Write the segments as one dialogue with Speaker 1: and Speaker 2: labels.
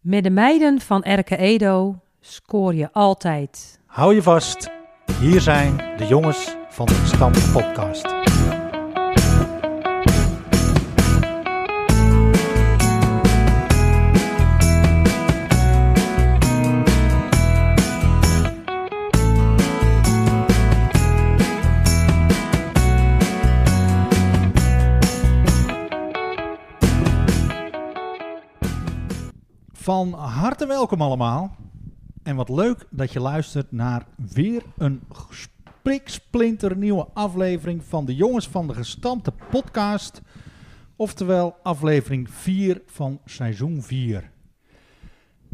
Speaker 1: Met de meiden van Erke Edo scoor je altijd.
Speaker 2: Hou je vast. Hier zijn de jongens van de Stam Podcast. Van harte welkom allemaal. En wat leuk dat je luistert naar weer een nieuwe aflevering van de Jongens van de Gestampte podcast. Oftewel aflevering 4 van seizoen 4.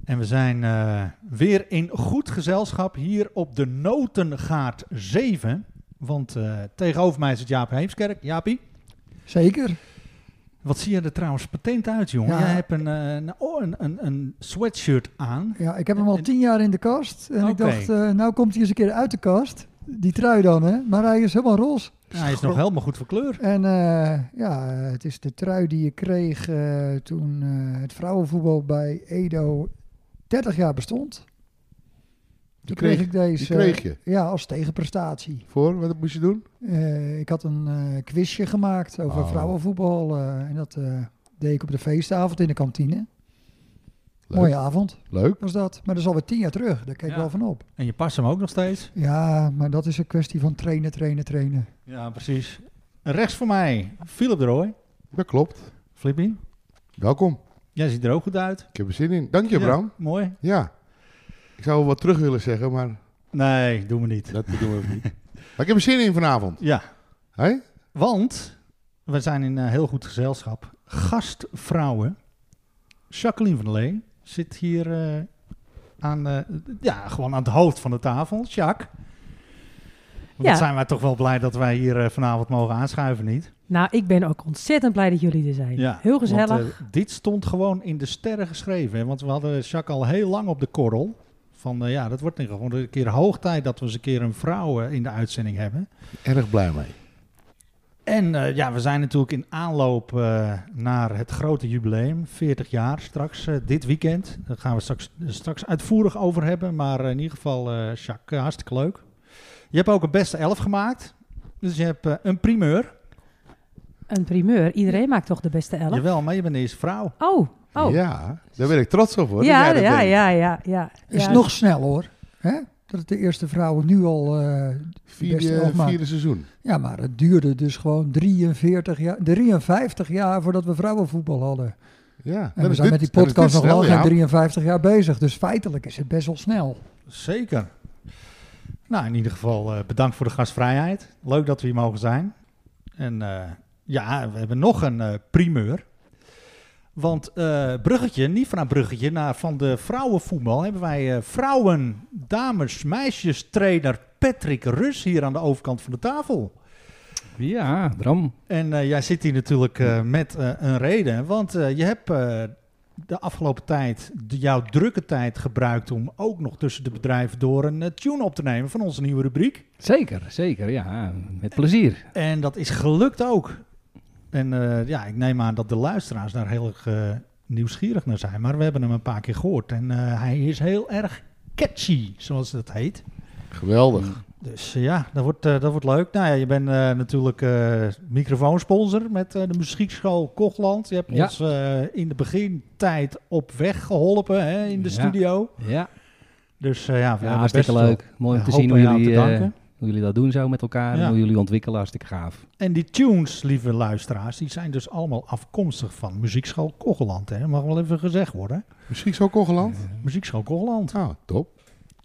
Speaker 2: En we zijn eh, weer in goed gezelschap hier op de Notengaard 7. Want eh, tegenover mij zit Jaap Heemskerk. Jaapie,
Speaker 3: Zeker.
Speaker 2: wat zie je er trouwens patent uit, jongen?
Speaker 3: Ja.
Speaker 2: Jij hebt een, eh, een, oh, een, een, een sweatshirt aan.
Speaker 3: Ja, ik heb hem al
Speaker 2: En-
Speaker 3: tien jaar in de kast. En ik
Speaker 2: Oké.
Speaker 3: dacht, eh, nou komt hij eens een keer uit de kast. Die trui dan, hè. Maar hij is helemaal roze.
Speaker 2: Ja, hij is nog helemaal goed van kleur.
Speaker 3: En eh, ja, eh, het is de trui die ik kreeg eh, toen eh, het vrouwenvoetbal bij Edo 30 jaar bestond. Toen kreeg,
Speaker 4: kreeg-
Speaker 3: ik deze
Speaker 4: die kreeg je?
Speaker 3: eh, ja, als tegenprestatie.
Speaker 4: Voor, wat moest je doen?
Speaker 3: Eh, ik had een eh, quizje gemaakt over
Speaker 4: Oh.
Speaker 3: vrouwenvoetbal. eh, en dat eh, deed ik op de feestavond in de kantine.
Speaker 4: Leuk.
Speaker 3: Mooie avond
Speaker 4: Leuk.
Speaker 3: was dat. Maar dat is alweer tien jaar terug. Daar keek ik
Speaker 2: Ja.
Speaker 3: wel van op.
Speaker 2: En je past hem ook nog steeds.
Speaker 3: Ja, maar dat is een kwestie van trainen, trainen, trainen.
Speaker 2: Ja, precies. Rechts voor mij, Philip de Rooij.
Speaker 4: Dat klopt.
Speaker 2: Flippie,
Speaker 4: Welkom.
Speaker 2: jij ziet er ook goed uit.
Speaker 4: Ik heb er zin in. Dank je, Bram.
Speaker 2: Mooi.
Speaker 4: Ja. Ik zou wel wat terug willen zeggen, maar
Speaker 2: Nee, doen we niet.
Speaker 4: dat doen we niet. Maar ik heb er zin in vanavond.
Speaker 2: Ja,
Speaker 4: Hé?
Speaker 2: want we zijn in eh, heel goed gezelschap. Gastvrouwen. Jacqueline van der Lee zit hier eh, aan, eh, ja, gewoon aan het hoofd van de tafel. Jacques. Wat
Speaker 1: Ja.
Speaker 2: zijn wij toch wel blij dat wij hier eh, vanavond mogen aanschuiven, niet?
Speaker 1: Nou, ik ben ook ontzettend blij dat jullie er zijn. Heel gezellig.
Speaker 2: Want, eh, dit stond gewoon in de sterren geschreven. Hè? Want we hadden Jacques al heel lang op de korrel. Van eh, ja, dat wordt niet gewoon een keer hoog tijd dat we eens een keer een vrouw eh, in de uitzending hebben.
Speaker 4: Erg blij mee.
Speaker 2: En eh, ja, we zijn natuurlijk in aanloop eh, naar het grote jubileum. 40 jaar straks, eh, dit weekend. Daar gaan we straks, eh, straks uitvoerig over hebben. Maar eh, in ieder geval, eh Jacques, eh, hartstikke leuk. Je hebt ook een beste elf gemaakt. Dus je hebt eh, een primeur.
Speaker 1: Een primeur. Iedereen maakt toch de beste elf?
Speaker 2: Jawel, maar je bent de eerste vrouw.
Speaker 1: Oh, oh.
Speaker 4: Ja, daar ben ik trots op hoor. dat
Speaker 1: ja,
Speaker 4: jij dat
Speaker 1: ja,
Speaker 4: deed.
Speaker 1: ja, ja, ja.
Speaker 3: Is
Speaker 1: Ja.
Speaker 3: nog snel hoor. Hè? Dat het de eerste vrouwen nu al. eh, Beste
Speaker 4: Vierde,
Speaker 3: elf maakt.
Speaker 4: vierde seizoen.
Speaker 3: ja, maar het duurde dus gewoon 43 jaar, 53 jaar voordat we vrouwenvoetbal hadden.
Speaker 4: Ja.
Speaker 3: En
Speaker 4: dan
Speaker 3: we
Speaker 4: is
Speaker 3: zijn met
Speaker 4: dit-
Speaker 3: die
Speaker 4: dan is
Speaker 3: podcast
Speaker 4: dit
Speaker 3: nog lang
Speaker 4: snel,
Speaker 3: geen
Speaker 4: ja.
Speaker 3: 53 jaar bezig. Dus feitelijk is het best wel snel.
Speaker 2: Zeker. Nou, in ieder geval eh, bedankt voor de gastvrijheid. Leuk dat we hier mogen zijn. En eh, ja, we hebben nog een eh, primeur. Want eh, Bruggetje, niet vanuit Bruggetje, naar van de vrouwenvoetbal hebben wij eh, vrouwen, dames, meisjes trainer Patrick Rus hier aan de overkant van de tafel.
Speaker 5: Ja, Bram.
Speaker 2: En eh, jij zit hier natuurlijk eh, met eh, een reden. Want eh, je hebt eh, de afgelopen tijd, de, jouw drukke tijd, gebruikt om ook nog tussen de bedrijven door een eh, tune op te nemen van onze nieuwe rubriek.
Speaker 5: Zeker, zeker. Ja, met plezier.
Speaker 2: En dat is gelukt ook. En eh, ja, ik neem aan dat de luisteraars daar heel erg eh, nieuwsgierig naar zijn. Maar we hebben hem een paar keer gehoord. En eh, hij is heel erg catchy, zoals dat heet.
Speaker 4: Geweldig.
Speaker 2: Dus eh, ja, dat wordt, eh, dat wordt leuk. Nou ja, je bent eh, natuurlijk eh, microfoonsponsor met eh, de muziekschool Kochland. Je hebt
Speaker 5: Ja.
Speaker 2: ons eh, in de begintijd op weg geholpen hè, in de
Speaker 5: Ja.
Speaker 2: studio.
Speaker 5: Ja,
Speaker 2: Dus eh, ja, we
Speaker 5: ja
Speaker 2: hebben
Speaker 5: hartstikke
Speaker 2: best wel-
Speaker 5: leuk. Mooi om
Speaker 2: ja,
Speaker 5: te
Speaker 2: hoop
Speaker 5: zien
Speaker 2: aan
Speaker 5: hoe
Speaker 2: jou
Speaker 5: jullie,
Speaker 2: te
Speaker 5: eh,
Speaker 2: danken.
Speaker 5: hoe jullie dat doen zo met elkaar.
Speaker 2: Ja.
Speaker 5: En hoe jullie ontwikkelen, hartstikke gaaf.
Speaker 2: En die tunes, lieve luisteraars, die zijn dus allemaal afkomstig van muziekschool Kochland. Hè. Mag wel even gezegd worden.
Speaker 4: Misschien zo Kogeland?
Speaker 2: Muziekschool Kochland.
Speaker 4: Nou, top.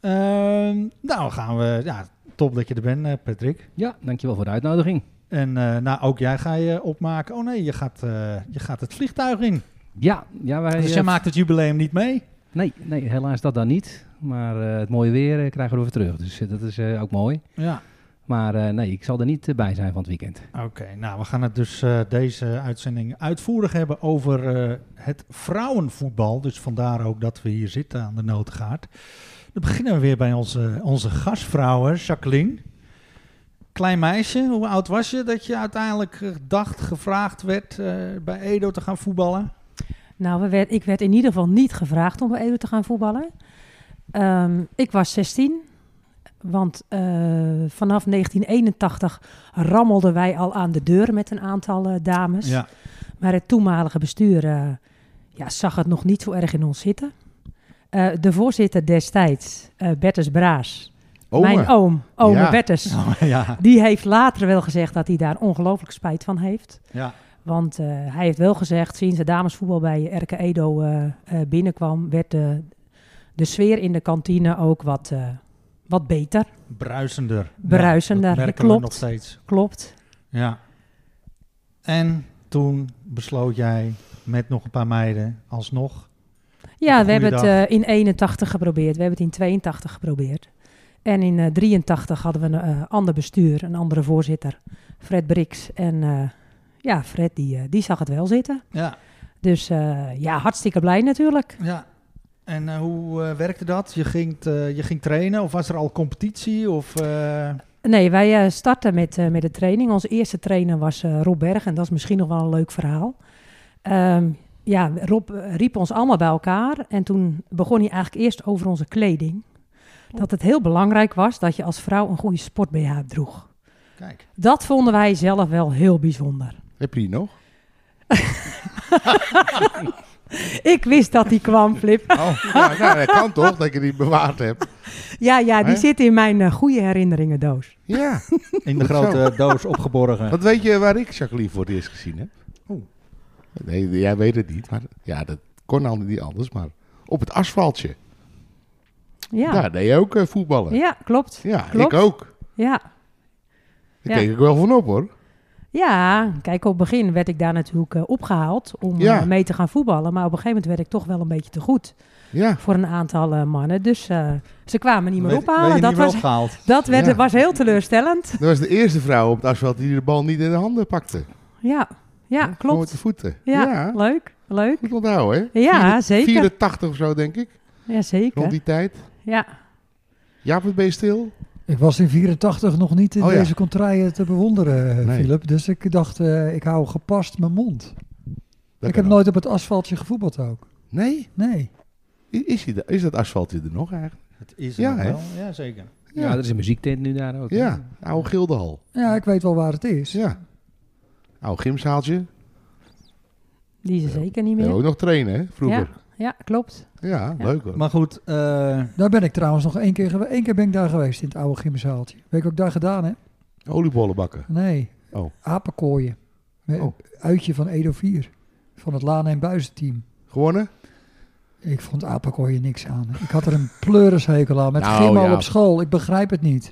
Speaker 2: Ehm, nou gaan we, ja, top dat je er bent eh, Patrick.
Speaker 5: Ja, dankjewel voor de uitnodiging.
Speaker 2: En eh, nou, ook jij ga je opmaken. Oh nee, je gaat, eh, je gaat het vliegtuig in.
Speaker 5: Ja, ja wij...
Speaker 2: Dus
Speaker 5: eh,
Speaker 2: jij maakt het jubileum niet mee?
Speaker 5: nee, nee, helaas dat dan niet. Maar eh, het mooie weer eh, krijgen we er weer terug. Dus eh, dat is eh, ook mooi.
Speaker 2: Ja.
Speaker 5: Maar eh, nee, ik zal er niet eh, bij zijn van het weekend.
Speaker 2: Oké, nou we gaan het dus eh, deze uitzending uitvoerig hebben over eh, het vrouwenvoetbal. Dus vandaar ook dat we hier zitten aan de noodgaard. Dan beginnen we weer bij onze, onze gastvrouw, hè, Jacqueline. Klein meisje, hoe oud was je dat je uiteindelijk eh, dacht, gevraagd werd eh, bij Edo te gaan voetballen?
Speaker 1: Nou, we werd, ik werd in ieder geval niet gevraagd om bij Edo te gaan voetballen. Ehm, ik was 16, want eh, vanaf 1981 rammelden wij al aan de deur met een aantal eh, dames.
Speaker 2: Ja.
Speaker 1: Maar het toenmalige bestuur eh, ja, zag het nog niet zo erg in ons zitten. Eh, de voorzitter destijds, eh Bertus Braas,
Speaker 4: Ome.
Speaker 1: mijn oom, oom
Speaker 4: Ja.
Speaker 1: Bertus,
Speaker 2: Oh, ja.
Speaker 1: die heeft later wel gezegd dat hij daar ongelooflijk spijt van heeft.
Speaker 2: Ja.
Speaker 1: Want eh, hij heeft wel gezegd, sinds de damesvoetbal bij Erke Edo eh, eh, binnenkwam, werd de, de sfeer in de kantine ook wat, eh, wat beter.
Speaker 2: Bruisender.
Speaker 1: Bruisender,
Speaker 2: Ja, dat merken
Speaker 1: klopt.
Speaker 2: we nog steeds.
Speaker 1: Klopt.
Speaker 2: Ja. En toen besloot jij met nog een paar meiden alsnog.
Speaker 1: Ja, we hebben het
Speaker 2: Goeiedag.
Speaker 1: eh, in 81 geprobeerd. We hebben het in 82 geprobeerd. En in eh, 83 hadden we een eh, ander bestuur, een andere voorzitter, Fred Brix. En eh, ja, Fred die, eh, die zag het wel zitten.
Speaker 2: Ja.
Speaker 1: Dus eh, ja, hartstikke blij natuurlijk.
Speaker 2: ja. En eh, hoe eh, werkte dat? Je ging, t- eh, je ging trainen of was er al competitie? Of, eh,
Speaker 1: Nee, wij eh, starten met, eh, met de training. Onze eerste trainer was eh, Rob Berg en dat is misschien nog wel een leuk verhaal. Ehm, ja, Rob eh, riep ons allemaal bij elkaar en toen begon hij eigenlijk eerst over onze kleding. Dat het heel belangrijk was dat je als vrouw een goede sport-BH droeg.
Speaker 2: Kijk.
Speaker 1: Dat vonden wij zelf wel heel bijzonder.
Speaker 4: Heb je die nog?
Speaker 1: Ik wist dat die kwam, Flip.
Speaker 4: Oh, ja, nou, dat kan toch, dat je die bewaard hebt.
Speaker 1: Ja, ja, die
Speaker 4: Hè?
Speaker 1: zit in mijn eh, goede herinneringen doos.
Speaker 4: Ja,
Speaker 2: In de
Speaker 4: Goed zo.
Speaker 2: grote doos opgeborgen.
Speaker 4: wat weet je waar ik Jacqueline voor het eerst gezien heb?
Speaker 2: Oeh.
Speaker 4: Oh. Nee, jij weet het niet, maar ja, dat kon al niet anders, maar op het asfaltje.
Speaker 1: Ja,
Speaker 4: Daar deed je ook eh, voetballen.
Speaker 1: ja klopt.
Speaker 4: Ja,
Speaker 1: klopt.
Speaker 4: ik ook.
Speaker 1: Ja.
Speaker 4: Daar
Speaker 1: Ja.
Speaker 4: keek ik wel van op hoor.
Speaker 1: Ja, kijk, op het begin werd ik daar natuurlijk eh, opgehaald om
Speaker 4: Ja.
Speaker 1: eh, mee te gaan voetballen. Maar op een gegeven moment werd ik toch wel een beetje te goed
Speaker 4: Ja,
Speaker 1: voor een aantal eh, mannen. Dus eh, ze kwamen niet meer
Speaker 2: Weet- weet
Speaker 1: ophalen.
Speaker 2: je
Speaker 1: Dat,
Speaker 2: niet meer
Speaker 1: was,
Speaker 2: opgehaald.
Speaker 1: dat werd,
Speaker 4: Ja.
Speaker 1: was heel teleurstellend.
Speaker 4: dat was de eerste vrouw op het asfalt die de bal niet in de handen pakte.
Speaker 1: Ja, ja
Speaker 4: Gewoon met
Speaker 1: klopt.
Speaker 4: de voeten.
Speaker 1: Ja, leuk, leuk.
Speaker 4: Goed onthouden, hè?
Speaker 1: Ja,
Speaker 4: Vierde-
Speaker 1: zeker.
Speaker 4: 84 of zo, denk ik.
Speaker 1: Ja,
Speaker 4: Rond
Speaker 1: zeker.
Speaker 4: die tijd.
Speaker 1: Ja.
Speaker 4: Jaap, wat ben je stil?
Speaker 3: Ik was in 84 nog niet in
Speaker 4: Oh ja.
Speaker 3: deze contraien te bewonderen,
Speaker 4: Nee.
Speaker 3: Philip. Dus ik dacht, eh, ik hou gepast mijn mond. ik
Speaker 4: Dat kan
Speaker 3: heb
Speaker 4: ook.
Speaker 3: nooit op het asfaltje gevoetbald ook.
Speaker 4: Nee?
Speaker 3: Nee.
Speaker 4: I- Is, die da- is dat asfaltje er nog eigenlijk?
Speaker 2: Het is
Speaker 4: Ja,
Speaker 2: ja,
Speaker 4: hè?
Speaker 2: wel. Ja, zeker.
Speaker 5: Ja. er is een muziektent nu daar ook. hè?
Speaker 4: Ja, oude Gildenhal.
Speaker 3: Ja, ik weet wel waar het is.
Speaker 4: Ja. Oude gymzaaltje.
Speaker 1: die is er zeker niet
Speaker 4: Ja.
Speaker 1: meer.
Speaker 4: Ook nog trainen, hè, vroeger.
Speaker 1: Ja, klopt.
Speaker 4: Ja, leuk hoor.
Speaker 2: Maar goed, eh,
Speaker 3: Daar ben ik trouwens nog één keer geweest. Eén keer ben ik daar geweest in het oude gymzaaltje. Weet ik wat ik daar gedaan heb?
Speaker 4: Oliebollen bakken.
Speaker 3: Nee.
Speaker 4: Oh.
Speaker 3: Apenkooien. Met-
Speaker 4: Oh.
Speaker 3: Uitje van Edo 4. Van het Laan en Buizenteam.
Speaker 4: Gewonnen?
Speaker 3: Ik vond apenkooien niks aan. Ik had er een pleurishekel aan. Met
Speaker 4: Nou,
Speaker 3: gym al
Speaker 4: ja.
Speaker 3: op school. Ik begrijp het niet.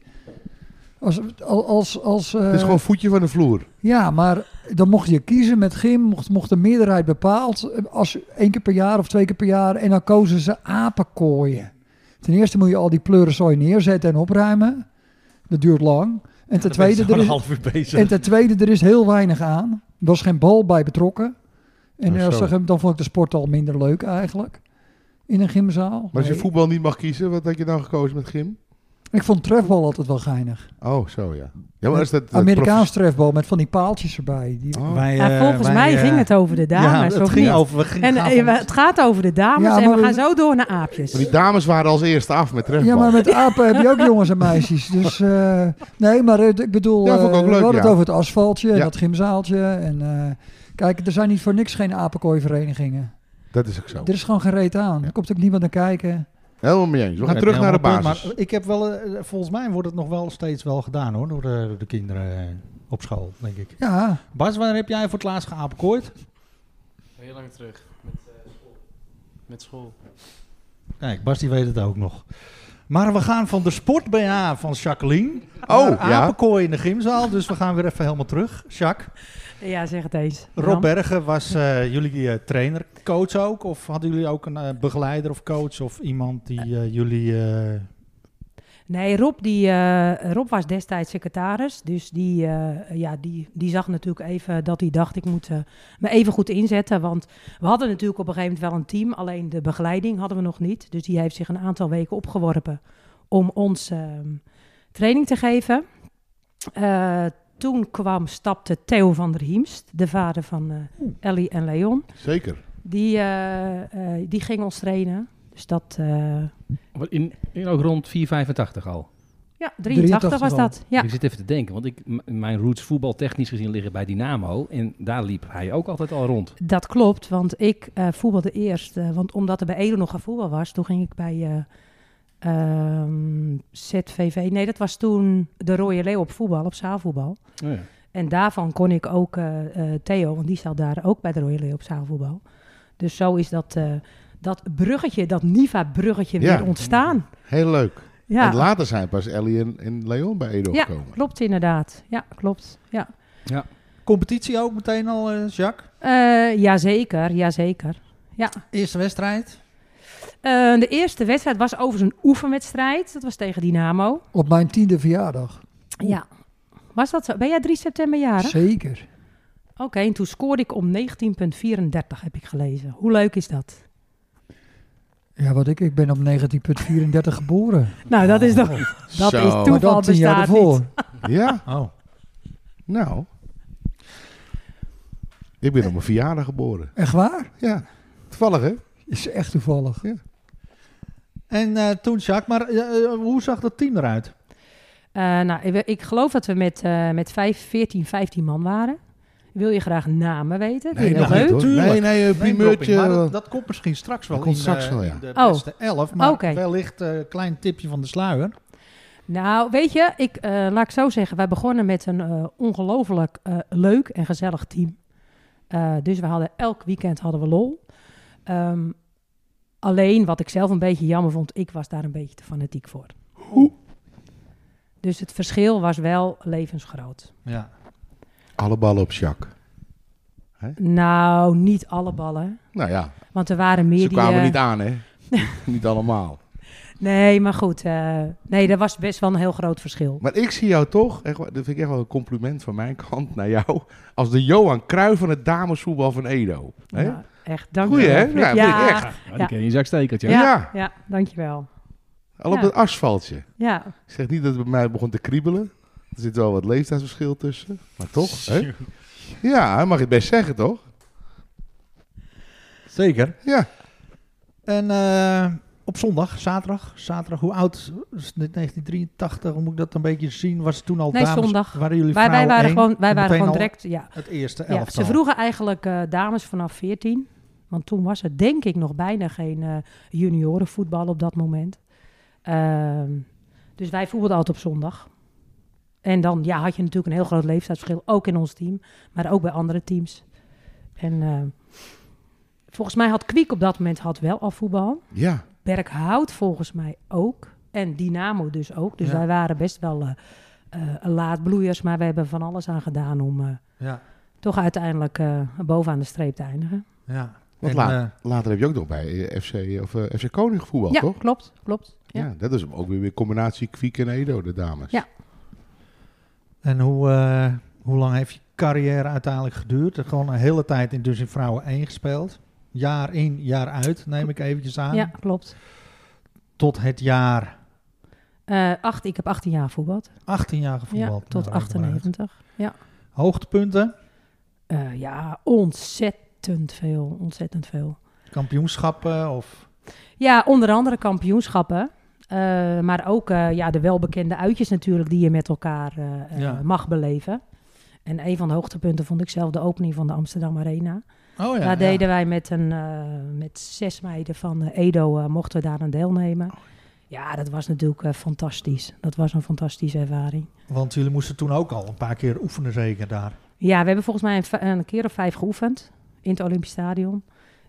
Speaker 3: Als, als, als, als,
Speaker 4: Het is
Speaker 3: eh,
Speaker 4: gewoon voetje van de vloer.
Speaker 3: Ja, maar dan mocht je kiezen met gym, mocht, mocht de meerderheid bepaald. eh, Als één keer per jaar of twee keer per jaar. En dan kozen ze apenkooien. Ten eerste moet je al die pleurenzooi neerzetten en opruimen. Dat duurt lang.
Speaker 2: dan ben
Speaker 3: En ten,
Speaker 2: je
Speaker 3: tweede,
Speaker 2: zo'n
Speaker 3: er is,
Speaker 2: half uur bezig.
Speaker 3: en ten tweede, er is heel weinig aan. Er was geen bal bij betrokken. En
Speaker 4: Oh,
Speaker 3: als
Speaker 4: zo.
Speaker 3: dan, dan vond ik de sport al minder leuk eigenlijk. In een gymzaal.
Speaker 4: Maar als je
Speaker 3: Nee.
Speaker 4: voetbal niet mag kiezen, wat had je dan gekozen met gym?
Speaker 3: Ik vond trefbal altijd wel geinig.
Speaker 4: Oh, zo ja. ja maar is dat, dat
Speaker 3: Amerikaans trefbal met van die paaltjes erbij. Die,
Speaker 4: profe- Oh.
Speaker 2: Wij,
Speaker 1: Ja,
Speaker 2: eh,
Speaker 1: volgens
Speaker 2: wij,
Speaker 1: mij
Speaker 2: eh,
Speaker 1: ging het over de dames,
Speaker 2: ja, het
Speaker 1: of
Speaker 2: ging
Speaker 1: niet?
Speaker 2: over. We gingen
Speaker 1: En
Speaker 2: gaan
Speaker 1: eh,
Speaker 2: van-
Speaker 1: het gaat over de dames
Speaker 3: Ja,
Speaker 1: en we
Speaker 3: maar-
Speaker 1: gaan zo door naar aapjes.
Speaker 4: Maar die dames waren als eerste af met trefbal.
Speaker 3: Ja, maar met apen heb je ook jongens en meisjes. Dus eh, nee, maar het- ik bedoel,
Speaker 4: Ja, vond ik ook
Speaker 3: eh,
Speaker 4: leuk,
Speaker 3: we hadden
Speaker 4: ja.
Speaker 3: het over het asfaltje en
Speaker 4: Ja.
Speaker 3: dat gymzaaltje. En eh, kijk, er zijn niet voor niks geen apenkooiverenigingen.
Speaker 4: Dat is ook zo.
Speaker 3: Er is gewoon gereed aan.
Speaker 4: Ja.
Speaker 3: Er komt ook niemand naar kijken.
Speaker 4: Helemaal mee eens. We gaan
Speaker 2: Heb
Speaker 4: terug
Speaker 2: je
Speaker 4: naar de
Speaker 2: helemaal een
Speaker 4: basis.
Speaker 2: punt, maar ik heb wel, eh, volgens mij wordt het nog wel steeds wel gedaan hoor, door de, door de kinderen eh, op school, denk ik.
Speaker 3: Ja,
Speaker 2: Bas, waar heb jij voor het laatst geapenkooid?
Speaker 6: Heel lang terug. Met eh, school. Met school.
Speaker 2: Kijk, Bas die weet het ook nog. Maar we gaan van de sport BH van Jacqueline
Speaker 4: Oh,
Speaker 2: naar
Speaker 4: ja.
Speaker 2: apenkooi in de gymzaal. Dus we gaan weer even helemaal terug. Jacques,
Speaker 1: Ja, zeg het eens.
Speaker 2: Rob Bergen was eh, jullie eh, trainer, coach ook? Of hadden jullie ook een eh, begeleider of coach of iemand die eh, jullie... eh,
Speaker 1: Nee, Rob, die, eh, Rob was destijds secretaris. Dus die, eh, ja, die, die zag natuurlijk even dat hij dacht: ik moet eh, me even goed inzetten. Want we hadden natuurlijk op een gegeven moment wel een team. Alleen de begeleiding hadden we nog niet. Dus die heeft zich een aantal weken opgeworpen om ons ehm, training te geven. Eh, toen kwam, stapte Theo van der Hiemst, de vader van eh, Ellie en Leon.
Speaker 4: Zeker.
Speaker 1: die, eh, eh, die ging ons trainen. Dus dat, eh,
Speaker 5: Wat In, in ook rond 4,85 al.
Speaker 1: ja, 83
Speaker 3: 83
Speaker 1: was dat. Ja,
Speaker 5: Ik zit even te denken, want ik, m- mijn roots voetbaltechnisch gezien liggen bij Dynamo. En daar liep hij ook altijd al rond.
Speaker 1: dat klopt, want ik eh, voetbalde eerst. eh, want omdat er bij Ede nog geen voetbal was, toen ging ik bij eh, ehm, ZVV. Nee, dat was toen de Rode Leeuw op voetbal, op zaalvoetbal.
Speaker 5: Oh ja.
Speaker 1: En daarvan kon ik ook eh, eh, Theo, want die zat daar ook bij de Royal Leeuw op zaalvoetbal. Dus zo is dat, eh, dat bruggetje, dat Niva-bruggetje
Speaker 4: Ja.
Speaker 1: weer ontstaan.
Speaker 4: Heel leuk. En
Speaker 1: Ja,
Speaker 4: later zijn pas Ellie en, en Leon bij Edo
Speaker 1: Ja.
Speaker 4: gekomen.
Speaker 1: klopt inderdaad. Ja, klopt. Ja.
Speaker 2: Competitie ook meteen al, eh, Jacques.
Speaker 1: Eh jazeker, jazeker.
Speaker 2: Eerste wedstrijd.
Speaker 1: Eh, de eerste wedstrijd was overigens een oefenwedstrijd. Dat was tegen Dynamo.
Speaker 3: Op mijn tiende verjaardag.
Speaker 1: Ja. Was dat zo? Ben jij 3 september jarig?
Speaker 3: Zeker.
Speaker 1: Oké, en toen scoorde ik om 19.34 heb ik gelezen. Hoe leuk is dat?
Speaker 3: Ja, wat ik, ik ben op 19.34 geboren.
Speaker 1: Nou, dat is toch... Dat
Speaker 4: Zo.
Speaker 1: is toeval.
Speaker 3: Maar dan tien jaar
Speaker 1: bestaat
Speaker 3: daarvoor.
Speaker 1: niet.
Speaker 4: Ja,
Speaker 2: Oh.
Speaker 4: nou. Ik ben op mijn verjaardag geboren.
Speaker 3: Echt waar?
Speaker 4: Ja, toevallig hè?
Speaker 3: Is echt toevallig.
Speaker 2: En eh, toen, Jacques, maar eh, eh, hoe zag dat team eruit?
Speaker 1: Eh, nou, ik, ik geloof dat we met, eh met 5, 14, 15 man waren. Wil je graag namen weten? Vind je
Speaker 2: Nee,
Speaker 1: dat
Speaker 2: nog
Speaker 1: leuk?
Speaker 2: niet,
Speaker 4: hoor.
Speaker 2: Tuurlijk.
Speaker 4: Nee, nee, een primeurtje. eh,
Speaker 2: Name-dropping, Maar dat, dat komt misschien straks wel
Speaker 4: Dat komt
Speaker 2: in,
Speaker 4: straks
Speaker 2: eh,
Speaker 4: wel, ja.
Speaker 2: in de
Speaker 1: Oh.
Speaker 2: beste elf. Maar
Speaker 1: Oké.
Speaker 2: wellicht een klein tipje van de sluier.
Speaker 1: Nou, weet je, ik, eh, laat ik zo zeggen. Wij begonnen met een eh, ongelooflijk eh, leuk en gezellig team. Eh, dus we hadden elk weekend hadden we lol. Ehm, alleen, wat ik zelf een beetje jammer vond, ik was daar een beetje te fanatiek voor. Dus het verschil was wel levensgroot.
Speaker 2: Ja.
Speaker 4: Alle ballen op Jacques.
Speaker 1: Nou, niet alle ballen.
Speaker 4: Nou ja,
Speaker 1: Want er waren meer
Speaker 4: ze
Speaker 1: die...
Speaker 4: kwamen
Speaker 1: eh,
Speaker 4: niet aan hè? niet allemaal.
Speaker 1: Nee, maar goed. eh, nee, er was best wel een heel groot verschil.
Speaker 4: Maar ik zie jou toch, echt, waar- dat vind ik echt wel een compliment van mijn kant naar jou, als de Johan Cruijff van het damesvoetbal van Edo. Hè?
Speaker 1: Nou, echt, dank
Speaker 4: Goeie,
Speaker 1: je
Speaker 4: hè?
Speaker 1: wel.
Speaker 4: Ja,
Speaker 1: Ja,
Speaker 4: vind
Speaker 1: ja,
Speaker 4: ik echt.
Speaker 1: ja,
Speaker 5: Ja, die ken je zak stekertje.
Speaker 1: ja,
Speaker 4: Ja.
Speaker 1: dank je wel.
Speaker 4: Al op
Speaker 1: Ja.
Speaker 4: het asfaltje.
Speaker 1: Ja,
Speaker 4: Ik zeg niet dat het bij mij begon te kriebelen. Er zit wel wat leeftijdsverschil tussen, maar toch. Hè? Ja, mag je het best zeggen toch?
Speaker 2: Zeker.
Speaker 4: Ja.
Speaker 2: En eh, op zondag, zaterdag, zaterdag, hoe oud is dit 1983? Hoe moet ik dat een beetje zien? Was het toen al
Speaker 1: Nee,
Speaker 2: dames?
Speaker 1: zondag.
Speaker 2: Waren jullie
Speaker 1: wij, wij
Speaker 2: vrouwen
Speaker 1: waren
Speaker 2: één
Speaker 1: gewoon, wij
Speaker 2: en
Speaker 1: waren
Speaker 2: meteen
Speaker 1: gewoon
Speaker 2: al
Speaker 1: direct. Ja.
Speaker 2: Het eerste
Speaker 1: Ja,
Speaker 2: elftal.
Speaker 1: ze vroegen eigenlijk eh, dames vanaf 14. Want toen was er denk ik nog bijna geen eh, juniorenvoetbal op dat moment. Ehm, dus wij voetbalden altijd op zondag. En dan ja, had je natuurlijk een heel groot leeftijdsverschil. Ook in ons team, maar ook bij andere teams. En eh, volgens mij had Kwiek op dat moment had wel al voetbal.
Speaker 4: Ja,
Speaker 1: Berkhout volgens mij ook. En Dynamo dus ook. Dus
Speaker 2: Ja.
Speaker 1: wij waren best wel eh eh, laadbloeiers. Maar we hebben van alles aan gedaan om eh,
Speaker 2: Ja,
Speaker 1: toch uiteindelijk eh, bovenaan de streep te eindigen.
Speaker 2: ja.
Speaker 4: Wat
Speaker 2: En,
Speaker 4: laat?
Speaker 2: eh,
Speaker 4: later heb je ook nog bij eh, FC, of, eh, FC Koning gevoetbald
Speaker 1: ja,
Speaker 4: toch?
Speaker 1: klopt. klopt.
Speaker 4: Ja.
Speaker 1: Ja.
Speaker 4: dat is ook weer weer combinatie Kwiek en Edo, de dames.
Speaker 1: Ja.
Speaker 2: en hoe, eh, hoe lang heeft je carrière uiteindelijk geduurd? Er Gewoon een hele tijd in, dus in vrouwen 1 gespeeld. Jaar in, jaar uit, neem ik eventjes aan.
Speaker 1: Ja, klopt.
Speaker 2: Tot het jaar
Speaker 1: Eh, acht, ik heb 18 jaar voetbald.
Speaker 2: 18 jaar
Speaker 1: Ja,
Speaker 2: gevoetbald.
Speaker 1: tot
Speaker 2: Nou, reken maar uit.
Speaker 1: 98.
Speaker 2: Hoogtepunten,
Speaker 1: Eh, ja, ontzettend veel. Ontzettend veel.
Speaker 2: kampioenschappen of...
Speaker 1: Ja, onder andere kampioenschappen. Eh, maar ook eh, ja, de welbekende uitjes natuurlijk die je met elkaar eh, eh,
Speaker 2: Ja.
Speaker 1: mag beleven. En een van de hoogtepunten vond ik zelf de opening van de Amsterdam Arena.
Speaker 2: Oh ja,
Speaker 1: daar deden wij met, een, eh, met zes meiden van eh, Edo, eh, mochten we daar aan
Speaker 2: Oh.
Speaker 1: deelnemen. Ja, dat was natuurlijk eh, fantastisch. Dat was een fantastische ervaring.
Speaker 2: Want jullie moesten toen ook al een paar keer oefenen zeker daar.
Speaker 1: Ja, we hebben volgens mij een, v- een keer of vijf geoefend in het Olympisch Stadion.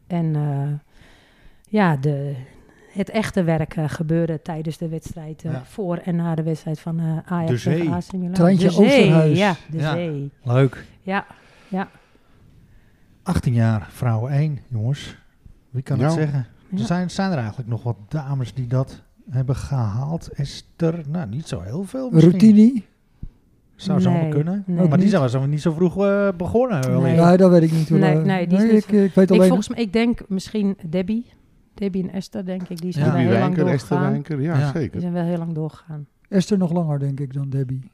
Speaker 1: En eh, ja, de, het echte werk eh, gebeurde tijdens de wedstrijd, eh,
Speaker 2: Ja.
Speaker 1: voor en na de wedstrijd van eh Ajax
Speaker 2: De zee.
Speaker 1: tegen AC Milan.
Speaker 3: Treintje
Speaker 1: de zee,
Speaker 3: Oosterhuis.
Speaker 1: Ja, de
Speaker 2: Ja.
Speaker 1: zee.
Speaker 2: Leuk.
Speaker 1: Ja,
Speaker 2: 18 jaar, vrouwen 1, jongens. Wie kan het
Speaker 4: Ja.
Speaker 2: zeggen?
Speaker 1: Ja.
Speaker 2: Er zijn, zijn er eigenlijk nog wat dames die dat hebben gehaald. Esther, nou niet zo heel veel misschien.
Speaker 3: Routine?
Speaker 2: Zou zo
Speaker 1: Nee,
Speaker 2: kunnen.
Speaker 1: nee.
Speaker 2: Maar die
Speaker 3: Niet.
Speaker 2: zijn wel niet zo vroeg eh, begonnen. wellicht.
Speaker 1: Nee.
Speaker 3: Nee, dat weet ik niet. hoor.
Speaker 1: Nee, nee, die is niet
Speaker 3: ik, ik
Speaker 1: ik,
Speaker 3: weet alleen...
Speaker 1: volgens mij, ik denk misschien Debbie. Debbie en Esther, denk ik. Die zijn
Speaker 2: Ja.
Speaker 1: wel heel lang
Speaker 4: Wijnker, Esther
Speaker 1: doorgegaan.
Speaker 4: Wijnker, ja,
Speaker 2: Ja.
Speaker 1: Die
Speaker 4: zeker.
Speaker 1: zijn wel heel lang doorgegaan.
Speaker 3: Esther nog langer, denk ik, dan Debbie.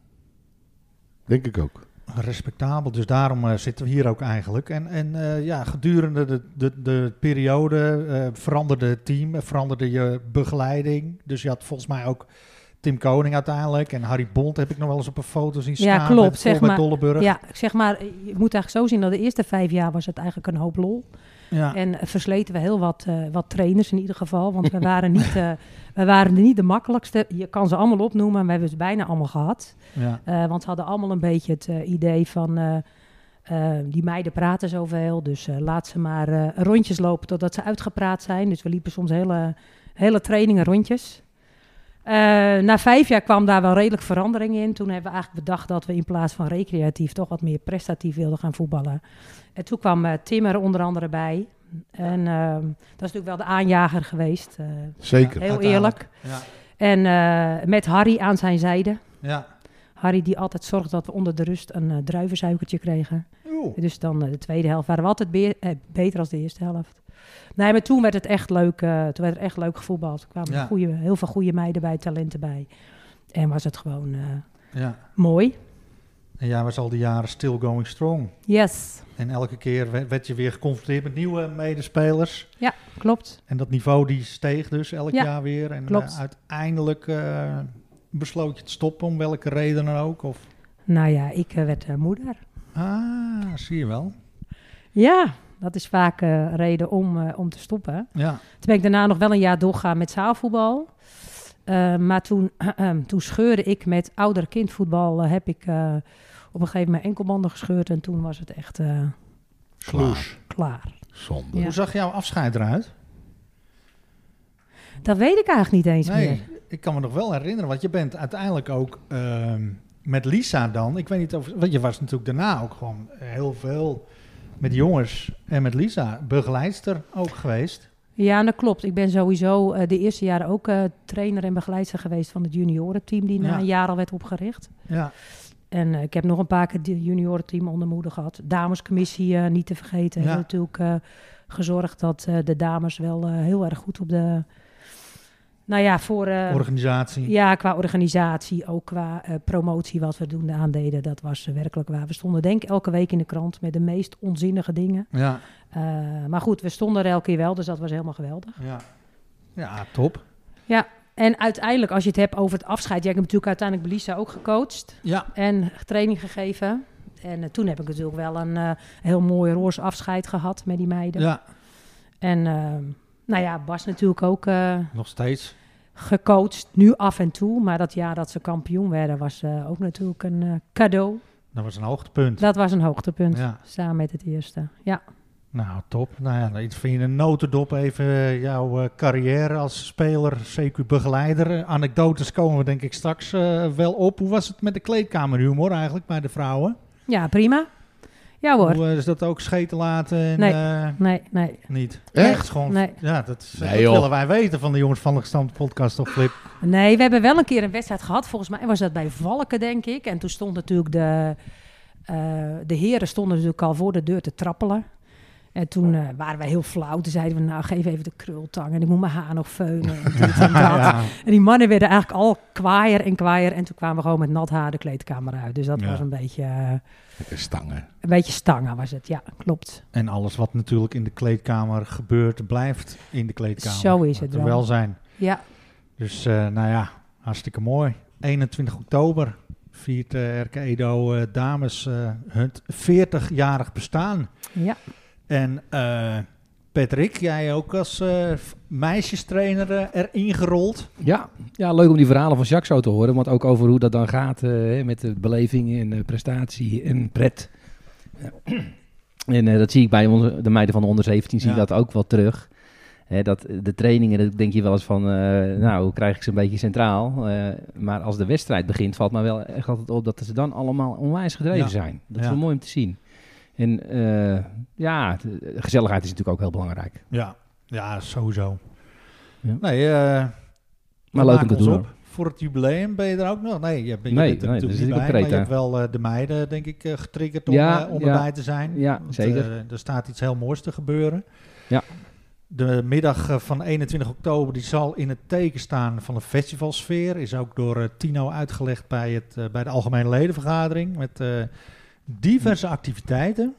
Speaker 4: Denk ik ook.
Speaker 2: respectabel. Dus daarom eh, zitten we hier ook eigenlijk. En, en eh, ja, gedurende de, de, de periode eh, veranderde het team, eh, veranderde je begeleiding. Dus je had volgens mij ook Tim Koning uiteindelijk. En Harry Bond heb ik nog wel eens op een foto zien staan.
Speaker 1: Ja, klopt,
Speaker 2: met,
Speaker 1: zeg
Speaker 2: met
Speaker 1: maar.
Speaker 2: Dolleburg.
Speaker 1: Ja, ik zeg maar, je moet eigenlijk zo zien dat de eerste vijf jaar was het eigenlijk een hoop lol.
Speaker 2: Ja.
Speaker 1: En versleten we heel wat, eh, wat trainers in ieder geval. Want we waren, niet, eh, we waren niet de makkelijkste. Je kan ze allemaal opnoemen, maar we hebben ze bijna allemaal gehad.
Speaker 2: ja.
Speaker 1: Eh, want ze hadden allemaal een beetje het eh, idee van... eh, eh, die meiden praten zoveel, dus eh, laat ze maar eh, rondjes lopen totdat ze uitgepraat zijn. Dus we liepen soms hele, hele trainingen rondjes. Eh, na vijf jaar kwam daar wel redelijk verandering in. Toen hebben we eigenlijk bedacht dat we in plaats van recreatief toch wat meer prestatief wilden gaan voetballen. En toen kwam eh, Tim er onder andere bij. En ehm, dat is natuurlijk wel de aanjager geweest. eh,
Speaker 4: Zeker.
Speaker 1: heel eerlijk.
Speaker 2: uiteindelijk. Ja.
Speaker 1: En eh, met Harry aan zijn zijde.
Speaker 2: ja.
Speaker 1: Harry die altijd zorgde dat we onder de rust een eh, druivensuikertje kregen.
Speaker 2: Oeh.
Speaker 1: Dus dan eh, de tweede helft waren we altijd be- eh, beter als de eerste helft. Nee, maar toen werd het echt leuk, eh, toen werd er echt leuk gevoetbald. Er kwamen
Speaker 2: Ja.
Speaker 1: goeie- heel veel goede meiden bij, talenten bij. En was het gewoon eh,
Speaker 2: Ja.
Speaker 1: mooi.
Speaker 2: En jij was al die jaren still going strong.
Speaker 1: Yes,
Speaker 2: En elke keer we- werd je weer geconfronteerd met nieuwe medespelers.
Speaker 1: klopt.
Speaker 2: En dat niveau die steeg dus elk
Speaker 1: Ja,
Speaker 2: jaar weer. En
Speaker 1: klopt.
Speaker 2: eh, uiteindelijk eh, besloot je te stoppen, om welke reden dan ook. Of,
Speaker 1: Nou ja, ik eh, werd eh, moeder.
Speaker 2: ah, zie je wel.
Speaker 1: Ja, dat is vaak eh, reden om, eh, om te stoppen.
Speaker 2: Ja,
Speaker 1: Toen ben ik daarna nog wel een jaar doorgaan met zaalvoetbal. Eh, maar toen, toen scheurde ik met ouder kindvoetbal. eh, heb ik eh, op een gegeven moment mijn enkelbanden gescheurd. En toen was het echt eh,
Speaker 4: Sloes.
Speaker 1: klaar.
Speaker 4: Zonde.
Speaker 1: Ja.
Speaker 2: hoe zag jouw afscheid eruit?
Speaker 1: Dat weet ik eigenlijk niet eens meer.
Speaker 2: ik kan me nog wel herinneren, want je bent uiteindelijk ook ehm, met Lisa dan. Ik weet niet of, want je was natuurlijk daarna ook gewoon heel veel met jongens en met Lisa begeleidster ook geweest.
Speaker 1: Ja, dat klopt. Ik ben sowieso eh, de eerste jaren ook eh, trainer en begeleidster geweest van het juniorenteam. Die na
Speaker 2: Ja.
Speaker 1: een jaar al werd opgericht.
Speaker 2: Ja,
Speaker 1: En eh, ik heb nog een paar keer het juniorenteam onder moeder gehad. Damescommissie eh, niet te vergeten.
Speaker 2: Ja.
Speaker 1: Hebben natuurlijk eh, gezorgd dat eh, de dames wel eh, heel erg goed op de... Nou ja, voor... eh,
Speaker 2: organisatie.
Speaker 1: ja, qua organisatie, ook qua eh, promotie wat we doen aandeden. Dat was eh, werkelijk waar. We stonden denk ik elke week in de krant met de meest onzinnige dingen.
Speaker 2: ja.
Speaker 1: Eh, maar goed, we stonden er elke keer wel, dus dat was helemaal geweldig.
Speaker 2: Ja, ja top.
Speaker 1: En uiteindelijk, als je het hebt over het afscheid... Jij hebt natuurlijk uiteindelijk Belisa ook gecoacht.
Speaker 2: Ja,
Speaker 1: en training gegeven. En eh, toen heb ik natuurlijk wel een eh, heel mooi roze afscheid gehad met die meiden.
Speaker 2: ja.
Speaker 1: En ehm, nou ja, Bas natuurlijk ook eh,
Speaker 2: nog steeds.
Speaker 1: gecoacht, nu af en toe. Maar dat jaar dat ze kampioen werden, was eh, ook natuurlijk een eh, cadeau.
Speaker 2: Dat was een hoogtepunt.
Speaker 1: Dat was een hoogtepunt,
Speaker 2: Ja,
Speaker 1: samen met het eerste. Ja,
Speaker 2: nou top. Nou ja, iets van je een notendop even eh, jouw eh, carrière als speler, CQ-begeleider. Eh, Anekdotes komen we denk ik straks eh, wel op. Hoe was het met de kleedkamerhumor eigenlijk bij de vrouwen?
Speaker 1: ja prima. Ja hoor.
Speaker 2: Hoe eh, is dat ook scheten laten? En,
Speaker 1: Nee.
Speaker 2: eh,
Speaker 1: Nee, nee,
Speaker 2: niet.
Speaker 4: Echt?
Speaker 2: Dat is gewoon,
Speaker 1: Nee.
Speaker 2: Ja, dat, is-
Speaker 4: Nee,
Speaker 2: dat
Speaker 4: joh.
Speaker 2: willen wij weten van de jongens van de gestampte podcast of Flip.
Speaker 1: Nee, we hebben wel een keer een wedstrijd gehad. Volgens mij was dat bij Valken, denk ik. En toen stond natuurlijk de... eh, de heren stonden natuurlijk al voor de deur te trappelen. En toen eh, waren wij heel flauw. Toen zeiden we, nou, geef even de krultang. En ik moet mijn haar nog veunen. En, dit en, dat.
Speaker 2: Ja.
Speaker 1: en die mannen werden eigenlijk al kwaaier en kwaaier. En toen kwamen we gewoon met nat haar de kleedkamer uit. Dus dat
Speaker 2: Ja.
Speaker 1: was een beetje, eh,
Speaker 4: Lekker stangen.
Speaker 1: een beetje stangen was het. Ja, klopt.
Speaker 2: En alles wat natuurlijk in de kleedkamer gebeurt, blijft in de kleedkamer.
Speaker 1: Zo is het
Speaker 2: Laten we
Speaker 1: wel.
Speaker 2: wel zijn.
Speaker 1: Ja,
Speaker 2: Dus eh, nou ja, hartstikke mooi. 21 oktober viert eh, RK Edo eh, Dames eh, hun 40-jarig bestaan.
Speaker 1: ja.
Speaker 2: En eh, Patrick, jij ook als eh, v- meisjestrainer eh, erin gerold.
Speaker 5: Ja, ja, leuk om die verhalen van Jacques zo te horen. Want ook over hoe dat dan gaat eh, hè, met de beleving en eh, prestatie en pret. En eh, dat zie ik bij onze, de meiden van de onder 17 zie ik
Speaker 2: Ja.
Speaker 5: dat ook wel terug. Hè, dat eh, de trainingen, dat denk je wel eens van, eh, nou, hoe krijg ik ze een beetje centraal? Eh, maar als de wedstrijd begint, valt mij wel echt altijd op dat ze dan allemaal onwijs gedreven
Speaker 2: Ja.
Speaker 5: zijn. Dat is
Speaker 2: Ja.
Speaker 5: wel mooi om te zien. En eh, ja, de- de gezelligheid is natuurlijk ook heel belangrijk.
Speaker 2: Ja, ja sowieso.
Speaker 5: Ja.
Speaker 2: Nee, eh
Speaker 5: Maar
Speaker 2: we
Speaker 5: leuk om
Speaker 2: maken
Speaker 5: te
Speaker 2: ons
Speaker 5: doen.
Speaker 2: op. Voor het jubileum ben je er ook nog? Nee, je, bent- je
Speaker 5: Nee,
Speaker 2: bent er
Speaker 5: nee,
Speaker 2: natuurlijk
Speaker 5: dus
Speaker 2: niet
Speaker 5: ik op
Speaker 2: bij. Maar je
Speaker 5: Kreta.
Speaker 2: hebt wel eh, de meiden, denk ik, eh, getriggerd om,
Speaker 5: Ja,
Speaker 2: eh, om
Speaker 5: ja.
Speaker 2: erbij te zijn.
Speaker 5: Ja,
Speaker 2: Want,
Speaker 5: zeker.
Speaker 2: eh, er staat iets heel moois te gebeuren.
Speaker 5: Ja.
Speaker 2: De middag eh, van 21 oktober die zal in het teken staan van de festivalsfeer. Is ook door eh, Tino uitgelegd bij, het, eh, bij de Algemene Ledenvergadering. Met eh, diverse activiteiten. En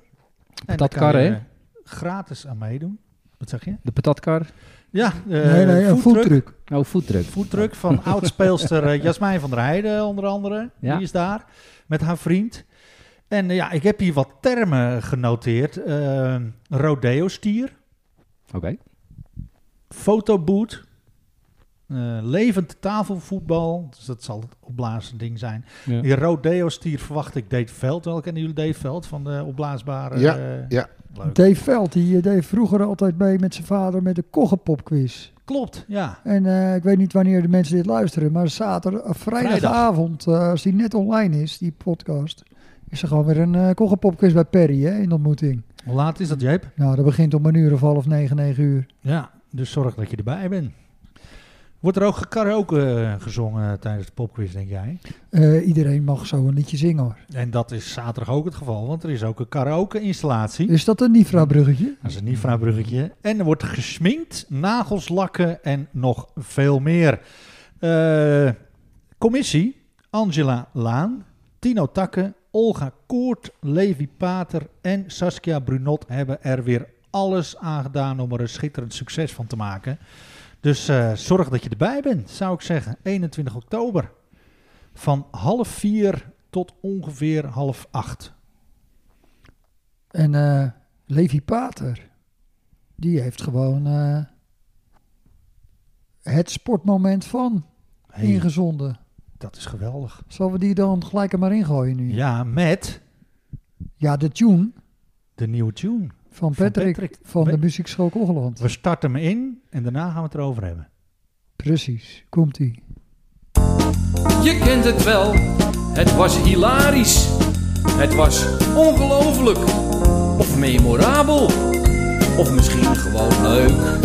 Speaker 2: daar
Speaker 5: Patatkar,
Speaker 2: kan je
Speaker 5: hè?
Speaker 2: Gratis aan meedoen. Wat zeg je?
Speaker 5: De patatkar.
Speaker 2: Ja, eh,
Speaker 4: Eh,
Speaker 3: nee, nee, een foodtruck.
Speaker 5: Oh, foodtruck.
Speaker 2: Foodtruck van oudspeelster eh, Jasmijn van der Heijden, onder andere.
Speaker 5: Ja.
Speaker 2: Die is daar met haar vriend. En eh, ja, ik heb hier wat termen genoteerd. Eh, Rodeo-stier,
Speaker 5: Oké.
Speaker 2: fotoboot, eh, levend tafelvoetbal. Dus dat zal het opblazen ding zijn.
Speaker 5: Ja.
Speaker 2: Die rodeo-stier verwacht ik Dave Veld. Wel kennen jullie Dave Veld van de opblaasbare...
Speaker 4: Ja,
Speaker 2: eh,
Speaker 4: ja.
Speaker 2: leuk.
Speaker 3: Dave Veld, die eh, deed vroeger altijd mee met zijn vader met de koggenpopquiz.
Speaker 2: Klopt, ja.
Speaker 3: En eh, ik weet niet wanneer de mensen dit luisteren, maar zaterdag, eh, vrijdagavond, eh, als die net online is, die podcast, is er gewoon weer een eh koggenpopquiz bij Perry hè, in de ontmoeting.
Speaker 2: Hoe laat is dat, Jeep?
Speaker 3: Nou, dat begint om een uur of half negen, negen uur.
Speaker 2: Ja, dus zorg dat je erbij bent. Wordt er ook karaoke eh, gezongen tijdens de popquiz, denk jij?
Speaker 3: Eh, iedereen mag zo een liedje zingen hoor.
Speaker 2: En dat is zaterdag ook het geval, want er is ook een karaoke-installatie.
Speaker 3: Is dat een Nifra-bruggetje?
Speaker 2: Dat is een Nifra-bruggetje. En er wordt gesminkt, nagels lakken en nog veel meer. Eh, commissie, Angela Laan, Tino Takke, Olga Koort, Levi Pater en Saskia Brunot hebben er weer alles aan gedaan om er een schitterend succes van te maken. Dus eh, zorg dat je erbij bent, zou ik zeggen. 21 oktober van half vier tot ongeveer half acht.
Speaker 3: En eh, Levi Pater, die heeft gewoon eh, het sportmoment van
Speaker 2: Hey,
Speaker 3: ingezonden.
Speaker 2: dat is geweldig.
Speaker 3: Zullen we die dan gelijk er maar ingooien nu?
Speaker 2: Ja, met...
Speaker 3: Ja, de tune
Speaker 2: De nieuwe tune.
Speaker 3: van Patrick van,
Speaker 2: Patrick.
Speaker 3: de
Speaker 2: We-
Speaker 3: Muziekschool Kogeland.
Speaker 2: We starten hem in en daarna gaan we het erover hebben.
Speaker 3: Precies, komt-ie.
Speaker 6: Je kent het wel, het was hilarisch. Het was ongelooflijk. Of memorabel. Of misschien gewoon leuk.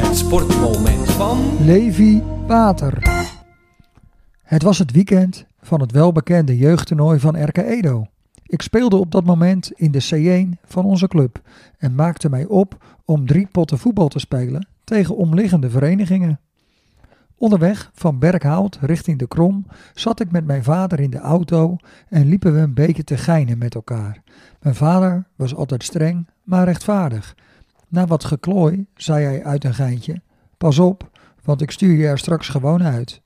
Speaker 6: Het sportmoment van.
Speaker 3: Levi Pater. Het was het weekend van het welbekende jeugdtoernooi van RK Edo. Ik speelde op dat moment in de C1 van onze club en maakte mij op om drie potten voetbal te spelen tegen omliggende verenigingen. Onderweg van Berkhout richting de Krom zat ik met mijn vader in de auto en liepen we een beetje te geinen met elkaar. Mijn vader was altijd streng, maar rechtvaardig. Na wat geklooi zei hij uit een geintje: Pas op, want ik stuur je er straks gewoon uit.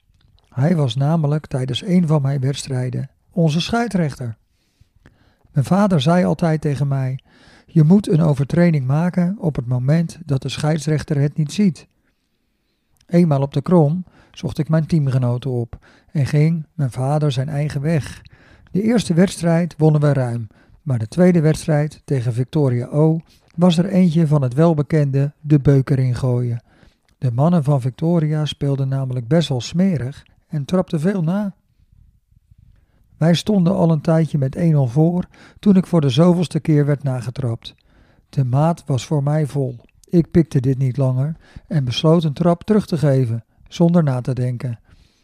Speaker 3: Hij was namelijk tijdens een van mijn wedstrijden onze scheidsrechter. Mijn vader zei altijd tegen mij: Je moet een overtreding maken op het moment dat de scheidsrechter het niet ziet. Eenmaal op de krom zocht ik mijn teamgenoten op en ging mijn vader zijn eigen weg. De eerste wedstrijd wonnen we ruim, maar de tweede wedstrijd tegen Victoria O was er eentje van het welbekende de beuker ingooien. De mannen van Victoria speelden namelijk best wel smerig en trapten veel na. Wij stonden al een tijdje met 1-0 voor toen ik voor de zoveelste keer werd nagetrapt. De maat was voor mij vol. Ik pikte dit niet langer en besloot een trap terug te geven, zonder na te denken.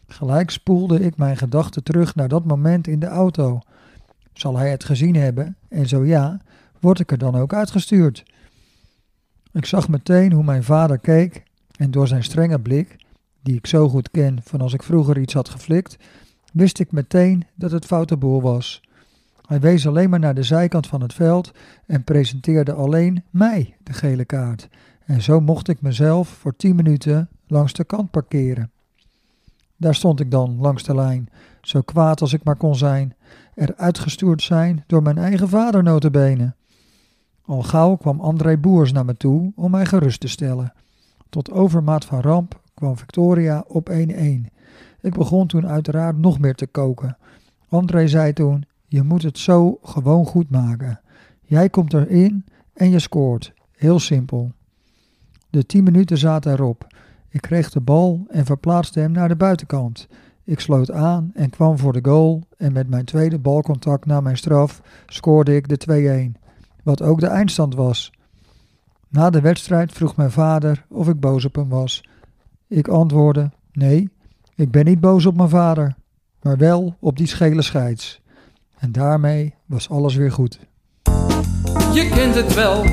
Speaker 3: Gelijk spoelde ik mijn gedachten terug naar dat moment in de auto. Zal hij het gezien hebben? En zo ja, word ik er dan ook uitgestuurd? Ik zag meteen hoe mijn vader keek en door zijn strenge blik, die ik zo goed ken van als ik vroeger iets had geflikt, wist ik meteen dat het foute boel was. Hij wees alleen maar naar de zijkant van het veld en presenteerde alleen mij de gele kaart. En zo mocht ik mezelf voor 10 minuten langs de kant parkeren. Daar stond ik dan langs de lijn, zo kwaad als ik maar kon zijn, er uitgestuurd zijn door mijn eigen vader notabene. Al gauw kwam André Boers naar me toe om mij gerust te stellen. Tot overmaat van ramp kwam Victoria op 1-1. Ik begon toen uiteraard nog meer te koken. André zei toen: Je moet het zo gewoon goed maken. Jij komt erin en je scoort. Heel simpel. De 10 minuten zaten erop. Ik kreeg de bal en verplaatste hem naar de buitenkant. Ik sloot aan en kwam voor de goal. En met mijn tweede balcontact na mijn straf scoorde ik de 2-1. Wat ook de eindstand was. Na de wedstrijd vroeg mijn vader of ik boos op hem was. Ik antwoordde: Nee, ik ben niet boos op mijn vader, maar wel op die schele scheids. En daarmee was alles weer goed.
Speaker 6: Je kent het wel,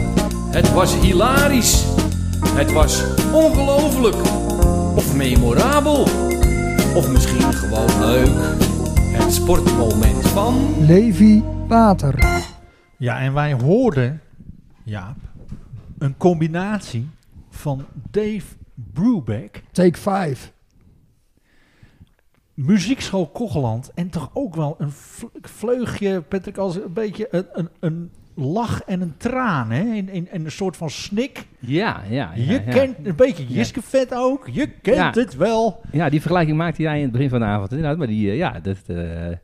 Speaker 6: het was hilarisch. Het was ongelooflijk. Of memorabel. Of misschien gewoon leuk. Het sportmoment van.
Speaker 3: Levi water.
Speaker 2: Ja, en wij hoorden, Jaap, een combinatie van Dave Brubeck,
Speaker 3: Take 5.
Speaker 2: muziekschool Kogeland en toch ook wel een vl- vleugje, Patrick, als een beetje een, een, een lach en een traan, hè? En, en, en een soort van snik.
Speaker 5: Ja, ja. ja,
Speaker 2: je
Speaker 5: ja.
Speaker 2: kent, een beetje Jiske Vet ook, je kent
Speaker 5: Ja.
Speaker 2: het wel.
Speaker 5: Ja, die vergelijking maakte jij in het begin van de avond inderdaad. Maar die, eh, ja, dat, eh,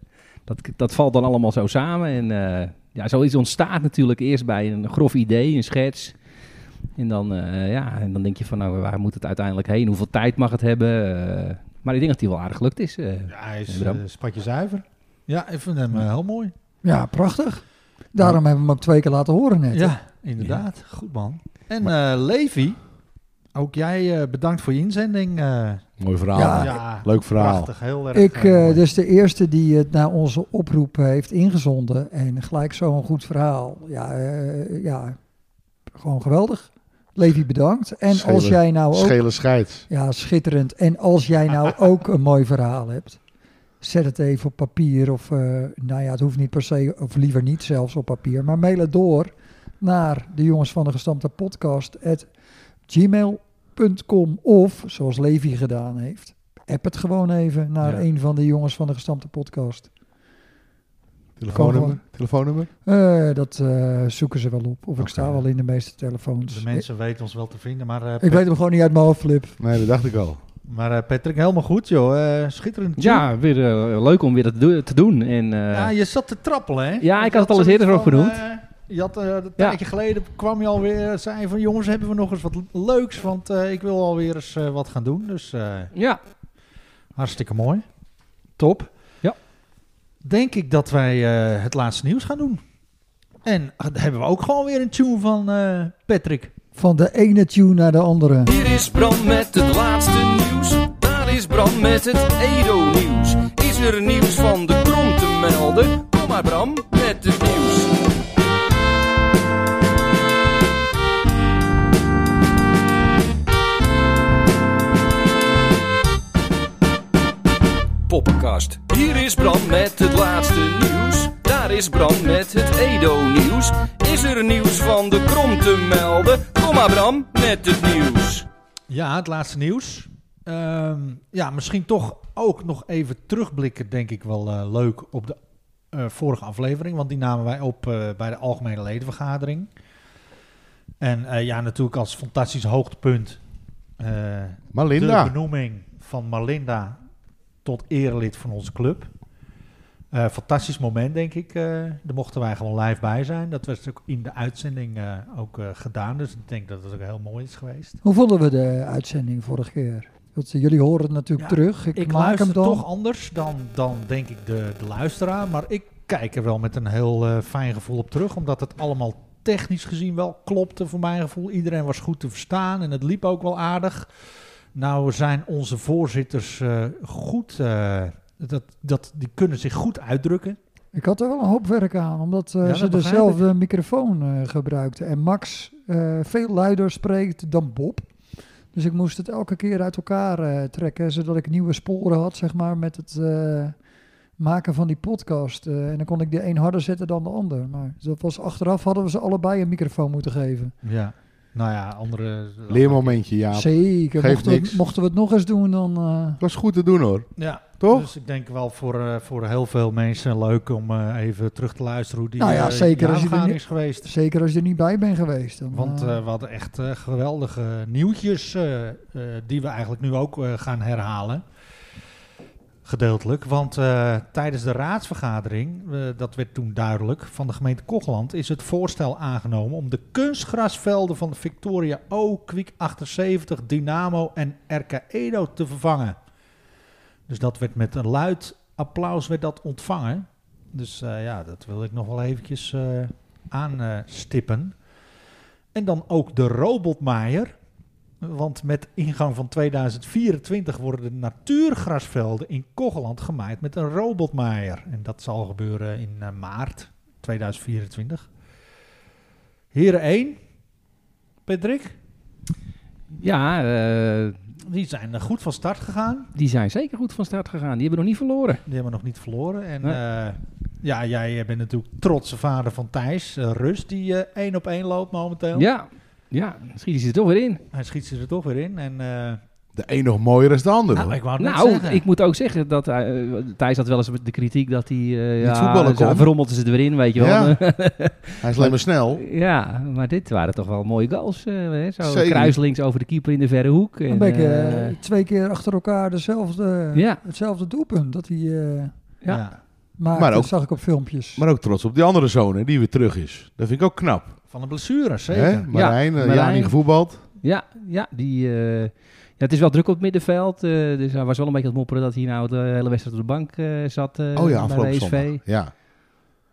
Speaker 5: dat, dat valt dan allemaal zo samen. En eh, ja, zoiets ontstaat natuurlijk eerst bij een grof idee, een schets. En dan, eh, ja, en dan denk je van, nou, waar moet het uiteindelijk heen? Hoeveel tijd mag het hebben? Eh, maar ik denk dat die wel aardig lukt is. eh.
Speaker 2: Ja, hij is
Speaker 5: Bram.
Speaker 2: eh, spatje zuiver. Ja, ik vind hem eh, heel mooi.
Speaker 3: Ja, prachtig. Daarom hebben we hem ook twee keer laten horen net. hè?
Speaker 2: Ja, inderdaad. Goed man. En eh, Levi, ook jij eh, bedankt voor je inzending. eh.
Speaker 4: Mooi verhaal.
Speaker 3: Ja.
Speaker 2: ja,
Speaker 4: Leuk verhaal.
Speaker 2: prachtig. Heel erg
Speaker 3: Ik,
Speaker 2: eh,
Speaker 3: eh,
Speaker 2: mooi.
Speaker 3: dat is de eerste die het naar onze oproep eh, heeft ingezonden. En gelijk zo'n goed verhaal. Ja, eh, ja, gewoon geweldig. Levi, bedankt. En als
Speaker 4: Schelen.
Speaker 3: jij
Speaker 2: Oh,
Speaker 3: nou ook...
Speaker 4: Schele scheids.
Speaker 3: Ja, schitterend. En als jij nou ook een mooi verhaal hebt, zet het even op papier. Of eh, nou ja, het hoeft niet per se, of liever niet zelfs op papier. Maar mail het door naar de jongens van de gestampte podcast at gmail.com. Of, zoals Levi gedaan heeft, app het gewoon even naar
Speaker 2: Ja.
Speaker 3: een van de jongens van de gestampte podcast.
Speaker 4: Telefoonnummer.
Speaker 3: gewoon.
Speaker 4: Telefoonnummer.
Speaker 3: Eh, dat eh, zoeken ze wel op. Of ik sta
Speaker 4: Oké.
Speaker 3: wel in de meeste telefoons.
Speaker 2: De mensen weten ons wel te vinden, maar, eh,
Speaker 3: dus- Ik, ik
Speaker 2: Pat-
Speaker 3: weet hem gewoon niet uit mijn hoofd, Flip.
Speaker 4: Nee, dat dacht ik al.
Speaker 2: maar eh, Patrick, helemaal goed joh. Eh, schitterend.
Speaker 5: ja, weer eh, leuk om weer dat do- te doen. En, eh,
Speaker 2: Ja, je zat te trappelen, hè?
Speaker 5: Ja, ik had het al
Speaker 2: al
Speaker 5: eens eerder ook genoemd.
Speaker 2: je had eh, een tijdje geleden kwam je alweer zei van jongens, hebben we nog eens wat leuks, want eh, ik wil alweer eens eh, wat gaan doen. Dus eh,
Speaker 5: ja.
Speaker 2: hartstikke mooi. Top.
Speaker 5: Ja.
Speaker 2: Denk ik dat wij eh, het laatste nieuws gaan doen. En ah, dan hebben we ook gewoon weer een tune van eh, Patrick.
Speaker 3: Van de ene tune naar de andere.
Speaker 7: Hier is Bram met het laatste nieuws. Daar is Bram met het Edo-nieuws. Is er nieuws van de krom te melden? Kom maar Bram met het nieuws. Poppenkast. Hier is Bram met het laatste nieuws. Daar is Bram met het Edo-nieuws. Is er nieuws van de krom te melden? Kom maar Bram met het nieuws.
Speaker 2: Ja, het laatste nieuws. Ehm, ja, misschien toch ook nog even terugblikken, denk ik wel eh, leuk op de eh, vorige aflevering. Want die namen wij op eh, bij de Algemene Ledenvergadering. En eh, ja, natuurlijk als fantastisch hoogtepunt. eh, de
Speaker 4: Malinda.
Speaker 2: benoeming van Malinda tot erelid van onze club. Eh, fantastisch moment, denk ik. Eh, daar mochten wij gewoon live bij zijn. Dat werd ook in de uitzending eh, ook eh, gedaan. Dus ik denk dat het ook heel mooi is geweest.
Speaker 3: Hoe vonden we de uitzending vorige keer? Want eh, jullie horen het natuurlijk
Speaker 2: Ja,
Speaker 3: terug. Ik,
Speaker 2: Ik
Speaker 3: maak
Speaker 2: luister
Speaker 3: hem dan.
Speaker 2: toch anders dan, dan denk ik de, de luisteraar. Maar ik kijk er wel met een heel eh, fijn gevoel op terug. Omdat het allemaal technisch gezien wel klopte voor mijn gevoel. Iedereen was goed te verstaan en het liep ook wel aardig. Nou zijn onze voorzitters eh, goed... eh, dat, dat, die kunnen zich goed uitdrukken.
Speaker 3: Ik had er wel een hoop werk aan, omdat eh,
Speaker 2: Ja, dat
Speaker 3: ze
Speaker 2: begrijp
Speaker 3: dezelfde microfoon eh, gebruikten. En Max eh, veel luider spreekt dan Bob. Dus ik moest het elke keer uit elkaar eh, trekken, zodat ik nieuwe sporen had, zeg maar, met het eh, maken van die podcast. Eh, en dan kon ik de een harder zetten dan de ander. Maar dat was achteraf hadden we ze allebei een microfoon moeten geven.
Speaker 2: Ja. Nou ja, andere...
Speaker 4: Leermomentje, ja. Het
Speaker 3: Zeker.
Speaker 4: geeft
Speaker 3: Mochten we,
Speaker 4: niks.
Speaker 3: mochten we het nog eens doen, dan. eh,
Speaker 4: was goed te doen hoor.
Speaker 2: Ja,
Speaker 4: Toch?
Speaker 2: Dus ik denk wel voor, eh, voor heel veel mensen leuk om eh, even terug te luisteren hoe die
Speaker 3: Nou ja,
Speaker 2: eh,
Speaker 3: zeker als je er
Speaker 2: jaarvergadering
Speaker 3: niet-
Speaker 2: is geweest.
Speaker 3: Zeker als je er niet bij bent geweest. Dan,
Speaker 2: Want
Speaker 3: eh,
Speaker 2: eh, we hadden echt eh, geweldige nieuwtjes eh, eh, die we eigenlijk nu ook eh, gaan herhalen. Gedeeltelijk, want eh, tijdens de raadsvergadering, eh, dat werd toen duidelijk, van de gemeente Kochland is het voorstel aangenomen om de kunstgrasvelden van Victoria O, Kwik 78, Dynamo en RK Edo te vervangen. Dus dat werd met een luid applaus werd dat ontvangen. Dus eh, ja, dat wil ik nog wel eventjes eh, aanstippen. En dan ook de robotmaaier. Want met ingang van 2024 worden de natuurgrasvelden in Kogeland gemaaid met een robotmaaier. En dat zal gebeuren in eh, maart 2024. Heren 1, Patrick,
Speaker 5: Ja, eh,
Speaker 2: die zijn eh, goed van start gegaan.
Speaker 5: die zijn zeker goed van start gegaan. Die hebben nog niet verloren.
Speaker 2: Die hebben nog niet verloren. En
Speaker 5: Nee.
Speaker 2: eh, Ja, jij bent natuurlijk trotse vader van Thijs. Eh, Rus, die eh, één op één loopt momenteel.
Speaker 5: Ja, ja, schiet hij er toch weer in.
Speaker 2: Hij schiet ze er toch weer in. En, eh,
Speaker 4: De een nog mooier dan de ander. hoor.
Speaker 2: nou, ik wou het net
Speaker 5: Nou,
Speaker 2: zeggen.
Speaker 5: ik moet ook zeggen dat hij, eh, Thijs had wel eens de kritiek dat hij... eh ja,
Speaker 4: voetballen
Speaker 5: zo
Speaker 4: kon.
Speaker 5: verrommelden ze er weer in, weet je wel. Ja,
Speaker 4: Hij is alleen maar snel.
Speaker 5: maar dit waren toch wel mooie goals. eh, hè? zo
Speaker 4: Zeker.
Speaker 5: kruislinks over de keeper in de verre hoek. En,
Speaker 3: Dan ben ik eh,
Speaker 5: eh,
Speaker 3: twee keer achter elkaar dezelfde,
Speaker 5: Ja.
Speaker 3: hetzelfde doelpunt dat hij eh
Speaker 5: ja.
Speaker 3: maakte.
Speaker 4: Maar ook-
Speaker 3: dat zag ik op filmpjes.
Speaker 4: Maar ook trots op die andere zoon hè, die weer terug is. Dat vind ik ook knap.
Speaker 2: Van de blessure, zeker. Eh,
Speaker 4: Hè? Marijn, ja,
Speaker 5: Marijn.
Speaker 4: niet gevoetbald.
Speaker 5: Ja, ja, die, eh, ja, het is wel druk op het middenveld. eh, dus hij was wel een beetje aan het mopperen dat hij nou de hele wedstrijd op de bank eh, zat eh,
Speaker 4: oh ja,
Speaker 5: bij
Speaker 4: afgelopen
Speaker 5: PSV.
Speaker 4: zondag. Ja.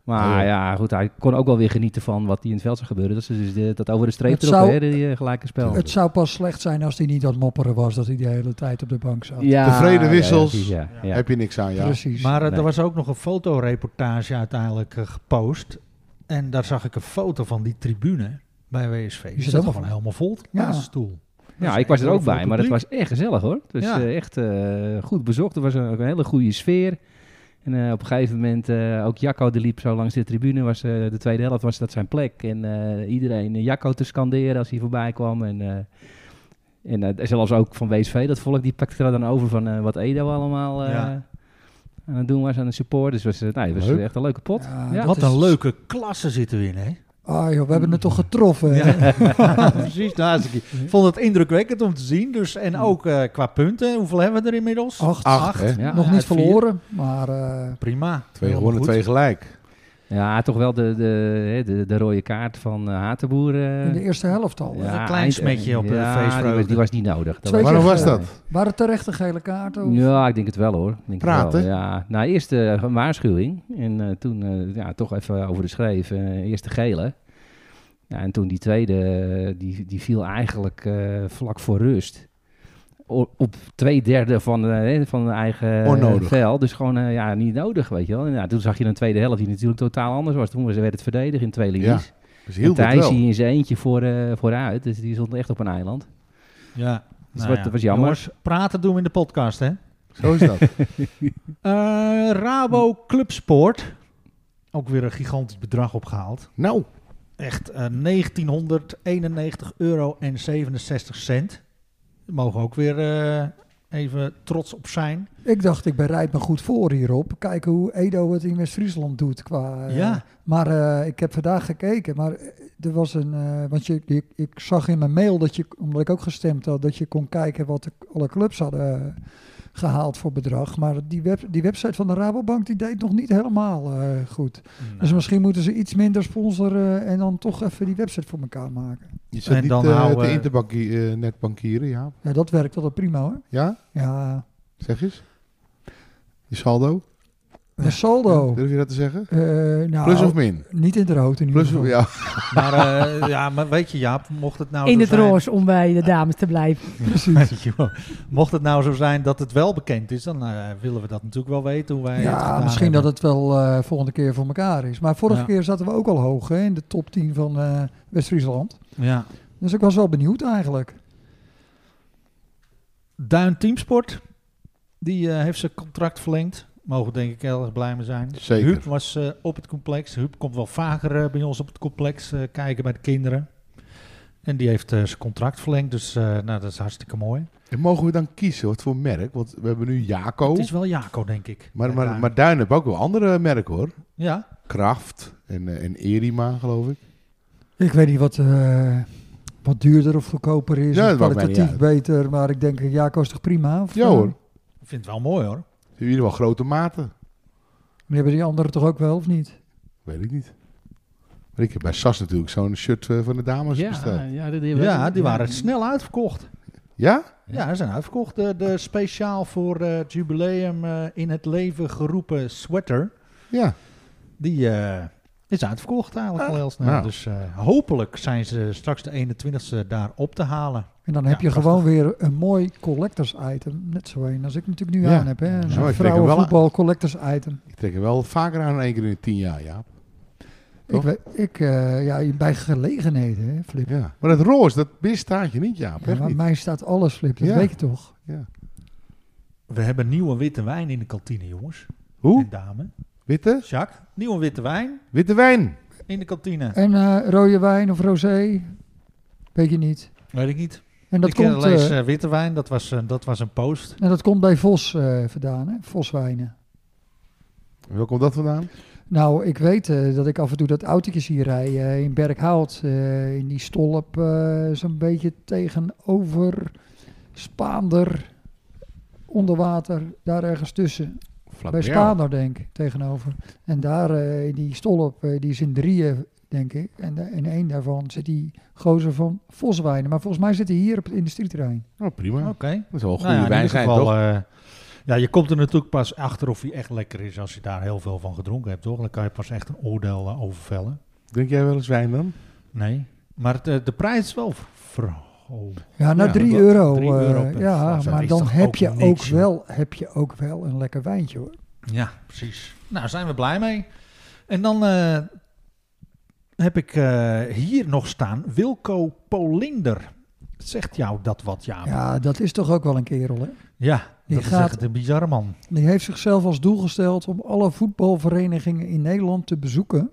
Speaker 5: Maar
Speaker 4: Oh ja.
Speaker 5: ja, goed, hij kon ook wel weer genieten van wat hier in het veld zag gebeuren. Dat is dus de- dat over de streep
Speaker 3: Het
Speaker 5: erop,
Speaker 3: zou-
Speaker 5: hè, die eh, gelijke spel.
Speaker 3: Het zou pas slecht zijn als hij niet aan het mopperen was dat hij de hele tijd op de bank zat.
Speaker 5: ja,
Speaker 4: tevreden
Speaker 5: ja,
Speaker 4: wissels.
Speaker 5: precies, Ja, ja,
Speaker 4: Heb je niks aan, ja.
Speaker 3: Precies.
Speaker 2: Maar eh,
Speaker 5: Nee.
Speaker 2: er was ook nog een fotoreportage uiteindelijk eh, gepost. En daar zag ik een foto van die tribune bij WSV. Die
Speaker 3: zit
Speaker 2: zat
Speaker 3: ook-
Speaker 2: gewoon helemaal vol te
Speaker 3: Ja.
Speaker 2: basisstoel.
Speaker 5: Ja, ik was er ook bij, maar het
Speaker 2: dat
Speaker 5: was echt gezellig hoor. Het was
Speaker 2: Ja.
Speaker 5: eh, echt eh, goed bezocht. Er was een, ook een hele goede sfeer. En eh, op een gegeven moment, eh, ook Jacco die liep zo langs de tribune, was eh, de tweede helft, was dat zijn plek. En eh, iedereen eh, Jacco te scanderen als hij voorbij kwam. En, eh, en eh, zelfs ook van WSV, dat volk, die pakte er dan over van eh, wat Edo allemaal eh,
Speaker 2: Ja.
Speaker 5: aan het doen was aan de support. Dus was, eh, nee, het was
Speaker 4: Leuk.
Speaker 5: echt een leuke pot.
Speaker 3: Ja,
Speaker 5: Ja.
Speaker 3: dat
Speaker 2: Wat
Speaker 3: is-
Speaker 2: een leuke klasse zitten we in, hè?
Speaker 3: Ah joh, we hebben het toch getroffen. hè?
Speaker 2: Ja, precies. Nou, ik vond het indrukwekkend om te zien. Dus, en ook eh, qua punten, hoeveel hebben we er inmiddels?
Speaker 3: Acht.
Speaker 4: Acht, hè?
Speaker 5: Ja.
Speaker 3: Nog
Speaker 2: Ja,
Speaker 3: niet
Speaker 2: uit vier.
Speaker 3: verloren, maar eh,
Speaker 2: Prima.
Speaker 4: Twee
Speaker 2: Helemaal
Speaker 4: gewonnen,
Speaker 2: goed.
Speaker 4: twee gelijk.
Speaker 5: Ja, toch wel de, de, hè, de, de rode kaart van eh, Hatenboer. eh,
Speaker 3: in de eerste helft al.
Speaker 2: een klein
Speaker 5: eind-
Speaker 2: smetje op eh, de
Speaker 5: ja,
Speaker 2: feestvreugde.
Speaker 5: Die was, die was niet nodig.
Speaker 3: Twee
Speaker 4: Waarom
Speaker 3: keer
Speaker 4: was dat?
Speaker 3: Waren terecht de gele kaarten?
Speaker 2: Oh.
Speaker 3: of-
Speaker 5: Ja, ik denk het wel hoor. Ik Denk het wel,
Speaker 4: Praten?
Speaker 5: Ja, nou eerst eh, een waarschuwing en eh, toen eh, ja, toch even over de schreef. eh, eerst de gele. Ja, en toen die tweede, eh, die, die viel eigenlijk eh, vlak voor rust. O- op twee derde van, eh, hè, van de eigen
Speaker 4: Onnodig.
Speaker 5: veld. Dus gewoon eh, ja, niet nodig, weet je wel. En, ja, toen zag je een tweede helft die natuurlijk totaal anders was. Toen werd het verdedigd in twee linies.
Speaker 4: Dus heel
Speaker 5: en
Speaker 4: dat
Speaker 5: Thijs
Speaker 4: wel.
Speaker 5: die in zijn eentje voor, eh, vooruit. Dus die stond echt op een eiland.
Speaker 2: Ja.
Speaker 5: Dus wat- dat was jammer.
Speaker 2: Jongens, praten doen we in de podcast, hè?
Speaker 4: Zo is dat.
Speaker 2: Eh, Rabo Clubsport. Ook weer een gigantisch bedrag opgehaald.
Speaker 4: nou,
Speaker 2: Echt eh, 1991 euro en 67 cent. Daar mogen we ook weer eh, even trots op zijn.
Speaker 3: Ik dacht, ik bereid me goed voor hierop. Kijken hoe Edo het in West-Friesland doet. Qua, eh,
Speaker 2: Ja.
Speaker 3: Maar eh, ik heb vandaag gekeken. Maar eh, er was een. eh, want je, ik, ik zag in mijn mail dat je, omdat ik ook gestemd had, dat je kon kijken wat de, alle clubs hadden eh, gehaald voor bedrag. Maar die, web, die website van de Rabobank die deed nog niet helemaal eh, goed. Dus misschien moeten ze iets minder sponsoren eh, en dan toch even die website voor elkaar maken.
Speaker 4: je zit
Speaker 2: En
Speaker 4: niet
Speaker 2: dan
Speaker 4: eh,
Speaker 2: houden
Speaker 4: te
Speaker 2: we-
Speaker 4: interbankieren, net bankieren, ja.
Speaker 3: Ja, dat werkt altijd prima hoor.
Speaker 4: Ja,
Speaker 3: Ja,
Speaker 4: zeg eens. Je saldo,
Speaker 3: de saldo.
Speaker 4: durf je dat te zeggen?
Speaker 3: Eh, nou,
Speaker 4: Plus of min?
Speaker 3: niet in de rood in ieder
Speaker 4: Plus
Speaker 3: geval.
Speaker 4: of, ja.
Speaker 2: Maar, eh, ja, maar weet je, Jaap, mocht het nou
Speaker 1: in
Speaker 2: zo
Speaker 1: het
Speaker 2: zijn...
Speaker 1: roos om bij de dames te blijven.
Speaker 2: Weet je wel. Mocht het nou zo zijn dat het wel bekend is, dan eh, willen we dat natuurlijk wel weten hoe wij. het
Speaker 3: Ja,
Speaker 2: gedaan
Speaker 3: misschien
Speaker 2: hebben.
Speaker 3: dat het wel eh, volgende keer voor elkaar is. Maar vorige
Speaker 2: Ja.
Speaker 3: keer zaten we ook al hoog hè, in de top 10 van eh, West-Friesland.
Speaker 2: Ja.
Speaker 3: Dus ik was wel benieuwd eigenlijk.
Speaker 2: Duin Teamsport, die eh, heeft zijn contract verlengd. Mogen denk ik heel erg blij mee zijn.
Speaker 4: Zeker.
Speaker 2: Huub was eh, op het complex. Huub komt wel vaker eh, bij ons op het complex eh, kijken bij de kinderen. En die heeft eh, zijn contract verlengd, dus eh, nou, dat is hartstikke mooi.
Speaker 4: En mogen we dan kiezen wat voor merk? Want we hebben nu Jaco.
Speaker 2: Het is wel Jaco, denk ik.
Speaker 4: Oh. Maar,
Speaker 2: bij
Speaker 4: maar,
Speaker 2: Duin.
Speaker 4: maar Duin hebben ook wel andere merken hoor.
Speaker 2: ja,
Speaker 4: Kraft en, eh, en Erima, geloof ik.
Speaker 3: Ik weet niet wat, eh, wat duurder of goedkoper is.
Speaker 4: Ja,
Speaker 3: of
Speaker 4: dat maakt mij
Speaker 3: kwalitatief
Speaker 4: niet
Speaker 3: beter. Maar ik denk, eh, ja, kost toch prima? Of,
Speaker 4: Ja
Speaker 3: eh,
Speaker 4: hoor.
Speaker 2: ik vind het wel mooi hoor.
Speaker 4: Ze hebben in ieder geval grote maten.
Speaker 3: Maar hebben die anderen toch ook wel, of niet?
Speaker 4: Weet ik niet. Maar ik heb bij Sas natuurlijk zo'n shirt eh, van de dames besteld.
Speaker 5: ja,
Speaker 2: Ja, die waren snel uitverkocht.
Speaker 4: Ja?
Speaker 2: Ja, ze zijn uitverkocht. De, de speciaal voor eh, het jubileum eh, in het leven geroepen sweater.
Speaker 4: Ja.
Speaker 2: Die eh, is uitverkocht eigenlijk
Speaker 3: Ah.
Speaker 2: al heel snel.
Speaker 4: Nou.
Speaker 2: Dus eh, hopelijk zijn ze straks de 21ste daar op te halen.
Speaker 3: En dan heb je
Speaker 2: Ja, prachtig.
Speaker 3: gewoon weer een mooi collectors item. Net zo een als ik natuurlijk nu
Speaker 4: Ja.
Speaker 3: aan heb. Hè? Zo'n
Speaker 4: Nou, ik denk er wel
Speaker 3: vrouwenvoetbal collectors item.
Speaker 4: Ik trek er wel vaker aan dan één keer in de tien jaar, Jaap.
Speaker 3: Ik,
Speaker 4: Toch?
Speaker 3: weet- ik, eh, ja, bij gelegenheden, hè, Flip.
Speaker 4: Ja. Maar dat roos, dat bestaat je niet, Jaap.
Speaker 3: Ja,
Speaker 4: echt
Speaker 3: maar
Speaker 4: niet.
Speaker 3: mij staat alles, Flip. Dat
Speaker 4: Ja.
Speaker 3: weet je toch?
Speaker 4: Ja.
Speaker 2: We hebben nieuwe witte wijn in de kantine, jongens.
Speaker 4: Hoe?
Speaker 2: En dame.
Speaker 4: Witte?
Speaker 2: Jacques, nieuwe witte wijn
Speaker 4: Witte wijn.
Speaker 2: in de kantine.
Speaker 3: En eh, rode wijn of rosé? Weet je niet.
Speaker 2: Weet ik niet.
Speaker 3: En dat,
Speaker 2: ik ken
Speaker 3: komt,
Speaker 2: alleen eens,
Speaker 3: eh,
Speaker 2: eh, witte wijn, dat was, eh, dat was een post.
Speaker 3: en dat komt bij Vos eh, vandaan, hè? Voswijnen.
Speaker 4: En Waar komt dat vandaan?
Speaker 3: Nou, ik weet eh, dat ik af en toe dat autootjes hier rij eh, in Berkhout. eh, in die stolp eh, zo'n beetje tegenover Spaander, onder water, daar ergens tussen. Bij Spaander, denk ik, tegenover. En daar, eh, in die stolp, eh, die is in drieën, denk ik. En da- in één daarvan zit die gozer van Voswijnen. Maar volgens mij zit hij hier op het industrieterrein.
Speaker 4: Oh, prima.
Speaker 2: Oké.
Speaker 4: Dat is wel een goede
Speaker 2: Nou ja, in
Speaker 4: wijn
Speaker 2: ieder
Speaker 4: zijn,
Speaker 2: geval,
Speaker 4: toch?
Speaker 2: eh, ja, je komt er natuurlijk pas achter of hij echt lekker is als je daar heel veel van gedronken hebt, toch? Dan kan je pas echt een oordeel eh, over vellen.
Speaker 4: Drink jij wel eens wijn dan?
Speaker 2: Nee. Maar het, eh, de prijs is wel ver- verhoogd.
Speaker 3: Ja, nou
Speaker 4: Ja,
Speaker 3: 3
Speaker 4: dat-
Speaker 3: euro.
Speaker 2: drie
Speaker 3: eh,
Speaker 2: euro per
Speaker 3: ja,
Speaker 2: glas, dat
Speaker 3: maar
Speaker 2: is
Speaker 3: dan
Speaker 2: toch
Speaker 3: heb,
Speaker 2: ook
Speaker 3: je ook
Speaker 2: niks, joh.
Speaker 3: wel, heb je ook wel een lekker wijntje hoor.
Speaker 2: Ja, precies. Nou, zijn we blij mee. En dan eh, heb ik eh, hier nog staan Wilco Polinder. Zegt jou dat wat, ja?
Speaker 3: Ja, dat is toch ook wel een kerel hè.
Speaker 2: Ja,
Speaker 3: Die
Speaker 2: dat is
Speaker 3: gaat-
Speaker 2: echt een bizarre man.
Speaker 3: Die heeft zichzelf als doel gesteld om alle voetbalverenigingen in Nederland te bezoeken.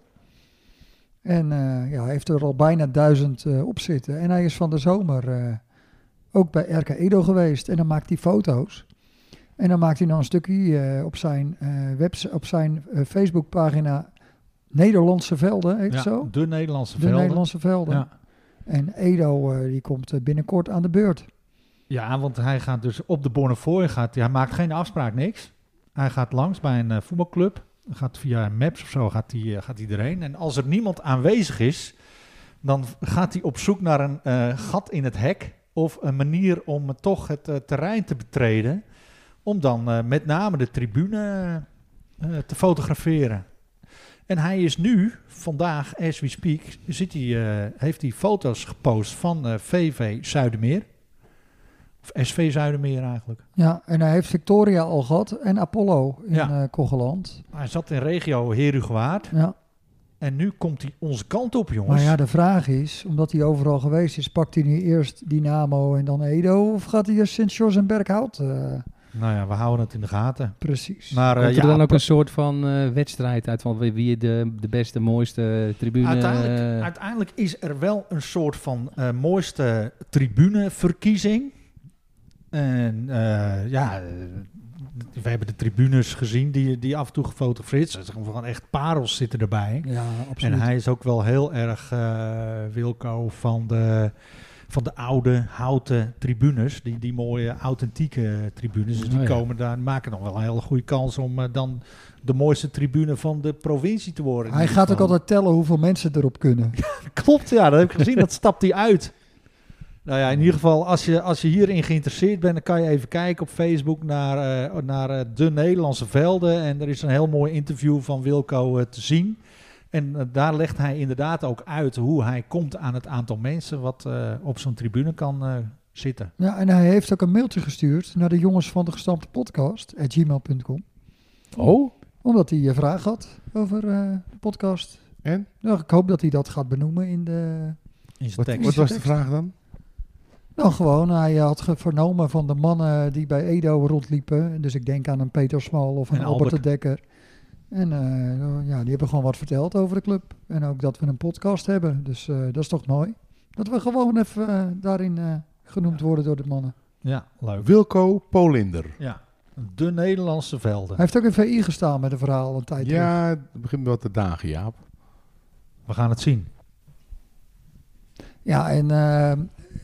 Speaker 3: En eh, ja, hij heeft er al bijna duizend eh, op zitten. En hij is van de zomer eh, ook bij RK Edo geweest. En dan maakt hij foto's. En dan maakt hij nou een stukje eh, op zijn, eh webs- op zijn eh, Facebookpagina Nederlandse Velden, heet
Speaker 2: Ja,
Speaker 3: het zo?
Speaker 2: de Nederlandse
Speaker 3: De
Speaker 2: velden.
Speaker 3: Nederlandse Velden.
Speaker 2: Ja.
Speaker 3: En Edo eh, die komt eh, binnenkort aan de beurt.
Speaker 2: Ja, want hij gaat dus op de Bonnefoy, gaat, hij maakt geen afspraak, niks. Hij gaat langs bij een eh, voetbalclub, gaat via Maps of zo gaat hij, eh, gaat hij erheen. En als er niemand aanwezig is, dan v- gaat hij op zoek naar een eh, gat in het hek of een manier om eh, toch het eh, terrein te betreden. Om dan eh, met name de tribune eh, te fotograferen. En hij is nu, vandaag, as we speak, zit hij, eh, heeft hij foto's gepost van eh, VV Zuidermeer. Of SV Zuidermeer eigenlijk.
Speaker 3: Ja, en hij heeft Victoria al gehad en Apollo in
Speaker 2: Ja.
Speaker 3: eh Kogeland.
Speaker 2: Hij zat in regio Herugewaard.
Speaker 3: Ja.
Speaker 2: En nu komt hij onze kant op, jongens.
Speaker 3: Maar ja, de vraag is, omdat hij overal geweest is, pakt hij nu eerst Dynamo en dan Edo? Of gaat hij eerst Sint-George en Berkhout? eh,
Speaker 2: Nou ja, we houden het in de gaten.
Speaker 3: precies.
Speaker 2: Maar eh,
Speaker 5: Komt er
Speaker 2: ja,
Speaker 5: dan ook een soort van eh, wedstrijd uit van wie- wie de, de beste, mooiste tribune...
Speaker 2: uiteindelijk,
Speaker 5: eh,
Speaker 2: uiteindelijk is er wel een soort van eh, mooiste tribuneverkiezing. En eh, ja, eh, we hebben de tribunes gezien die, die af en toe gefotografeerd zijn. Er zijn gewoon echt parels zitten erbij.
Speaker 3: ja,
Speaker 2: En
Speaker 3: absoluut.
Speaker 2: hij is ook wel heel erg eh, Wilco van de, van de oude houten tribunes. Die, die mooie authentieke tribunes. Dus die
Speaker 5: Oh ja.
Speaker 2: komen daar maken nog wel een hele goede kans om eh, dan de mooiste tribune van de provincie te worden. in
Speaker 3: Hij
Speaker 2: ieder
Speaker 3: gaat ook
Speaker 2: geval.
Speaker 3: altijd tellen hoeveel mensen erop kunnen.
Speaker 2: Klopt, ja, dat heb ik gezien. dat stapt hij uit. Nou ja, in ieder geval, als je, als je hierin geïnteresseerd bent, dan kan je even kijken op Facebook naar, eh, naar eh, de Nederlandse velden. En er is een heel mooi interview van Wilco eh, te zien. En eh, daar legt hij inderdaad ook uit hoe hij komt aan het aantal mensen wat eh, op zo'n tribune kan eh, zitten.
Speaker 3: Ja, en hij heeft ook een mailtje gestuurd naar de jongens van de gestampte podcast, at gmail.com.
Speaker 5: Oh,
Speaker 3: Omdat hij een vraag had over eh, de podcast.
Speaker 4: En?
Speaker 3: Nou, ik hoop dat hij dat gaat benoemen in de...
Speaker 2: In zijn
Speaker 4: Wat,
Speaker 2: tekst.
Speaker 4: wat was de
Speaker 3: tekst.
Speaker 4: vraag dan?
Speaker 3: Nou, gewoon, hij had ge- vernomen van de mannen die bij Edo rondliepen. Dus ik denk aan een Peter Smal of een
Speaker 2: En
Speaker 3: Albert.
Speaker 2: Albert.
Speaker 3: de Dekker. En eh, ja, die hebben gewoon wat verteld over de club. En ook dat we een podcast hebben. Dus eh, dat is toch mooi. Dat we gewoon even eh, daarin eh, genoemd worden door de mannen.
Speaker 2: Ja, leuk.
Speaker 4: Wilco Polinder.
Speaker 2: Ja, de Nederlandse velden.
Speaker 3: Hij heeft ook in VI gestaan met een verhaal een tijd terug.
Speaker 4: Ja, het begint wel te dagen, Jaap.
Speaker 2: We gaan het zien.
Speaker 3: Ja, en eh,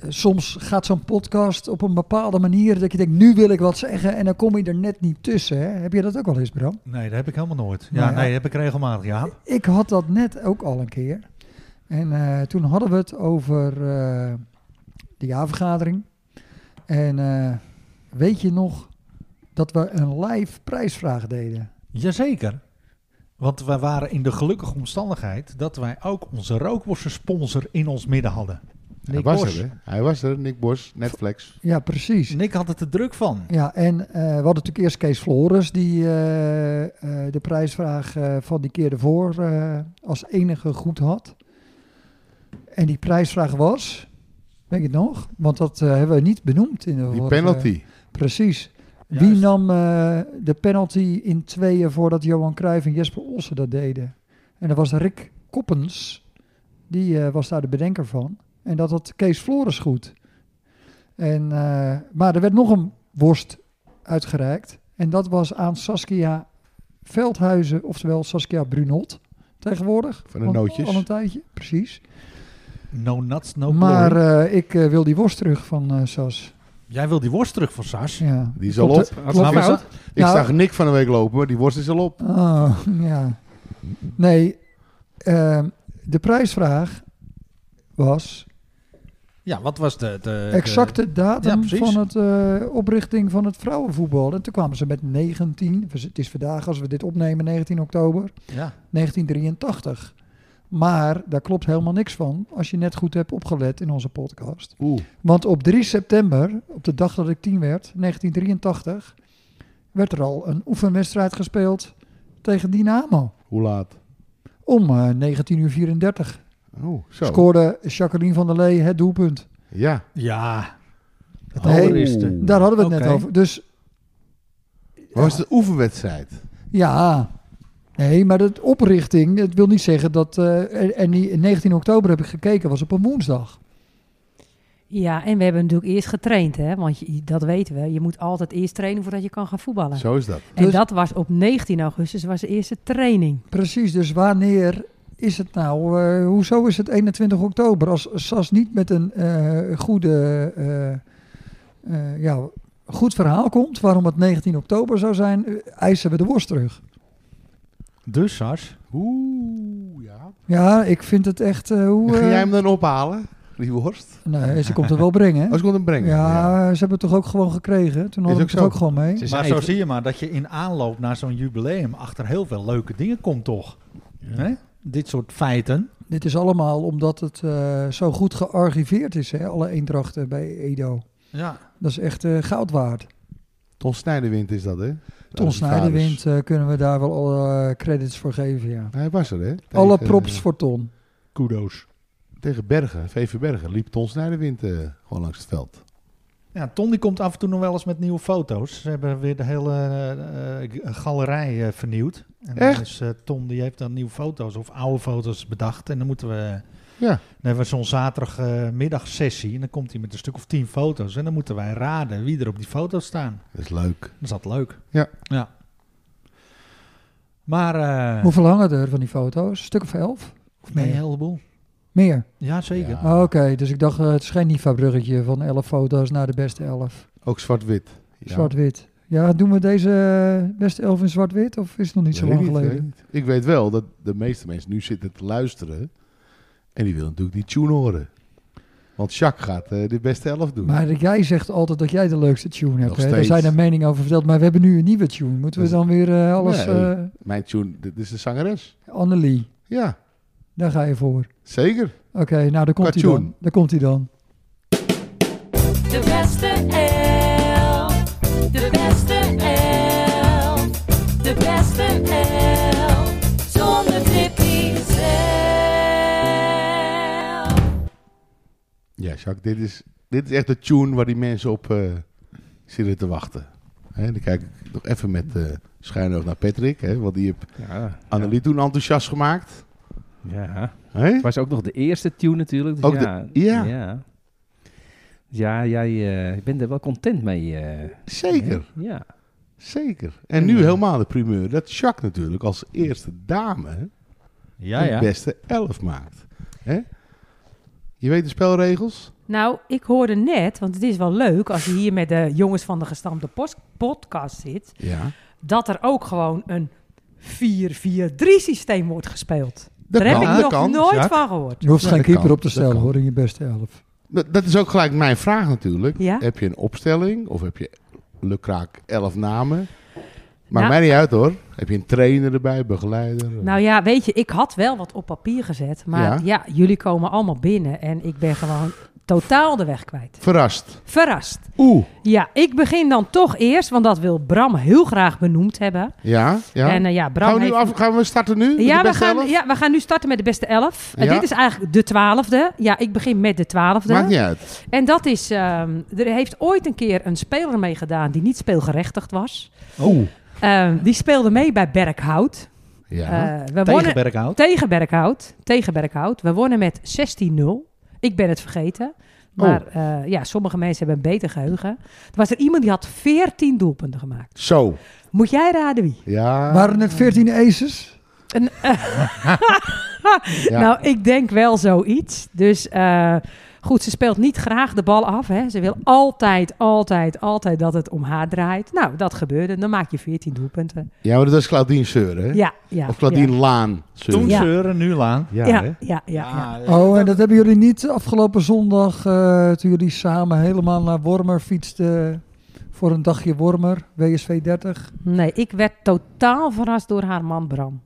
Speaker 3: soms gaat zo'n podcast op een bepaalde manier dat je denkt, nu wil ik wat zeggen. En dan kom je er net niet tussen. Hè? Heb je dat ook wel eens, Bram?
Speaker 2: Nee, dat heb ik helemaal nooit. Ja,
Speaker 3: Nou ja.
Speaker 2: nee, dat heb ik regelmatig, ja.
Speaker 3: Ik had dat net ook al een keer. En eh, toen hadden we het over eh, de jaarvergadering. En eh, weet je nog dat we een live prijsvraag deden?
Speaker 2: Jazeker. Want wij waren in de gelukkige omstandigheid dat wij ook onze rookworsten sponsor in ons midden hadden.
Speaker 4: Hij
Speaker 2: Nick
Speaker 4: was
Speaker 2: Bos.
Speaker 4: er, hè? Hij was er, Nick Bos, Netflix.
Speaker 3: Ja, precies.
Speaker 2: Nick had het er druk van.
Speaker 3: Ja, en eh, we hadden natuurlijk eerst Kees Flores, die eh, eh, de prijsvraag eh, van die keer ervoor eh, als enige goed had. En die prijsvraag was, weet je het nog? Want dat eh, hebben we niet benoemd in de
Speaker 4: Die
Speaker 3: vorige-
Speaker 4: penalty.
Speaker 3: Precies. Wie nam eh, de penalty in tweeën voordat Johan Cruijff en Jesper Olsen dat deden? En dat was Rick Koppens, die eh, was daar de bedenker van. En dat had Kees Flores goed. En, eh, maar er werd nog een worst uitgereikt. En dat was aan Saskia Veldhuizen, oftewel Saskia Brunot tegenwoordig.
Speaker 4: Van de
Speaker 3: Want-
Speaker 4: nootjes.
Speaker 3: Al een tijdje, precies.
Speaker 2: No nuts, no
Speaker 3: maar
Speaker 2: glory.
Speaker 3: eh, ik eh, wil die worst terug van eh, Sas.
Speaker 2: Jij wil die worst terug van Sas.
Speaker 3: Ja.
Speaker 4: Die is al
Speaker 3: Klopt,
Speaker 4: op.
Speaker 5: Had
Speaker 3: klopt.
Speaker 5: ze
Speaker 4: Ik,
Speaker 5: fout?
Speaker 4: zag, ik
Speaker 3: Nou-
Speaker 4: zag Nick van de week lopen, maar die worst is al op.
Speaker 3: Oh, ja. Nee, ehm, de prijsvraag was
Speaker 2: Ja, wat was de... de
Speaker 3: exacte
Speaker 2: ja,
Speaker 3: datum
Speaker 2: precies.
Speaker 3: van het eh, oprichting van het vrouwenvoetbal. En toen kwamen ze met 19, dus het is vandaag als we dit opnemen, 19 oktober
Speaker 2: de- ja.
Speaker 3: 1983. Maar daar klopt helemaal niks van als je net goed hebt opgelet in onze podcast.
Speaker 4: Oeh.
Speaker 3: Want op 3 september, op de dag dat ik 10 werd, 1983, werd er al een oefenwedstrijd gespeeld tegen Dynamo.
Speaker 4: Hoe laat?
Speaker 3: Om eh 19 uur 34
Speaker 4: Oeh, Oh, zo.
Speaker 3: scoorde Jacqueline van der Lee het doelpunt.
Speaker 4: Ja.
Speaker 2: ja. Het
Speaker 3: Nee.
Speaker 2: allereerste.
Speaker 3: Daar hadden we het
Speaker 2: Oké.
Speaker 3: net over. Dus
Speaker 4: Maar was het een oefenwedstrijd?
Speaker 3: ja, nee, maar dat oprichting, het wil niet zeggen dat... eh, en- en die 19 oktober heb ik gekeken, was op een woensdag.
Speaker 1: Ja, en we hebben natuurlijk eerst getraind, hè? want je, dat weten we. Je moet altijd eerst trainen voordat je kan gaan voetballen.
Speaker 4: Zo is dat.
Speaker 1: En
Speaker 3: Dus-
Speaker 1: dat was op 19 augustus, was de eerste training.
Speaker 3: Precies, dus wanneer is het nou? eh, hoezo is het 21 oktober? Als SAS niet met een eh, goede, eh, eh, ja, goed verhaal komt waarom het 19 oktober zou zijn, eh, eisen we de worst terug.
Speaker 2: Dus Sas.
Speaker 4: Oeh, ja.
Speaker 3: Ja, ik vind het echt. eh, hoe,
Speaker 4: Ging
Speaker 3: eh,
Speaker 4: eh, jij hem dan ophalen? Die worst?
Speaker 3: Nee, ze komt het wel brengen. hè?
Speaker 4: Als ik kon hem brengen.
Speaker 3: Ja, ze hebben het toch ook gewoon gekregen? Toen hadden we
Speaker 4: ook
Speaker 3: het
Speaker 4: zo.
Speaker 3: ook gewoon mee.
Speaker 5: Ze
Speaker 2: Maar
Speaker 5: zei
Speaker 2: zo
Speaker 5: het-
Speaker 2: zie je maar dat je in aanloop naar zo'n jubileum achter heel veel leuke dingen komt toch. Hè? Dit soort feiten.
Speaker 3: Dit is allemaal omdat het eh, zo goed gearchiveerd is, hè? alle eendrachten bij Edo.
Speaker 2: Ja.
Speaker 3: Dat is echt eh, goud waard.
Speaker 4: Ton Snijderwind is dat, hè?
Speaker 3: Ton
Speaker 4: Onze vaders.
Speaker 3: Snijderwind eh, kunnen we daar wel alle eh, credits voor geven, ja.
Speaker 4: Hij was er, hè? Tegen, eh,
Speaker 3: Alle props voor Ton.
Speaker 2: Kudos.
Speaker 4: Tegen Bergen, VV Bergen, liep Ton Snijderwind eh, gewoon langs het veld.
Speaker 2: Ja, Ton die komt af en toe nog wel eens met nieuwe foto's. Ze hebben weer de hele eh, eh, g- galerij eh, vernieuwd. En dan
Speaker 4: Echt?
Speaker 2: is, eh, Ton die heeft dan nieuwe foto's of oude foto's bedacht. En dan moeten we...
Speaker 4: Ja.
Speaker 2: Dan hebben we zo'n zaterdagmiddagsessie. en dan komt hij met een stuk of tien foto's. En dan moeten wij raden wie er op die foto's staan.
Speaker 4: Dat is leuk.
Speaker 2: Dat is altijd leuk.
Speaker 4: Ja.
Speaker 2: ja. Maar... eh,
Speaker 3: Hoeveel hangen er van die foto's? Een stuk of elf? Of
Speaker 2: Nee, een
Speaker 3: meer?
Speaker 2: heleboel.
Speaker 3: Meer?
Speaker 2: Ja, zeker.
Speaker 4: Ja.
Speaker 3: Oh, Oké, dus ik dacht, eh, het is geen Niva-bruggetje van elf foto's naar de beste elf.
Speaker 4: Ook zwart-wit. Ja.
Speaker 3: Zwart-wit. Ja, doen we deze eh, beste elf in zwart-wit of is het nog niet zo
Speaker 4: Weet
Speaker 3: lang
Speaker 4: ik
Speaker 3: geleden?
Speaker 4: weet ik niet. Ik weet wel dat de meeste mensen nu zitten te luisteren. En die willen natuurlijk die tune horen. Want Jacques gaat eh, de beste elf doen.
Speaker 3: Maar jij zegt altijd dat jij de leukste tune hebt.
Speaker 4: Nog
Speaker 3: Hè? Daar
Speaker 4: steeds.
Speaker 3: zijn er meningen over verteld, maar we hebben nu een nieuwe tune. Moeten we
Speaker 4: Dat
Speaker 3: dan weer eh, alles...
Speaker 4: Nee.
Speaker 3: eh
Speaker 4: Mijn tune, dit is de zangeres.
Speaker 3: Annelie,
Speaker 4: Ja,
Speaker 3: daar ga je voor.
Speaker 4: zeker.
Speaker 3: Oké, nou daar komt hij
Speaker 4: Cartoon.
Speaker 3: dan. Daar komt hij dan.
Speaker 8: De beste elf. De beste elf. De beste elf. Zonder Tippy zelf.
Speaker 4: Ja, Jacques, dit is, dit is echt de tune waar die mensen op eh, zitten te wachten. Hè, dan kijk ik nog even met eh schuin oog naar Patrick. Hè, want die heeft
Speaker 5: Ja,
Speaker 4: Annelie toen enthousiast gemaakt.
Speaker 5: ja.
Speaker 4: Hè?
Speaker 5: Het was ook nog de eerste tune natuurlijk. Dus
Speaker 4: Ook de-
Speaker 5: ja,
Speaker 4: ja.
Speaker 5: ja. Ja, jij eh, bent er wel content mee. eh.
Speaker 4: Zeker,
Speaker 5: Hè? Ja.
Speaker 4: zeker. En nu helemaal de primeur. Dat Jacques natuurlijk als eerste dame
Speaker 2: Ja,
Speaker 4: de beste elf maakt. Hè? Je weet de spelregels?
Speaker 1: Nou, ik hoorde net, want het is wel leuk als je hier met de jongens van de gestampte pos- podcast zit,
Speaker 4: Ja.
Speaker 1: dat er ook gewoon een 4-4-3 systeem wordt gespeeld.
Speaker 4: Dat
Speaker 1: Daar heb
Speaker 4: kan,
Speaker 1: ik
Speaker 4: dat
Speaker 1: nog
Speaker 4: kan,
Speaker 1: nooit
Speaker 2: Jacques.
Speaker 1: van gehoord.
Speaker 3: Je hoeft
Speaker 4: Ja,
Speaker 3: geen
Speaker 4: dat
Speaker 3: keeper
Speaker 4: kan,
Speaker 3: op te
Speaker 4: dat
Speaker 3: stellen
Speaker 4: kan.
Speaker 3: hoor in je beste elf.
Speaker 4: Dat, dat is ook gelijk mijn vraag natuurlijk.
Speaker 1: Ja.
Speaker 4: Heb je een opstelling of heb je lukraak elf namen? Maar
Speaker 1: Nou-
Speaker 4: mij niet uit hoor. Heb je een trainer erbij, begeleider?
Speaker 1: Nou ja, weet je, ik had wel wat op papier gezet, maar
Speaker 4: Ja.
Speaker 1: ja, jullie komen allemaal binnen en ik ben gewoon totaal de weg kwijt.
Speaker 4: Verrast.
Speaker 1: Verrast.
Speaker 4: Oeh.
Speaker 1: Ja, ik begin dan toch eerst, want dat wil Bram heel graag benoemd hebben.
Speaker 4: Ja, ja.
Speaker 1: En eh, ja, Bram
Speaker 4: gaan, we nu
Speaker 1: heeft-
Speaker 4: af, gaan we starten nu? met
Speaker 1: Ja
Speaker 4: de
Speaker 1: we,
Speaker 4: beste
Speaker 1: gaan,
Speaker 4: elf?
Speaker 1: ja, we gaan nu starten met de beste elf. En
Speaker 4: Ja.
Speaker 1: dit is eigenlijk de twaalfde. Ja, ik begin met de twaalfde.
Speaker 4: Maakt niet uit.
Speaker 1: En dat is, ehm, er heeft ooit een keer een speler mee gedaan die niet speelgerechtigd was.
Speaker 4: Oeh.
Speaker 1: Ehm, die speelde mee bij Berkhout.
Speaker 4: Ja.
Speaker 1: Eh, we
Speaker 2: Tegen
Speaker 1: wonnen
Speaker 2: Berkhout.
Speaker 1: tegen Berkhout. Tegen Berkhout. We wonnen met 16-0. Ik ben het
Speaker 2: Oh.
Speaker 1: vergeten. Maar eh, ja, sommige mensen hebben een beter geheugen. Er was er iemand die had 14 doelpunten gemaakt.
Speaker 4: Zo.
Speaker 1: Moet jij raden wie?
Speaker 4: Ja.
Speaker 3: Waren het 14 aces?
Speaker 1: Een,
Speaker 4: ja.
Speaker 1: Nou, ik denk wel zoiets. Dus eh, goed, ze speelt niet graag de bal af. Hè. Ze wil altijd, altijd, altijd dat het om haar draait. Nou, dat gebeurde. Dan maak je 14 doelpunten.
Speaker 4: ja, maar dat is Claudine Seuren, hè?
Speaker 1: Ja, ja.
Speaker 4: Of Claudine Laan
Speaker 2: Toen
Speaker 4: Seuren.
Speaker 1: Ja.
Speaker 2: zeuren, nu laan.
Speaker 1: Ja,
Speaker 4: Ja,
Speaker 1: ja,
Speaker 4: hè?
Speaker 1: ja, ja, ja.
Speaker 3: Oh, en dat hebben jullie niet afgelopen zondag, eh, toen jullie samen helemaal naar Wormer fietsten voor een dagje Wormer, WSV 30.
Speaker 1: Nee, ik werd totaal verrast door haar man Bram.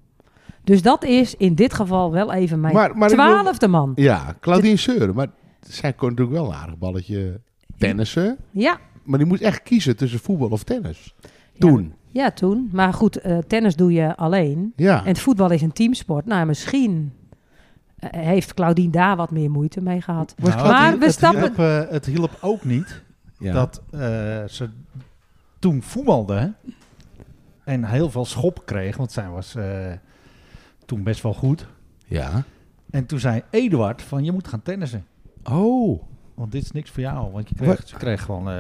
Speaker 1: Dus dat is in dit geval wel even mijn
Speaker 4: Maar- maar ik wil-
Speaker 1: twaalfde man.
Speaker 4: Ja, Claudine Seuren. Maar zij kon natuurlijk wel een aardig balletje tennissen.
Speaker 1: Ja,
Speaker 4: Maar die moest echt kiezen tussen voetbal of tennis. Toen.
Speaker 1: ja, toen. Maar goed, eh, tennis doe je alleen.
Speaker 4: Ja.
Speaker 1: En het voetbal is een teamsport. Nou, misschien eh, heeft Claudine daar wat meer moeite mee gehad.
Speaker 2: Was
Speaker 4: Nou,
Speaker 2: Claudine-
Speaker 1: maar we
Speaker 2: het
Speaker 1: stappen-
Speaker 2: Hielp, eh, het hielp ook niet
Speaker 4: Ja.
Speaker 2: dat eh, ze toen voetbalde en heel veel schop kreeg, want zij was eh, toen best wel goed.
Speaker 4: ja.
Speaker 2: En toen zei Eduard van je moet gaan tennissen,
Speaker 4: Oh.
Speaker 2: want dit is niks voor jou. Want je kreeg, ze kreeg gewoon, eh,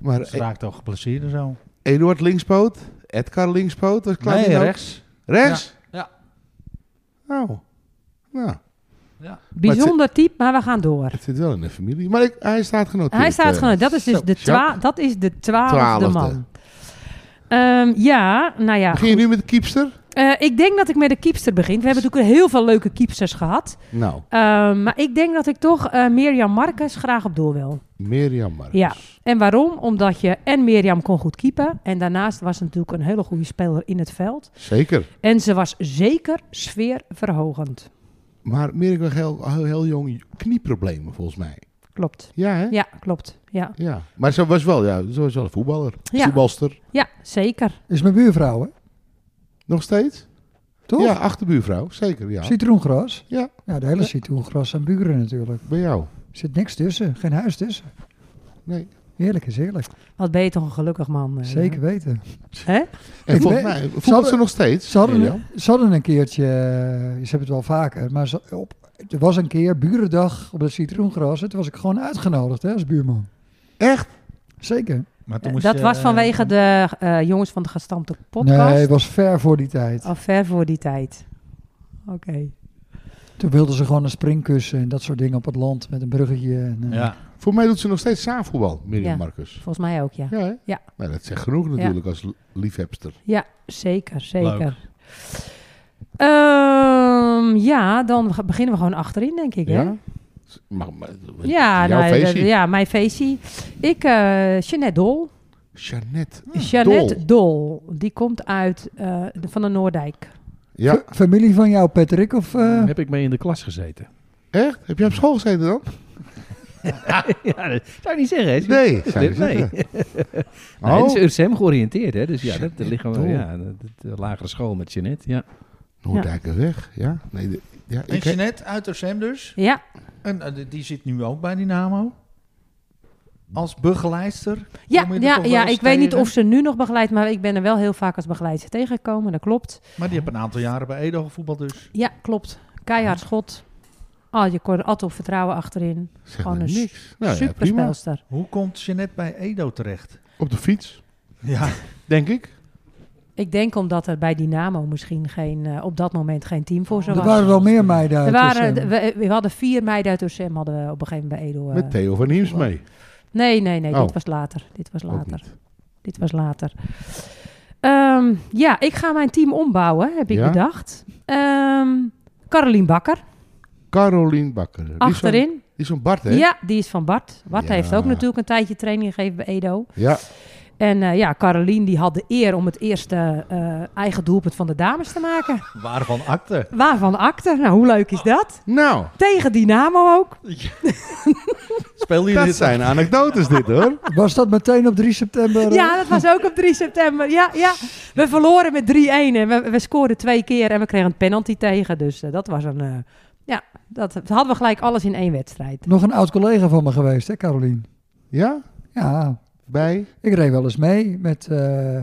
Speaker 4: Maar
Speaker 2: ze raakte al geblesseerd en zo.
Speaker 4: Eduard linkspoot. Edgar linkspoot. Was Claudine
Speaker 2: Nee,
Speaker 4: ook-
Speaker 2: rechts.
Speaker 4: Rechts?
Speaker 2: Ja,
Speaker 4: Oh. Nou,
Speaker 1: Bijzonder type, maar we gaan door.
Speaker 4: het zit wel in de familie. Maar ik- hij staat genoteerd.
Speaker 1: Hij staat
Speaker 4: eh.
Speaker 1: gewoon. Dat is dus
Speaker 4: Zo,
Speaker 1: de, twa
Speaker 4: Jacques.
Speaker 1: dat is de twaalfde,
Speaker 4: Twaalfde.
Speaker 1: man. Ehm, ja, nou ja.
Speaker 4: Begin je nu met de kiepster?
Speaker 1: Eh, ik denk dat ik met de keepster begin. We hebben natuurlijk heel veel leuke keepsters gehad.
Speaker 4: Nou,
Speaker 1: Ehm, maar ik denk dat ik toch eh Mirjam Marcus graag op doel wil.
Speaker 4: Mirjam Marcus.
Speaker 1: Ja. En waarom? Omdat je en Mirjam kon goed keepen. En daarnaast was ze natuurlijk een hele goede speler in het veld.
Speaker 4: Zeker.
Speaker 1: En ze was zeker sfeerverhogend.
Speaker 4: Maar Mirjam had heel, heel, heel jong knieproblemen volgens mij.
Speaker 1: Klopt.
Speaker 4: Ja, hè?
Speaker 1: Ja, klopt. Ja,
Speaker 4: Ja. Maar ze was wel, ja, ze was wel een voetballer.
Speaker 1: Ja.
Speaker 4: Voetbalster.
Speaker 1: ja zeker.
Speaker 3: Is mijn buurvrouw, hè?
Speaker 4: Nog steeds?
Speaker 3: Toch?
Speaker 4: Ja, achterbuurvrouw. Zeker, ja.
Speaker 3: Citroengras.
Speaker 4: Ja,
Speaker 3: Ja, de hele
Speaker 4: Ja.
Speaker 3: citroengras aan buren natuurlijk.
Speaker 4: bij jou.
Speaker 3: Er zit niks tussen, geen huis tussen.
Speaker 4: Nee.
Speaker 3: Heerlijk is heerlijk.
Speaker 1: Wat ben je toch een gelukkig man. eh,
Speaker 3: Zeker weten.
Speaker 1: Hè?
Speaker 4: En
Speaker 3: Ik
Speaker 4: volgens
Speaker 3: weet-
Speaker 4: mij voetbalt
Speaker 3: ze hadden-
Speaker 4: ze nog steeds.
Speaker 3: Ze hadden,
Speaker 4: Mirjam.
Speaker 3: ze hadden een keertje, eh, ze hebben het wel vaker, maar ze- op, er was een keer burendag op dat citroengras. En toen was ik gewoon uitgenodigd hè, als buurman.
Speaker 4: Echt?
Speaker 3: Zeker.
Speaker 2: maar toen
Speaker 1: Eh,
Speaker 2: moest
Speaker 1: dat
Speaker 2: je,
Speaker 1: was
Speaker 2: eh,
Speaker 1: vanwege de eh, jongens van de gestampte podcast. Ah.
Speaker 3: Nee, het was ver voor die tijd.
Speaker 1: Al ver voor die tijd. Oké.
Speaker 3: Toen wilden ze gewoon een springkussen en dat soort dingen op het land met een bruggetje. En, eh,
Speaker 2: Ja.
Speaker 4: Voor mij doet ze nog steeds zaafvoetbal, Mirjam
Speaker 1: Ja.
Speaker 4: Marcus.
Speaker 1: Volgens mij ook, ja.
Speaker 4: Ja, hè?
Speaker 1: Ja.
Speaker 4: Nou, dat zegt genoeg natuurlijk als l- liefhebster.
Speaker 1: Ja, zeker,
Speaker 2: Leuk.
Speaker 1: zeker. Ehm, ja, dan ge- beginnen we gewoon achterin, denk ik. Hè?
Speaker 4: Ja? Mag, maar,
Speaker 1: Ja,
Speaker 4: jouw
Speaker 1: nou,
Speaker 4: feestje.
Speaker 1: dat- ja, mijn feestje. Ik, eh Jeanette Dol.
Speaker 4: Jeannette.
Speaker 1: Jeannette Dol. Die komt uit eh, de- van de Noordijk.
Speaker 4: Ja,
Speaker 3: fa- Familie van jou, Patrick? Of, eh,
Speaker 5: Heb ik mee in de klas gezeten?
Speaker 4: echt? Heb je op school gezeten dan?
Speaker 5: ja, dat zou ik niet zeggen. Hè?
Speaker 4: Nee.
Speaker 5: Nee. nee. Nou,
Speaker 4: Oh,
Speaker 5: het is URSM georiënteerd, hè? Dus ja, dat, dat liggen we.
Speaker 4: Dol.
Speaker 5: Ja, dat, dat- de lagere school met Jeanette. Ja.
Speaker 4: Noordijkerweg. Ja. Nee, de- ja
Speaker 2: En
Speaker 4: ik,
Speaker 2: Jeanette uit Ossem dus.
Speaker 1: Ja,
Speaker 2: En eh, die- die zit nu ook bij Dynamo. Als begeleider.
Speaker 1: ja,
Speaker 2: Kom je er
Speaker 1: ja,
Speaker 2: toch wel
Speaker 1: ja
Speaker 2: eens
Speaker 1: ik weet niet
Speaker 2: tegen?
Speaker 1: of ze nu nog begeleidt, maar ik ben er wel heel vaak als begeleider tegengekomen. Dat klopt.
Speaker 2: Maar die heeft een aantal jaren bij Edo gevoetbald dus.
Speaker 1: Ja, klopt. Keihard schot. Ah, je kon er altijd op vertrouwen achterin.
Speaker 4: zeg
Speaker 1: Gewoon
Speaker 4: maar
Speaker 1: een
Speaker 4: niks. Nou ja,
Speaker 1: Super
Speaker 4: prima.
Speaker 1: spelster.
Speaker 2: Hoe komt Jeanette bij Edo terecht?
Speaker 4: Op de fiets,
Speaker 2: Ja,
Speaker 4: denk ik.
Speaker 1: Ik denk omdat er bij Dynamo misschien geen, eh, op dat moment geen team voor ze
Speaker 3: er
Speaker 1: was.
Speaker 3: waren wel meer meiden uit. dus, eh,
Speaker 1: Er waren,
Speaker 3: Ossem.
Speaker 1: we, we hadden vier meiden uit Ossem, hadden we op een gegeven moment bij Edo. eh.
Speaker 4: Met Theo van Nieuws mee.
Speaker 1: nee, nee, nee,
Speaker 4: Oh.
Speaker 1: dit was later. Dit was
Speaker 4: Ook
Speaker 1: later.
Speaker 4: niet.
Speaker 1: Dit was later. Ehm, ja, ik ga mijn team ombouwen, heb ik
Speaker 4: Ja?
Speaker 1: bedacht. Ehm Caroline Bakker,
Speaker 4: Caroline Bakker. Die is zo'n-
Speaker 1: achterin.
Speaker 4: Die is zo'n Bart, hè?
Speaker 1: Ja, die is van Bart. Bart
Speaker 4: Ja.
Speaker 1: heeft ook natuurlijk een tijdje training gegeven bij Edo.
Speaker 4: Ja.
Speaker 1: En eh, ja, Caroline die had de eer om het eerste eh, eigen doelpunt van de dames te maken.
Speaker 2: Waarvan akte?
Speaker 1: Waarvan acte? Nou, hoe leuk is dat?
Speaker 4: Nou,
Speaker 1: Tegen Dynamo ook.
Speaker 2: Speel je
Speaker 4: dat
Speaker 2: dit?
Speaker 4: zijn anekdotes dit hoor.
Speaker 3: Was dat meteen op 3 september? eh?
Speaker 1: Ja, dat was ook op 3 september. Ja, ja. We verloren met 3-1 en we, we scoorden twee keer en we kregen een penalty tegen. Dus eh, dat was een... eh, ja, dat, dat hadden we gelijk alles in één wedstrijd.
Speaker 3: Nog een oud collega van me geweest, hè, Carolien?
Speaker 4: Ja?
Speaker 3: Ja,
Speaker 4: Bij?
Speaker 3: ik reed wel eens mee met eh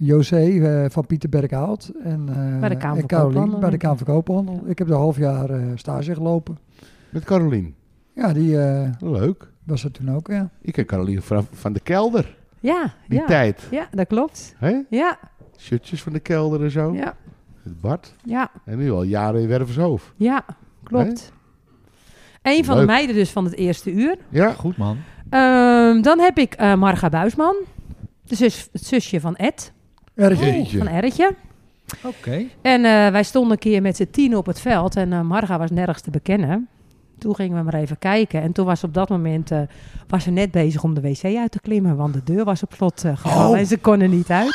Speaker 3: José eh, van Pieter Berkhout en, eh,
Speaker 1: Bij de Kamer
Speaker 3: en
Speaker 1: van
Speaker 3: Carolien
Speaker 1: Koophandel.
Speaker 3: bij de Kamer van Koophandel. Ik heb er een half jaar eh, stage gelopen.
Speaker 4: Met Carolien.
Speaker 3: Ja, die eh,
Speaker 4: Leuk.
Speaker 3: was er toen ook, ja.
Speaker 4: Ik ken Carolien van, van de kelder.
Speaker 1: Ja,
Speaker 4: Die
Speaker 1: ja.
Speaker 4: tijd.
Speaker 1: ja dat klopt.
Speaker 4: Hè?
Speaker 1: Ja,
Speaker 4: Shirtjes van de kelder en zo.
Speaker 1: ja,
Speaker 4: Met Bart.
Speaker 1: ja,
Speaker 4: En nu al jaren in Wervershoofd.
Speaker 1: ja, klopt. Een van de
Speaker 4: Leuk.
Speaker 1: meiden dus van het eerste uur.
Speaker 4: Ja.
Speaker 2: Goed man.
Speaker 1: Ehm, dan heb ik eh, Marga Buisman. De zus, het zusje van Ed,
Speaker 3: Erg.
Speaker 4: Jeetje.
Speaker 1: van Erretje.
Speaker 2: Oké.
Speaker 1: En eh, wij stonden een keer met z'n tien op het veld en eh, Marga was nergens te bekennen. Toen gingen we maar even kijken. En toen was ze op dat moment eh, was ze net bezig om de wc uit te klimmen. Want de deur was op slot eh, gevallen
Speaker 4: Oh.
Speaker 1: en ze kon er niet uit.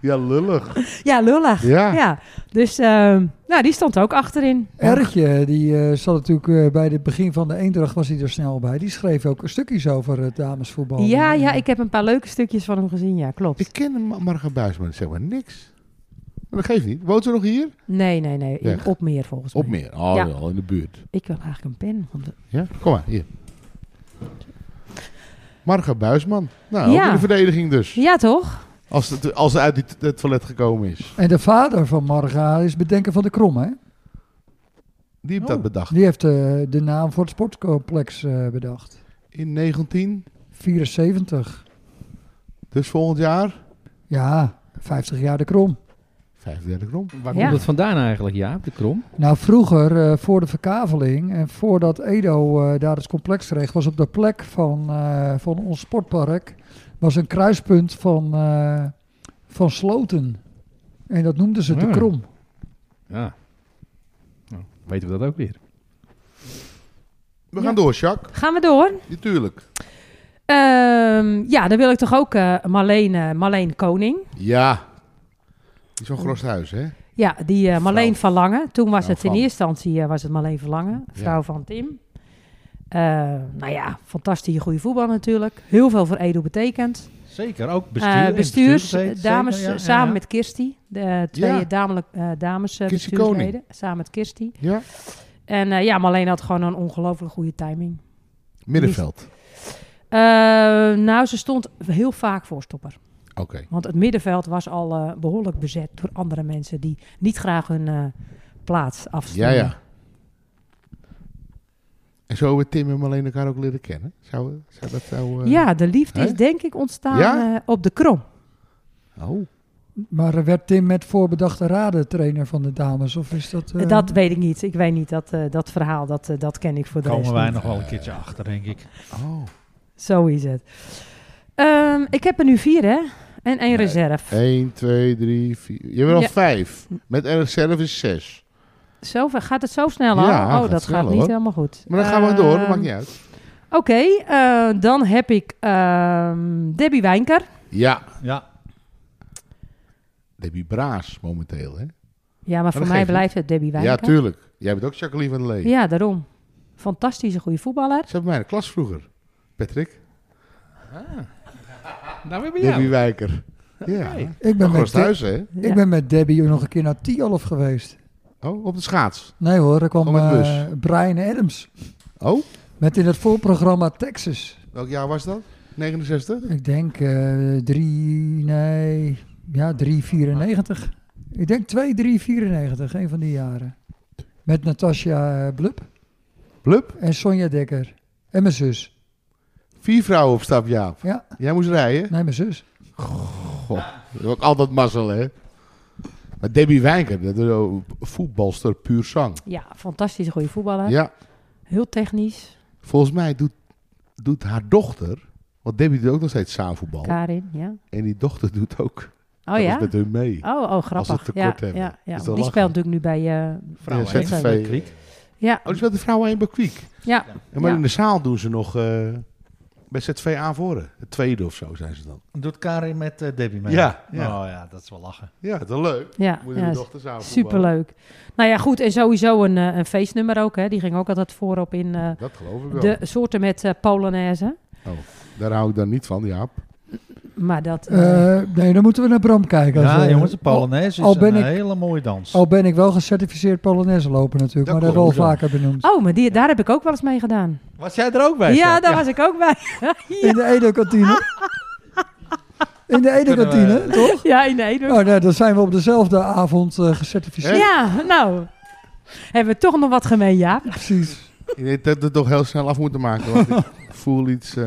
Speaker 4: Ja, lullig.
Speaker 1: Ja, lullig.
Speaker 4: Ja.
Speaker 1: Ja. Dus ehm, nou, die stond ook achterin.
Speaker 3: Ertje, die eh, zat natuurlijk eh, bij het begin van de Eendracht, was hij er snel bij. Die schreef ook stukjes over het damesvoetbal.
Speaker 1: Ja,
Speaker 3: En,
Speaker 1: ja,
Speaker 3: eh,
Speaker 1: ik heb een paar leuke stukjes van hem gezien. Ja, klopt.
Speaker 4: Ik ken Ma- Marga Buisman zeg maar niks. Maar dat geeft niet. Woont ze nog hier?
Speaker 1: Nee, nee, nee. In
Speaker 4: Weg.
Speaker 1: Opmeer volgens mij.
Speaker 4: Op meer. Oh,
Speaker 1: Ja.
Speaker 4: ja, al in de buurt.
Speaker 1: Ik wil eigenlijk een pen. want-
Speaker 4: Ja? Kom maar, hier. Marga Buisman. Nou, ook
Speaker 1: Ja.
Speaker 4: in de verdediging dus.
Speaker 1: Ja, toch?
Speaker 4: Als het, als het uit die t- het toilet gekomen is.
Speaker 3: En de vader van Marga is bedenken van de Krom, hè?
Speaker 4: Die heeft
Speaker 2: Oh.
Speaker 4: dat bedacht.
Speaker 3: Die heeft eh, de naam voor het sportcomplex eh, bedacht.
Speaker 4: In 19,
Speaker 3: 74.
Speaker 4: dus volgend jaar.
Speaker 3: Ja, 50 jaar de Krom.
Speaker 4: 35 rond.
Speaker 5: Waar
Speaker 1: Ja.
Speaker 5: komt dat vandaan eigenlijk, Jaap, de krom?
Speaker 3: Nou, vroeger, eh, voor de verkaveling en voordat Edo eh, daar het complex kreeg, was op de plek van, eh, van ons sportpark was een kruispunt van, eh, van sloten. En dat noemden ze
Speaker 4: Ah.
Speaker 3: de
Speaker 5: Ja.
Speaker 3: Krom.
Speaker 5: Ja. Nou, weten we dat ook weer.
Speaker 4: We gaan door, Jacques.
Speaker 1: Gaan we door?
Speaker 4: Natuurlijk.
Speaker 1: Ehm, ja, dan wil ik toch ook eh Marleen, eh, Marleen Koning.
Speaker 4: Ja. Die Zo'n gros huis, hè?
Speaker 1: Ja, die eh Marleen
Speaker 4: Vrouw.
Speaker 1: Verlangen. Toen was
Speaker 4: Vrouw
Speaker 1: het in
Speaker 4: van.
Speaker 1: eerste instantie eh, was het Marleen Verlangen, vrouw
Speaker 4: Ja.
Speaker 1: van Tim. Eh, nou ja, fantastische goede voetbal natuurlijk. Heel veel voor Edo betekent.
Speaker 2: Zeker, ook bestuur.
Speaker 1: Eh,
Speaker 2: en
Speaker 1: bestuurs,
Speaker 2: bestuursleden,
Speaker 1: dames, eh,
Speaker 2: zeker, ja,
Speaker 1: samen
Speaker 2: ja, ja.
Speaker 1: met Kirsti. De twee
Speaker 4: Ja.
Speaker 1: damelijk, eh, dames eh,
Speaker 4: Kirsti
Speaker 1: bestuursleden, samen met Kirsti.
Speaker 4: Ja.
Speaker 1: En eh, ja, Marleen had gewoon een ongelooflijk goede timing.
Speaker 4: Middenveld.
Speaker 1: Eh, nou, ze stond heel vaak voorstopper.
Speaker 4: Oké.
Speaker 1: Want het middenveld was al eh, behoorlijk bezet door andere mensen die niet graag hun eh, plaats
Speaker 4: Ja,
Speaker 1: afstonden.
Speaker 4: ja. En zo hebben Tim en Marleen elkaar ook leren kennen. Zou, zou dat zo... eh,
Speaker 1: Ja, de liefde
Speaker 4: Hè?
Speaker 1: is denk ik ontstaan
Speaker 4: Ja?
Speaker 1: eh, op de krom.
Speaker 4: Oh.
Speaker 3: Maar eh, werd Tim met voorbedachte raden trainer van de dames? Of is dat... eh,
Speaker 1: dat weet ik niet. Ik weet niet, dat, eh, dat verhaal, dat, eh, dat ken ik voor de
Speaker 2: Daar komen
Speaker 1: rest
Speaker 2: wij
Speaker 1: niet.
Speaker 2: nog wel een keertje achter, denk ik.
Speaker 4: Oh.
Speaker 1: Zo is het. Ehm, ik heb er nu vier, hè? En één reserve.
Speaker 4: 1, 2, 3, 4. Je bent al
Speaker 1: Ja.
Speaker 4: 5. Met erg zelf is 6.
Speaker 1: Zo, gaat het zo snel
Speaker 4: Ja,
Speaker 1: al?
Speaker 4: gaat
Speaker 1: oh, dat
Speaker 4: snel,
Speaker 1: gaat niet
Speaker 4: hoor.
Speaker 1: helemaal goed.
Speaker 4: Maar dan gaan we door, dat
Speaker 1: Ehm,
Speaker 4: maakt niet uit.
Speaker 1: Oké, eh, dan heb ik ehm, Debbie Wijnker.
Speaker 4: Ja,
Speaker 2: Ja,
Speaker 4: Debbie Braas momenteel, hè?
Speaker 1: Ja, maar voor
Speaker 4: dat
Speaker 1: mij
Speaker 4: geeft
Speaker 1: blijft het Debbie Wijnker.
Speaker 4: Ja, tuurlijk. Jij bent ook Jacqueline van der Lee.
Speaker 1: Ja, daarom. Fantastische goede voetballer.
Speaker 4: Ze hebben mij in de klas vroeger. Patrick.
Speaker 5: Nou, we hebben
Speaker 4: Debbie Wijker. Ja.
Speaker 3: Ik ben, met
Speaker 4: Gros
Speaker 3: De-
Speaker 4: thuis, hè?
Speaker 1: Ja.
Speaker 3: ik ben met Debbie nog een keer naar Tialf geweest.
Speaker 4: Oh, op de schaats.
Speaker 3: Nee hoor, er
Speaker 4: Gewoon
Speaker 3: kwam
Speaker 4: met bus.
Speaker 3: eh, Brian Adams.
Speaker 4: Oh,
Speaker 3: Met in het voorprogramma Texas.
Speaker 4: welk jaar was dat? 69?
Speaker 3: Ik denk eh 3, nee, ja 394. Ik denk 2, 3, 94, een van die jaren. Met Natasja eh, Blub
Speaker 4: Blub.
Speaker 3: en Sonja Dekker. En mijn zus.
Speaker 4: Vier vrouwen op stap, Jaap.
Speaker 3: Ja,
Speaker 4: Jij moest rijden.
Speaker 3: nee, mijn zus.
Speaker 4: Dat is ook altijd mazzel, hè? Maar Debbie Wijker, dat is een voetbalster puur zang.
Speaker 1: Ja, fantastische goede voetballer.
Speaker 4: Ja,
Speaker 1: Heel technisch.
Speaker 4: volgens mij doet, doet haar dochter... Want Debbie doet ook nog steeds zaalvoetbal.
Speaker 1: Karin, ja.
Speaker 4: En die dochter doet ook
Speaker 1: Oh
Speaker 4: alles
Speaker 1: ja?
Speaker 4: Oh. met hun mee.
Speaker 1: Oh, oh, grappig.
Speaker 4: Als het tekort
Speaker 1: ja,
Speaker 4: hebben.
Speaker 1: Ja, ja.
Speaker 4: Is dat
Speaker 1: Die
Speaker 4: lachen?
Speaker 1: speelt natuurlijk nu bij... eh,
Speaker 2: vrouwen.
Speaker 1: Ja,
Speaker 2: hè?
Speaker 1: ZVV.
Speaker 2: Bij Kriek.
Speaker 1: ja,
Speaker 4: Oh, dus met de vrouwen in Bakwiek.
Speaker 1: ja.
Speaker 4: En maar
Speaker 1: Ja.
Speaker 4: in de zaal doen ze nog eh, Bij ZV aanvoren. Het tweede of zo zijn ze dan.
Speaker 2: Doet Karin met eh, Debbie mee?
Speaker 4: Ja, ja.
Speaker 2: Oh ja, dat is wel lachen.
Speaker 4: Ja, dat is leuk.
Speaker 1: Ja,
Speaker 4: Moeten
Speaker 1: ja,
Speaker 4: de dochters aanvoeren.
Speaker 1: superleuk. Nou ja, goed. En sowieso een, eh, een feestnummer ook. Hè. Die ging ook altijd voorop in eh,
Speaker 4: Dat geloof ik Oh, wel.
Speaker 1: de soorten met eh Polonaise.
Speaker 4: Daar hou ik dan niet van, Jaap.
Speaker 1: Maar dat... eh,
Speaker 3: Eh, nee, dan moeten we naar Bram kijken. Als
Speaker 2: Ja,
Speaker 3: we-
Speaker 2: jongens, de
Speaker 3: al-
Speaker 2: Polonaise is
Speaker 3: eh, al ben
Speaker 2: een
Speaker 3: ik-
Speaker 2: hele mooie dans.
Speaker 3: Al, ben ik wel gecertificeerd Polonaise lopen natuurlijk,
Speaker 4: Dat
Speaker 3: maar dat hebben
Speaker 4: klopt,
Speaker 3: we al vaker benoemd.
Speaker 1: Oh, maar die, daar heb ik ook wel eens mee gedaan.
Speaker 2: Was jij er ook bij?
Speaker 1: ja,
Speaker 2: Sjaak?
Speaker 1: daar was ik ook bij.
Speaker 3: In de Edo-kantine. In de Edo-kantine,
Speaker 2: Kunnen
Speaker 3: toch?
Speaker 1: Ja, nee. dat-
Speaker 3: Nou, nee, dan zijn we op dezelfde avond eh, gecertificeerd.
Speaker 1: Ja, nou. Hebben we toch nog wat gemeen, Jaap.
Speaker 3: Precies.
Speaker 4: Je weet dat we het toch heel snel af moeten maken. Want ik voel iets... eh,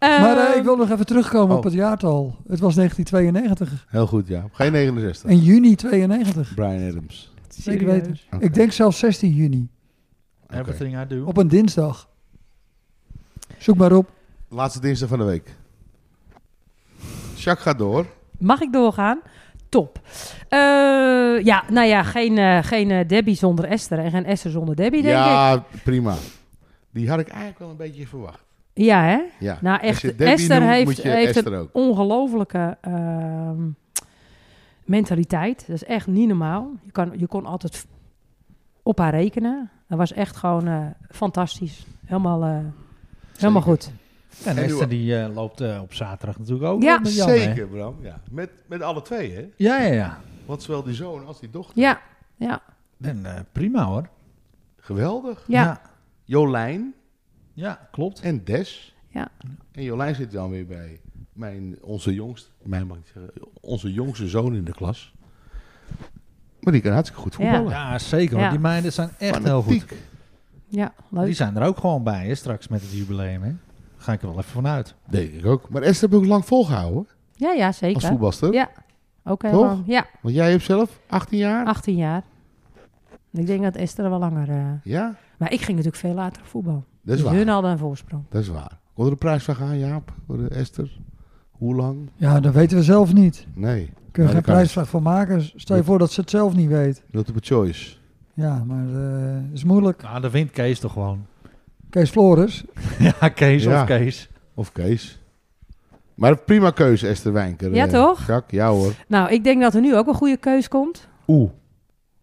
Speaker 3: Maar eh,
Speaker 1: Ehm,
Speaker 3: ik wil nog even terugkomen
Speaker 4: oh.
Speaker 3: op het jaartal. Het was 1992.
Speaker 4: heel goed, Jaap. Geen 69.
Speaker 3: In juni 92.
Speaker 4: Brian Adams.
Speaker 3: Zeker
Speaker 1: serieus.
Speaker 3: weten.
Speaker 4: Oké.
Speaker 3: Ik denk zelfs 16 juni.
Speaker 4: Oké.
Speaker 2: Everything I do.
Speaker 3: Op een dinsdag. Zoek maar op.
Speaker 4: Laatste dinsdag van de week. Jacques gaat door.
Speaker 1: Mag ik doorgaan? Top. Eh, ja, nou ja, geen, eh, geen eh, Debbie zonder Esther en geen Esther zonder Debbie, denk ik.
Speaker 4: ja, prima. Die had ik eigenlijk wel een beetje verwacht.
Speaker 1: Ja, hè?
Speaker 4: Ja.
Speaker 1: Nou,
Speaker 4: Als
Speaker 1: echt,
Speaker 4: je Debbie
Speaker 1: Esther
Speaker 4: noemt,
Speaker 1: heeft-
Speaker 4: moet je
Speaker 1: heeft
Speaker 4: Esther ook.
Speaker 1: Ongelofelijke ehm, mentaliteit. Dat is echt niet normaal. Je, kan, je kon altijd op haar rekenen. Dat was echt gewoon eh, fantastisch. Helemaal, eh, helemaal goed.
Speaker 2: En
Speaker 4: En
Speaker 2: Esther
Speaker 4: doe-
Speaker 2: die eh, loopt eh, op zaterdag natuurlijk ook.
Speaker 1: Ja,
Speaker 2: eh, met Jan, hè?
Speaker 4: Zeker, Bram. Ja. Met, met alle twee, hè?
Speaker 2: Ja, ja, ja.
Speaker 4: Want zowel die zoon als die dochter.
Speaker 1: Ja, ja,
Speaker 2: En eh, prima hoor.
Speaker 4: Geweldig.
Speaker 1: ja.
Speaker 4: Jolijn
Speaker 2: Ja, klopt.
Speaker 4: en Des.
Speaker 1: Ja.
Speaker 4: En Jolijn zit dan weer bij mijn, onze, jongste, mijn, mag ik zeggen, onze jongste zoon in de klas. Maar die kan hartstikke goed voetballen.
Speaker 2: Oh, Ja, zeker hoor.
Speaker 1: Ja.
Speaker 2: Die meiden zijn echt heel goed.
Speaker 4: Fanatiek.
Speaker 1: Ja, leuk.
Speaker 2: Die zijn er ook gewoon bij, hè, straks met het jubileum. Hè. Ga ik er wel even vanuit.
Speaker 4: Denk ik ook. Maar Esther heb ik lang volgehouden
Speaker 1: Ja, ja,
Speaker 4: als
Speaker 1: zeker.
Speaker 4: voetbalster.
Speaker 1: Ja, ook
Speaker 4: Toch?
Speaker 1: helemaal. Ja,
Speaker 4: Want jij hebt zelf 18 jaar.
Speaker 1: 18 jaar. Ik denk dat Esther wel langer... eh,
Speaker 4: Ja,
Speaker 1: Maar ik ging natuurlijk veel later op voetbal.
Speaker 4: dat is
Speaker 1: dus
Speaker 4: waar.
Speaker 1: hun hadden een voorsprong.
Speaker 4: Dat is waar. Kon er een prijsvraag aan, Jaap? Voor eh, Esther? Hoe lang?
Speaker 3: Ja, dat weten we zelf niet.
Speaker 4: Nee.
Speaker 3: Kun je
Speaker 4: dat
Speaker 3: geen
Speaker 4: kan
Speaker 3: prijsvraag van maken. Stel je voor dat ze het zelf niet weet.
Speaker 4: Multiple choice.
Speaker 3: Ja, maar eh is moeilijk.
Speaker 2: Nou, dat wint Kees toch gewoon.
Speaker 3: Kees Flores.
Speaker 2: ja, Kees
Speaker 4: Ja.
Speaker 2: of Kees.
Speaker 4: Of Kees. Maar prima keuze, Esther Wijnker.
Speaker 1: Ja,
Speaker 4: eh,
Speaker 1: toch?
Speaker 4: Jacques, ja hoor.
Speaker 1: Nou, ik denk dat er nu ook een goede keus komt.
Speaker 4: Oeh,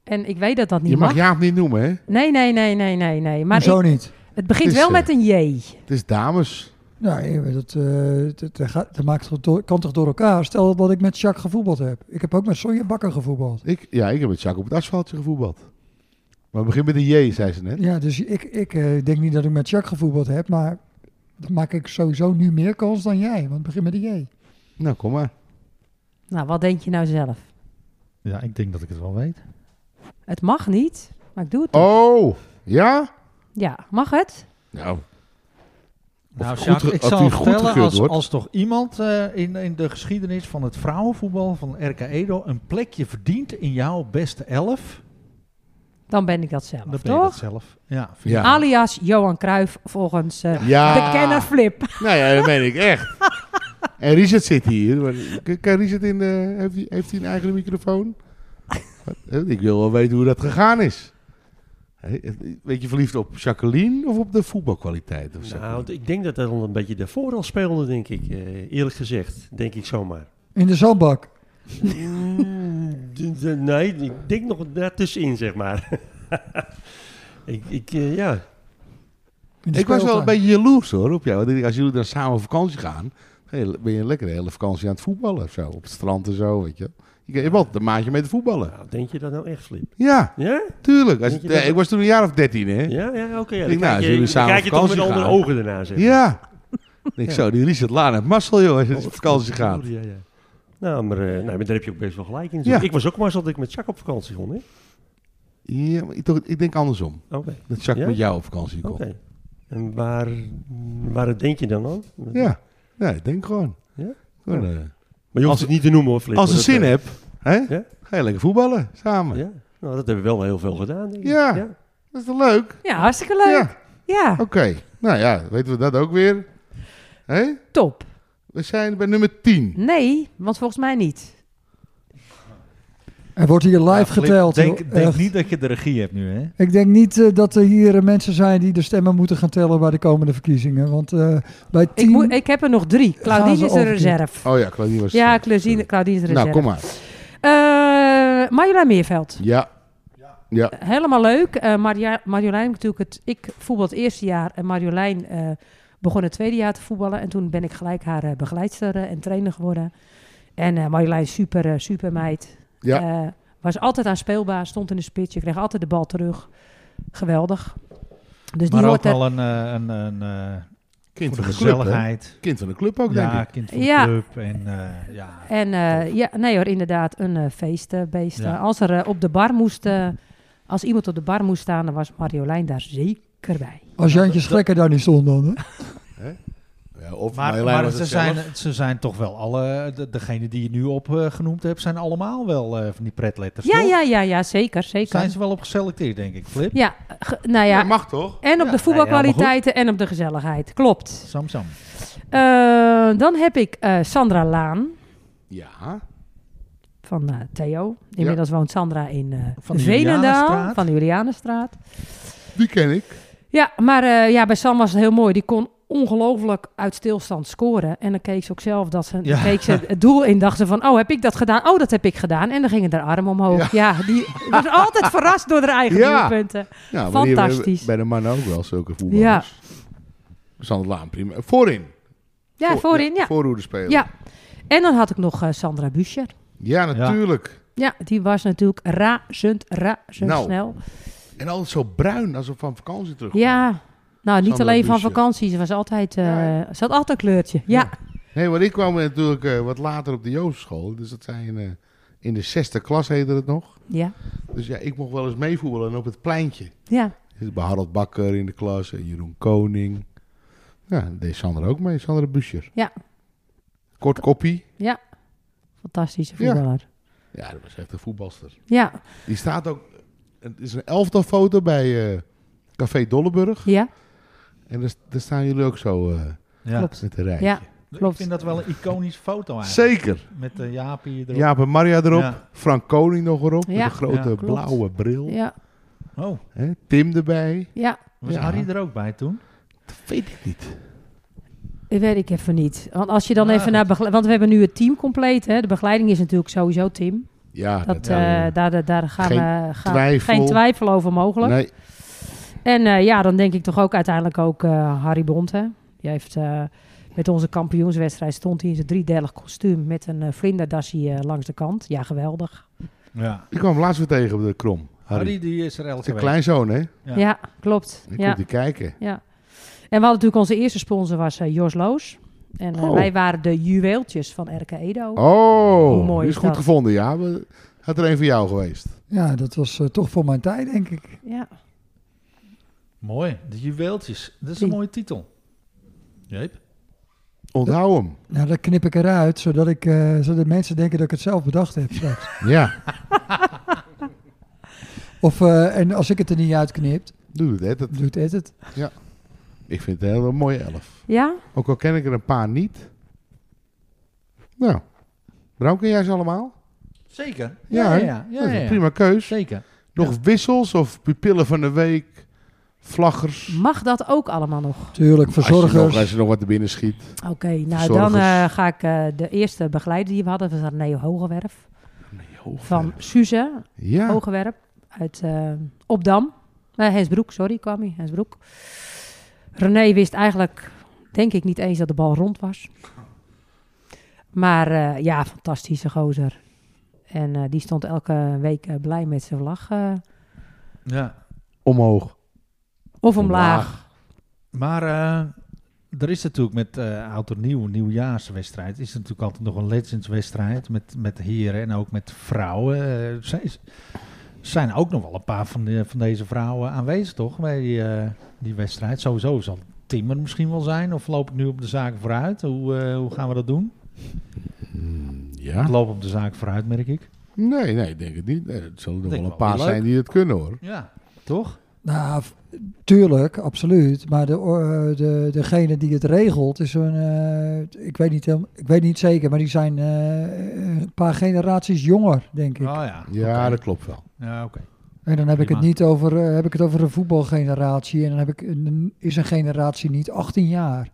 Speaker 1: En ik weet dat dat niet
Speaker 4: je mag
Speaker 1: mag.
Speaker 4: Jaap niet noemen, hè?
Speaker 1: Nee, nee, nee, nee, nee, nee. Maar
Speaker 3: Hoezo
Speaker 1: ik-
Speaker 3: niet?
Speaker 1: het begint
Speaker 4: is,
Speaker 1: wel
Speaker 4: eh,
Speaker 1: met een J.
Speaker 4: Het is dames.
Speaker 3: Nou, je weet het, eh, dat, dat, gaat- dat maakt toch door- kan toch door elkaar? Stel dat ik met Jacques gevoetbald heb. Ik heb ook met Sonja Bakker gevoetbald.
Speaker 4: Ik, ja, ik heb met Jacques op het asfaltje gevoetbald. Maar begin met een J, zei ze net.
Speaker 3: Ja, dus ik, ik eh, denk niet dat ik met Jacques gevoetbald heb, maar dan maak ik sowieso nu meer kans dan jij, want begin met de J.
Speaker 4: Nou, kom maar.
Speaker 1: Nou, wat denk je nou zelf?
Speaker 2: Ja, ik denk dat ik het wel weet.
Speaker 1: Het mag niet, maar ik doe het toch.
Speaker 4: Oh, ja?
Speaker 1: Ja, mag het?
Speaker 4: Nou,
Speaker 2: Nou,
Speaker 4: goed
Speaker 2: Sjaak,
Speaker 4: ge-
Speaker 2: ik
Speaker 4: of
Speaker 2: zal
Speaker 4: die
Speaker 2: het
Speaker 4: goed
Speaker 2: vertellen
Speaker 4: gekeurd
Speaker 2: als,
Speaker 4: wordt.
Speaker 2: als toch iemand eh, in, in de geschiedenis van het vrouwenvoetbal van RK Edo een plekje verdient in jouw beste elf.
Speaker 1: Dan ben ik dat zelf,
Speaker 2: Dan ben je dat
Speaker 1: toch?
Speaker 2: zelf. Ja, vind
Speaker 4: ja.
Speaker 1: Alias Johan Cruijff volgens eh,
Speaker 4: ja.
Speaker 1: de kenner Flip.
Speaker 4: Nou ja, dat meen ik echt. En Richard zit hier. Maar Kan- Kan Richard in, eh, heeft, hij, heeft hij een eigen microfoon? Wat? ik wil wel weten hoe dat gegaan is. Hé, Weet je verliefd op Jacqueline of op de voetbalkwaliteit? Of
Speaker 9: Nou,
Speaker 4: Jacqueline?
Speaker 9: d- ik denk dat dat al een beetje daarvoor al speelde, denk ik. eh, eerlijk gezegd, denk ik zomaar.
Speaker 3: In de zandbak.
Speaker 9: Mm, d- d- nee, ik denk nog daartussenin, zeg maar. ik, ik, eh, ja.
Speaker 3: In de
Speaker 4: ik was wel een
Speaker 3: speeltuin.
Speaker 4: beetje jaloers hoor op jou. Want ik denk, als jullie dan samen op vakantie gaan, ga je- ben je lekker de hele vakantie aan het voetballen. Of zo, op het strand en zo, weet je. Je hebt altijd een maatje mee te voetballen.
Speaker 9: Nou, denk je dat nou echt, Flip?
Speaker 4: Ja,
Speaker 9: Ja?
Speaker 4: tuurlijk. Als,
Speaker 9: Denk je
Speaker 4: eh,
Speaker 9: dat-
Speaker 4: ik was toen een jaar of dertien, hè?
Speaker 9: Ja, ja oké. ja.
Speaker 4: Ik
Speaker 9: Dan
Speaker 4: denk, nou, als
Speaker 9: kijk
Speaker 4: jullie
Speaker 9: je, dan
Speaker 4: samen
Speaker 9: kijk je
Speaker 4: op
Speaker 9: toch met
Speaker 4: vakantie
Speaker 9: andere
Speaker 4: gaan.
Speaker 9: ogen ernaar, zeg maar.
Speaker 4: Ja. Oh, Ik denk zo, die Richard Laan en Marcel, joh, als je op vakantie gaat.
Speaker 9: Ja, ja. Nou, maar, eh, nee, maar daar heb je ook best wel gelijk in.
Speaker 4: Ja.
Speaker 9: Ik was ook maar eens dat ik met Jack op vakantie kon, hè?
Speaker 4: Ja, maar ik, toch, ik denk andersom.
Speaker 9: Oké.
Speaker 4: Dat Jacques
Speaker 9: Ja?
Speaker 4: met jou op vakantie komt.
Speaker 9: Oké. En waar, waar denk je dan aan?
Speaker 4: Ja, nee, ik denk gewoon.
Speaker 9: Ja?
Speaker 4: Gewoon, eh,
Speaker 9: Maar je hoeft
Speaker 4: Als-
Speaker 9: het niet te noemen, hoor, Flip.
Speaker 4: als je
Speaker 9: want dat,
Speaker 4: zin
Speaker 9: eh,
Speaker 4: hebt, hè,
Speaker 9: Ja?
Speaker 4: ga je lekker voetballen samen.
Speaker 9: Ja. Nou, dat hebben we wel heel veel gedaan, denk ik.
Speaker 4: Ja. Dat is toch leuk?
Speaker 1: Ja, hartstikke leuk.
Speaker 4: Ja,
Speaker 1: Ja,
Speaker 4: oké. Nou ja, weten we dat ook weer. Hé?
Speaker 1: top.
Speaker 4: We zijn bij nummer 10.
Speaker 1: Nee, want volgens mij niet.
Speaker 3: Er wordt hier live
Speaker 2: Ja, Flip,
Speaker 3: geteld. joh.
Speaker 2: Denk, denk
Speaker 3: Echt.
Speaker 2: niet dat je de regie hebt nu, hè?
Speaker 3: Ik denk niet eh, dat er hier eh, mensen zijn die de stemmen moeten gaan tellen bij de komende verkiezingen. Want eh, bij
Speaker 1: Ik,
Speaker 3: tien...
Speaker 1: moet, ik heb er nog drie. Claudine
Speaker 3: ze
Speaker 1: is de
Speaker 3: overkeer.
Speaker 1: reserve.
Speaker 4: Oh ja, Claudine was...
Speaker 1: Ja, Claudine, Claudine is de reserve.
Speaker 4: Nou, kom maar.
Speaker 1: Eh, Marjolein Meerveld.
Speaker 4: Ja. Ja.
Speaker 1: Helemaal leuk. Eh, Marja- Marjolein natuurlijk het... Ik voetbal het eerste jaar en Marjolein eh, begon het tweede jaar te voetballen. En toen ben ik gelijk haar eh, begeleidster eh, en trainer geworden. En eh, Marjolein, super, eh, super meid.
Speaker 4: Ja.
Speaker 1: Eh, was altijd aan speelbaar, stond in de spits. Je kreeg altijd de bal terug. Geweldig. Dus die
Speaker 2: maar ook
Speaker 1: hoort er...
Speaker 2: wel een, eh, een, een eh,
Speaker 4: Kind
Speaker 2: voor de
Speaker 4: van de club, hè?
Speaker 2: gezelligheid.
Speaker 4: Kind van de club ook, denk
Speaker 2: ja,
Speaker 4: ik.
Speaker 2: kind van de
Speaker 1: Ja.
Speaker 2: club. En, eh, ja.
Speaker 1: En eh, ja, nee hoor, inderdaad, een eh, feestbeest.
Speaker 2: Ja.
Speaker 1: Als er eh, op de bar moest... eh, als iemand op de bar moest staan, dan was Marjolein daar zeker bij.
Speaker 3: Als Jantje Schlekker daar niet stond dan. Hè?
Speaker 4: Ja, of
Speaker 2: Maar,
Speaker 4: Marjolein
Speaker 2: maar
Speaker 4: was
Speaker 2: ze,
Speaker 4: het zelf.
Speaker 2: zijn, ze zijn toch wel alle... de- Degene die je nu opgenoemd genoemd hebt, zijn allemaal wel eh, van die pretletters,
Speaker 1: Ja,
Speaker 2: toch?
Speaker 1: ja, ja, ja, zeker, zeker.
Speaker 2: Zijn ze wel op geselecteerd, denk ik, Flip?
Speaker 1: Ja, ge- nou ja.
Speaker 4: Ja, mag toch?
Speaker 1: en op
Speaker 2: Ja,
Speaker 1: de
Speaker 2: nee,
Speaker 1: voetbalkwaliteiten en op de gezelligheid. Klopt.
Speaker 2: Sam Sam.
Speaker 1: Eh, dan heb ik eh, Sandra Laan
Speaker 4: Ja.
Speaker 1: van eh, Theo. Inmiddels woont Sandra in eh,
Speaker 2: Van de
Speaker 1: Veenendaal,
Speaker 2: Julianenstraat.
Speaker 1: van de Julianenstraat.
Speaker 4: Die ken ik.
Speaker 1: Ja, maar eh, ja, bij Sam was het heel mooi. Die kon ongelooflijk uit stilstand scoren. En dan keek ze ook zelf dat ze,
Speaker 2: Ja.
Speaker 1: keek ze het doel in. Dacht ze van, oh, heb ik dat gedaan? Oh, dat heb ik gedaan. En dan gingen haar armen omhoog. Ja, die was altijd verrast door haar eigen
Speaker 4: Ja.
Speaker 1: doelpunten.
Speaker 4: Ja, maar die hebben
Speaker 1: Fantastisch.
Speaker 4: Bij de mannen ook wel zulke voetballers. Ja. Sander Laan, prima. Voorin.
Speaker 1: Ja,
Speaker 4: Voor-
Speaker 1: voorin, ja.
Speaker 4: Voorhoede spelen.
Speaker 1: Ja. En dan had ik nog eh, Sandra Buescher.
Speaker 4: Ja, natuurlijk.
Speaker 1: Ja, die was natuurlijk razend, razend
Speaker 4: Nou.
Speaker 1: snel.
Speaker 4: En altijd zo bruin, alsof van vakantie terug.
Speaker 1: Ja, nou niet
Speaker 4: Sandra
Speaker 1: alleen van
Speaker 4: Buescher.
Speaker 1: vakantie. Ze, was altijd, eh,
Speaker 4: Ja.
Speaker 1: ze had altijd een kleurtje. Ja,
Speaker 4: Nee, want ik kwam natuurlijk eh, wat later op de Joostschool. Dus dat zijn eh, in de zesde klas heette het nog.
Speaker 1: ja,
Speaker 4: Dus ja, ik mocht wel eens meevoetballen en op het pleintje.
Speaker 1: ja.
Speaker 4: Dus Bij Harald Bakker in de klas en Jeroen Koning. Ja, dat deed Sander ook mee, Sander Buscher.
Speaker 1: Ja.
Speaker 4: Kort koppie.
Speaker 1: Fantastische
Speaker 4: Ja.
Speaker 1: voetballer.
Speaker 4: Ja, dat was echt een voetbalster.
Speaker 1: Ja,
Speaker 4: Die staat ook, het is een elftal foto bij eh, Café Dolleburg.
Speaker 1: ja,
Speaker 4: En daar, daar staan jullie ook zo eh,
Speaker 2: Ja.
Speaker 1: klopt.
Speaker 4: met de rij.
Speaker 1: Ja,
Speaker 2: Ik
Speaker 1: klopt.
Speaker 2: vind dat wel een iconische foto eigenlijk.
Speaker 4: Zeker.
Speaker 2: Met de Jaapie erop.
Speaker 4: Jaap en Maria erop.
Speaker 2: Ja.
Speaker 4: Frank Koning nog erop.
Speaker 1: Ja,
Speaker 4: Met een grote
Speaker 2: ja, klopt.
Speaker 4: blauwe bril.
Speaker 1: Ja,
Speaker 2: Oh,
Speaker 4: Hè, Tim erbij.
Speaker 1: ja.
Speaker 2: was
Speaker 4: Ja.
Speaker 2: Harry er ook bij toen?
Speaker 4: Dat weet ik niet.
Speaker 1: Dat weet ik even niet. Want als je dan
Speaker 2: Ah,
Speaker 1: even naar... begle- Want we hebben nu het team compleet, hè. De begeleiding is natuurlijk sowieso Tim.
Speaker 4: Ja,
Speaker 1: Dat,
Speaker 4: eh,
Speaker 1: eh, daar, daar gaan
Speaker 4: Geen
Speaker 1: we... Gaan,
Speaker 4: twijfel.
Speaker 1: Geen twijfel over mogelijk.
Speaker 4: nee,
Speaker 1: En eh, ja, dan denk ik toch ook uiteindelijk ook eh, Harry Bond. Hè? Die heeft eh, met onze kampioenswedstrijd stond hij in zijn driedelig kostuum met een eh vlinderdasje eh, langs de kant. Ja, geweldig.
Speaker 2: Ja.
Speaker 4: ik kwam hem laatst weer tegen op de krom. Harry.
Speaker 2: Harry die is er elke
Speaker 4: Zijn
Speaker 2: week.
Speaker 4: kleinzoon, hè?
Speaker 1: Ja,
Speaker 2: Ja.
Speaker 1: klopt.
Speaker 4: Die
Speaker 1: Ja,
Speaker 4: komt hij kijken.
Speaker 1: ja. En we hadden natuurlijk onze eerste sponsor was eh, Jos Loos. En eh,
Speaker 4: Oh.
Speaker 1: wij waren de juweeltjes van Erke Edo.
Speaker 4: Oh,
Speaker 1: Hoe mooi
Speaker 4: die
Speaker 1: is
Speaker 4: is goed
Speaker 1: dat?
Speaker 4: gevonden, ja. We- Had er een van jou geweest.
Speaker 3: Ja, dat was eh, toch voor mijn tijd, denk ik.
Speaker 1: Ja.
Speaker 2: Mooi. De juweeltjes. Dat is een
Speaker 1: Die.
Speaker 2: mooie titel. Jeep.
Speaker 4: Onthoud hem.
Speaker 3: Nou, dat knip ik eruit, zodat, ik, eh, zodat mensen denken dat ik het zelf bedacht heb straks.
Speaker 4: Ja,
Speaker 3: Of, eh, en als ik het er niet uitknipt,
Speaker 4: doe het. hè. Dat,
Speaker 3: doet Ed het.
Speaker 4: ik vind het een hele mooie elf.
Speaker 1: ja?
Speaker 4: Ook al ken ik er een paar niet. Nou, Bram, ken jij ze allemaal?
Speaker 2: Zeker.
Speaker 4: Ja,
Speaker 2: Ja,
Speaker 4: hè?
Speaker 2: ja, ja, ja,
Speaker 4: dat is een
Speaker 2: ja.
Speaker 4: prima keus.
Speaker 2: Zeker.
Speaker 4: Nog wissels of pupillen van de week, vlaggers.
Speaker 1: Mag dat ook allemaal nog?
Speaker 3: Tuurlijk,
Speaker 4: Als je, nog, als
Speaker 3: verzorgers.
Speaker 4: je nog wat er binnen schiet.
Speaker 1: Oké, nou dan
Speaker 4: Verzorgers.
Speaker 1: eh, ga ik eh, de eerste begeleider die we hadden, was Neo Hogewerf. Van Suze,
Speaker 4: Ja,
Speaker 1: Hogewerp uit eh, Opdam. Nee, Hensbroek, sorry, kwam hij. Hensbroek. René wist eigenlijk, denk ik, niet eens dat de bal rond was. Maar eh, ja, fantastische gozer. En eh, die stond elke week eh, blij met zijn vlag. eh,
Speaker 2: Ja.
Speaker 4: omhoog.
Speaker 1: of omlaag.
Speaker 2: Maar eh, er is natuurlijk met eh oud en nieuw, nieuwjaarswedstrijd, is er natuurlijk altijd nog een legendswedstrijd met, met heren en ook met vrouwen. Eh, zijn- zijn ook nog wel een paar van, de, van deze vrouwen aanwezig, toch? Bij die, eh, die wedstrijd. Sowieso zal Tim er misschien wel zijn. Of loop ik nu op de zaak vooruit? Hoe, eh, hoe gaan we dat doen?
Speaker 4: Mm, Ja.
Speaker 2: Ik loop op de zaak vooruit, merk ik.
Speaker 4: Nee, nee, ik denk het niet. Nee, het zullen er
Speaker 2: Denk
Speaker 4: wel een
Speaker 2: wel
Speaker 4: paar
Speaker 2: leuk.
Speaker 4: zijn die het kunnen hoor.
Speaker 2: Ja, toch?
Speaker 3: Nou, v- tuurlijk, absoluut. Maar de, eh, de, degene die het regelt is een. eh, ik, weet niet, helemaal- ik weet niet zeker, maar die zijn eh, een paar generaties jonger, denk ik.
Speaker 2: Oh ja.
Speaker 4: Ja,
Speaker 2: Oké.
Speaker 4: dat klopt wel.
Speaker 2: Ja, oké.
Speaker 3: En dan heb ik het
Speaker 2: Prima.
Speaker 3: niet over, eh, heb ik het over een voetbalgeneratie. En dan heb ik een, is een generatie niet 18 jaar.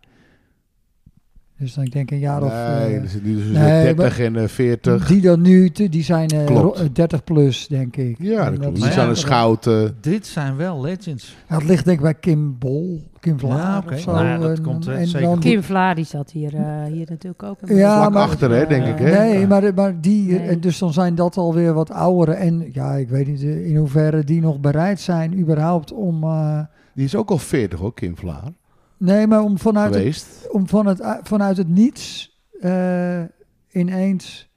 Speaker 3: Dus dan denk ik een jaar of.
Speaker 4: nee,
Speaker 3: eh,
Speaker 4: er zit nu tussen
Speaker 3: nee,
Speaker 4: 30 en eh, 40.
Speaker 3: die dan nu, te- die zijn eh,
Speaker 4: Klopt.
Speaker 3: ro- eh, 30 plus, denk ik.
Speaker 4: Ja,
Speaker 3: En
Speaker 4: dat klopt.
Speaker 3: Mm. is-
Speaker 4: Die zijn
Speaker 2: Ja.
Speaker 4: een schouten.
Speaker 2: Dit zijn wel legends.
Speaker 3: Ja, het ligt denk ik bij Kim Bol, Kim Vlaar
Speaker 2: Ja, oké.
Speaker 3: of zo.
Speaker 2: Nou ja, dat
Speaker 3: en-
Speaker 2: komt, eh,
Speaker 3: en
Speaker 2: zeker
Speaker 3: dan-
Speaker 2: goed.
Speaker 1: Kim Vlaar die zat hier, eh, hier natuurlijk ook. een
Speaker 3: Ja,
Speaker 1: beetje.
Speaker 3: maar-
Speaker 1: Dus,
Speaker 4: Achter, hè,
Speaker 1: eh,
Speaker 4: denk ik, hè?
Speaker 3: Nee, maar, maar die,
Speaker 1: Nee.
Speaker 3: en dus dan zijn dat alweer wat ouderen. En ja, ik weet niet eh, in hoeverre die nog bereid zijn überhaupt om... eh,
Speaker 4: Die is ook al 40 hoor, Kim Vlaar.
Speaker 3: nee, maar om vanuit het,
Speaker 4: Geweest.
Speaker 3: om van het, eh, vanuit het niets eh, ineens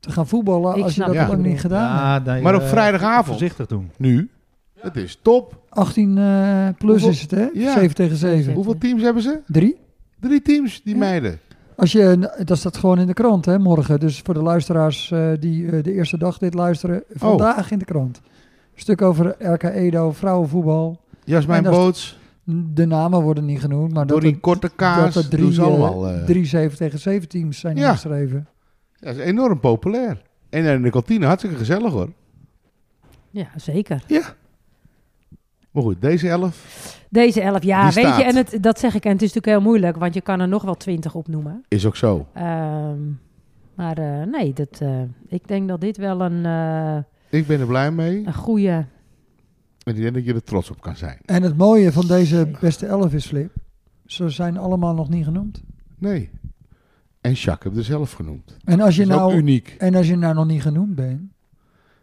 Speaker 3: te gaan voetballen
Speaker 1: Ik
Speaker 3: als je
Speaker 1: snap
Speaker 3: dat
Speaker 4: wat je
Speaker 3: lang niet
Speaker 1: bedoelt.
Speaker 3: gedaan hebt.
Speaker 2: nee,
Speaker 4: Maar op
Speaker 2: eh,
Speaker 4: vrijdagavond.
Speaker 2: Voorzichtig doen.
Speaker 4: Nu. Dat is top.
Speaker 3: 18 eh, plus
Speaker 4: Hoeveel-
Speaker 3: is het, hè?
Speaker 4: Ja.
Speaker 3: 7 tegen 7.
Speaker 1: Zeven.
Speaker 4: Hoeveel teams hebben ze?
Speaker 3: Drie.
Speaker 4: Drie teams, die
Speaker 3: Ja.
Speaker 4: meiden.
Speaker 3: Als je, dat staat gewoon in de krant, hè, morgen. Dus voor de luisteraars eh, die eh, de eerste dag dit
Speaker 4: Oh.
Speaker 3: luisteren, vandaag in de krant. Stuk over RK Edo, vrouwenvoetbal.
Speaker 4: Jasmijn
Speaker 3: En dat is-
Speaker 4: Boots,
Speaker 3: De namen worden niet genoemd, maar dat
Speaker 4: Dorien
Speaker 3: er,
Speaker 4: Korte Kaas.
Speaker 3: dat er
Speaker 4: Dat
Speaker 3: drie,
Speaker 4: doen ze
Speaker 3: eh,
Speaker 4: allemaal. eh.
Speaker 3: drie 7 tegen 7 teams zijn
Speaker 4: Ja.
Speaker 3: ingeschreven.
Speaker 4: Ja, dat is enorm populair. En in de kantine hartstikke gezellig hoor.
Speaker 1: Ja, zeker.
Speaker 4: Maar goed, deze elf
Speaker 1: Deze elf jaar,
Speaker 4: Die
Speaker 1: weet
Speaker 4: staat.
Speaker 1: je, en het, dat zeg ik, en het is natuurlijk heel moeilijk, want je kan er nog wel twintig opnoemen.
Speaker 4: is ook zo.
Speaker 1: Ehm, maar eh, nee, dat, eh, ik denk dat dit wel een, eh,
Speaker 4: Ik ben er blij mee.
Speaker 1: een goede...
Speaker 4: En ik denk dat je er trots op kan zijn.
Speaker 3: En het mooie van deze beste elf is, Flip, ze zijn allemaal nog niet genoemd.
Speaker 4: Nee. En Jacques heb er zelf genoemd.
Speaker 3: En als,
Speaker 4: Dat
Speaker 3: je
Speaker 4: is ook
Speaker 3: nou,
Speaker 4: uniek.
Speaker 3: en als je nou nog niet genoemd bent,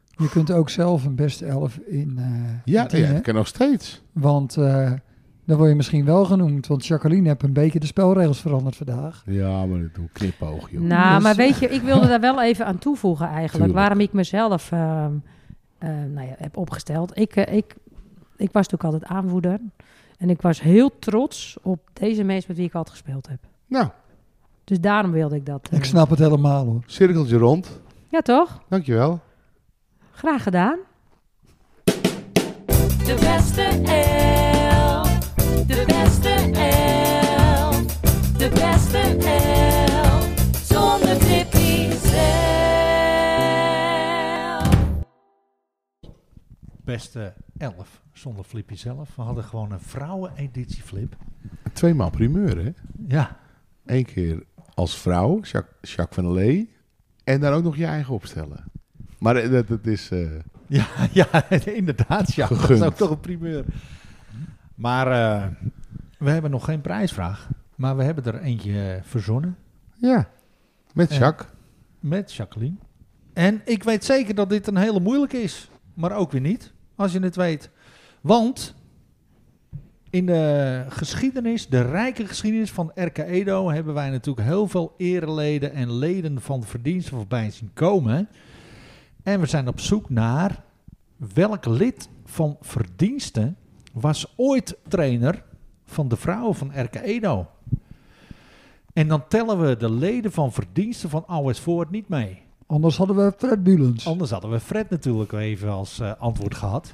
Speaker 3: je kunt ook zelf een beste elf in. eh,
Speaker 4: Ja,
Speaker 3: indienen.
Speaker 4: ja, dat kan nog steeds.
Speaker 3: Want eh, dan word je misschien wel genoemd. Want Jacqueline heeft een beetje de spelregels veranderd vandaag.
Speaker 4: Ja, maar dat doe ik knipoog, joh.
Speaker 1: Nou,
Speaker 3: Dus-
Speaker 1: maar weet je, ik wilde daar wel even aan toevoegen eigenlijk.
Speaker 4: Tuurlijk.
Speaker 1: Waarom ik mezelf ehm, eh, nou ja, heb opgesteld. Ik, eh, ik, ik was natuurlijk altijd aanvoerder. En ik was heel trots op deze mensen met wie ik altijd gespeeld heb.
Speaker 4: Nou,
Speaker 1: Dus daarom wilde ik dat. eh,
Speaker 3: Ik snap het helemaal hoor.
Speaker 4: cirkeltje rond.
Speaker 1: Ja, toch?
Speaker 4: Dankjewel.
Speaker 1: Graag gedaan.
Speaker 8: De beste elf. De beste elf. De beste elf. Zonder Flippy zelf.
Speaker 2: Beste elf zonder Flippy zelf. We hadden gewoon een vrouweneditie Flip.
Speaker 4: Tweemaal primeur, hè?
Speaker 2: Ja.
Speaker 4: Eén keer als vrouw, Jacques, Jacques van der Lee. En daar ook nog je eigen opstellen. Maar eh, dat, dat is... eh,
Speaker 2: Ja, ja inderdaad. Ja. Dat
Speaker 4: Gegund.
Speaker 2: is ook toch een primeur. Maar eh, we hebben nog geen prijsvraag. Maar we hebben er eentje eh, verzonnen
Speaker 4: ja, met
Speaker 2: Ja.
Speaker 4: Jacques.
Speaker 2: met Jacqueline. En ik weet zeker dat dit een hele moeilijke is. Maar ook weer niet, als je het weet. Want in de geschiedenis, de rijke geschiedenis van RK Edo... hebben wij natuurlijk heel veel ereleden en leden van verdiensten voorbij zien komen. En we zijn op zoek naar welk lid van verdiensten... was ooit trainer van de vrouwen van RK Edo. En dan tellen we de leden van verdiensten van Alwes Voort niet mee.
Speaker 3: Anders hadden we Fred Bulens.
Speaker 4: Oh,
Speaker 2: Anders hadden we Fred natuurlijk wel even als eh, antwoord gehad.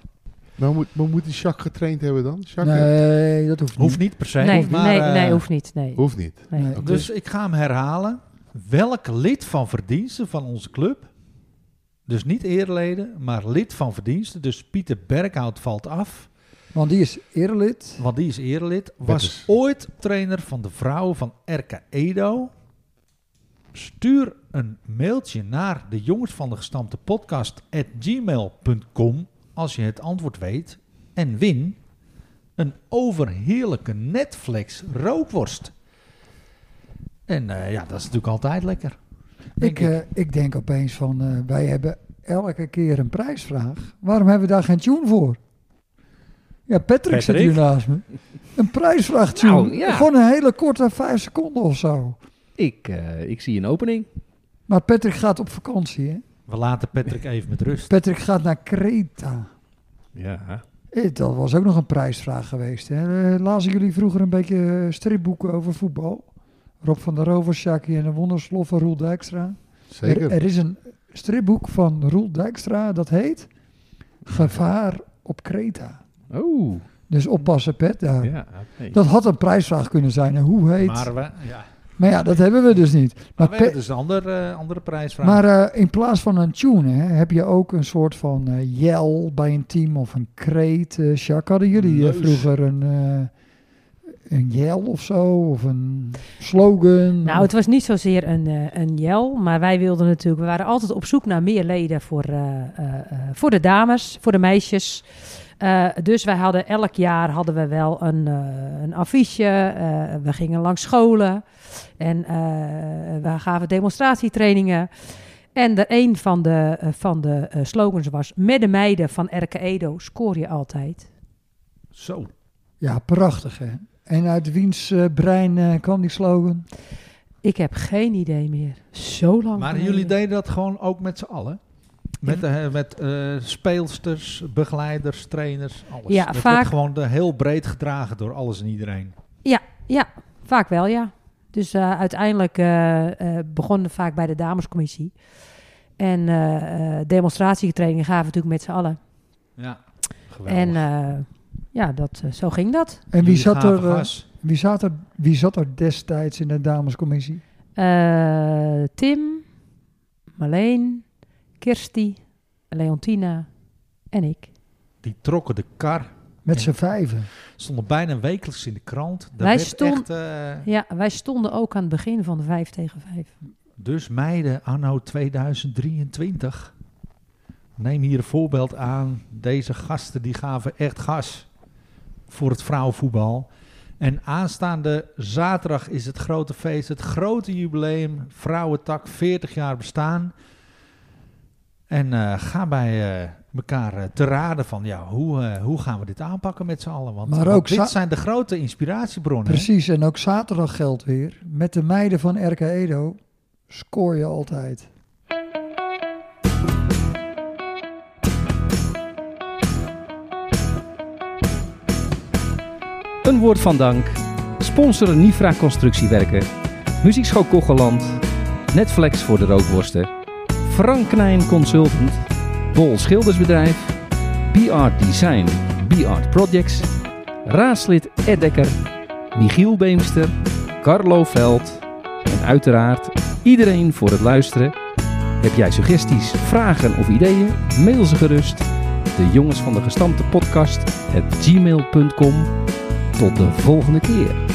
Speaker 4: Nou, moet, maar moet die Jacques getraind hebben dan? Jacques?
Speaker 3: Nee, dat hoeft niet.
Speaker 2: Hoeft niet per se.
Speaker 1: Nee,
Speaker 2: maar,
Speaker 1: nee,
Speaker 2: eh,
Speaker 1: nee, hoeft niet. Nee.
Speaker 4: Hoeft niet.
Speaker 1: Nee.
Speaker 3: Nee.
Speaker 4: Oké.
Speaker 2: Dus ik ga hem herhalen. Welk lid van verdiensten van onze club, dus niet eerleden, maar lid van verdiensten, dus Pieter Berghout valt af,
Speaker 3: Want die is erelid.
Speaker 2: want die is eerlid,
Speaker 4: Dat
Speaker 2: was
Speaker 4: is-
Speaker 2: ooit trainer van de vrouwen van RK Edo. Stuur een mailtje naar de jongens van de gestampte podcast at gmail.com als je het antwoord weet en win een overheerlijke Netflix rookworst. En eh, ja, dat is natuurlijk altijd lekker. Denk
Speaker 3: Ik, eh, ik denk opeens van, eh, wij hebben elke keer een prijsvraag. Waarom hebben we daar geen tune voor? Ja, Patrick, zit
Speaker 9: Patrick?
Speaker 3: hier naast me. Een prijsvraag tune.
Speaker 5: Nou, ja.
Speaker 3: Gewoon een hele korte vijf seconden of zo.
Speaker 5: Ik, eh, ik zie een opening.
Speaker 3: Maar Patrick gaat op vakantie, hè?
Speaker 2: We laten Patrick even met rust.
Speaker 3: Patrick gaat naar Kreta.
Speaker 5: Ja.
Speaker 3: Eh, Dat was ook nog een prijsvraag geweest. Hè? Eh, Lazen jullie vroeger een beetje eh, stripboeken over voetbal? Rob van der Rover, Sjaki en de Wondersloffen, Roel Dijkstra. Er,
Speaker 4: Zeker.
Speaker 3: er is een stripboek van Roel Dijkstra, dat heet Gevaar op Kreta.
Speaker 5: Oh,
Speaker 3: Dus oppassen, pet. daar.
Speaker 2: Ja, oké.
Speaker 3: Dat had een prijsvraag kunnen zijn. En hoe heet? Maar,
Speaker 2: Maar we, ja.
Speaker 3: ja, dat hebben we dus niet. Maar,
Speaker 2: maar we hebben
Speaker 3: pet-
Speaker 2: dus een andere, eh, andere prijsvraag.
Speaker 3: maar eh, in plaats van een tune hè, heb je ook een soort van eh, jel bij een team of een kreet. eh Jacques, hadden jullie eh,
Speaker 2: Leus.
Speaker 3: vroeger een, eh, een jel of zo? Of een slogan?
Speaker 1: Nou, het was niet zozeer een, eh, een jel, maar wij wilden natuurlijk, we waren altijd op zoek naar meer leden voor, eh, eh, eh, voor de dames, voor de meisjes. Eh, dus wij hadden elk jaar hadden we wel een, eh, een affiche. eh, we gingen langs scholen en eh, we gaven demonstratietrainingen. En de, een van de, eh, van de eh, slogans was: Met de meiden van Erke Edo scoor je altijd.
Speaker 2: Zo.
Speaker 3: Ja, prachtig hè. En uit wiens eh, brein eh, kwam die slogan?
Speaker 1: Ik heb geen idee meer. Zo lang.
Speaker 2: Maar
Speaker 1: geleden.
Speaker 2: jullie deden dat gewoon ook met z'n allen? Met, eh, met eh, speelsters, begeleiders, trainers, alles.
Speaker 1: Ja,
Speaker 2: dat
Speaker 1: vaak-
Speaker 2: werd gewoon eh, heel breed gedragen door alles en iedereen.
Speaker 1: Ja, vaak wel, ja. Dus eh, uiteindelijk eh eh begonnen we vaak bij de damescommissie. En eh eh demonstratietrainingen gaven we natuurlijk met z'n allen.
Speaker 2: Ja, geweldig.
Speaker 1: En eh, ja, dat, eh, zo ging dat.
Speaker 3: En wie
Speaker 2: Jullie
Speaker 3: zat, er,
Speaker 2: gaven
Speaker 3: eh,
Speaker 2: gas.
Speaker 3: wie, zat er, wie zat er destijds in de damescommissie?
Speaker 1: Eh, Tim, Marleen, Kirsty, Leontina en ik.
Speaker 2: Die trokken de kar.
Speaker 3: Met z'n vijven.
Speaker 2: Stonden bijna wekelijks in de krant. Daar
Speaker 1: Wij
Speaker 2: werd
Speaker 1: stonden-
Speaker 2: echt, eh,
Speaker 1: Ja, wij stonden ook aan het begin van de vijf tegen vijf.
Speaker 2: Dus meiden, anno 2023. Neem hier een voorbeeld aan. Deze gasten die gaven echt gas voor het vrouwenvoetbal. En aanstaande zaterdag is het grote feest, het grote jubileum. Vrouwentak, 40 jaar bestaan. En eh, ga bij eh, elkaar eh, te raden van ja, hoe, eh, hoe gaan we dit aanpakken met z'n allen. Want,
Speaker 3: Maar
Speaker 2: want
Speaker 3: ook za-
Speaker 2: dit zijn de grote inspiratiebronnen. hè?
Speaker 3: Precies, en ook zaterdag geldt weer. Met de meiden van RK Edo scoor je altijd.
Speaker 5: een woord van dank. Sponsoren Nifra Constructiewerken. Muziekschool Kocheland. Netflix voor de rookworsten. Frank Knijn Consultant. Bol Schildersbedrijf. BR Design. BR Projects. Raadslid Ed Dekker. Michiel Beemster. Carlo Veld. En uiteraard iedereen voor het luisteren. Heb jij suggesties, vragen of ideeën? Mail ze gerust. De jongens van de gestampte podcast at gmail.com. Tot de volgende keer.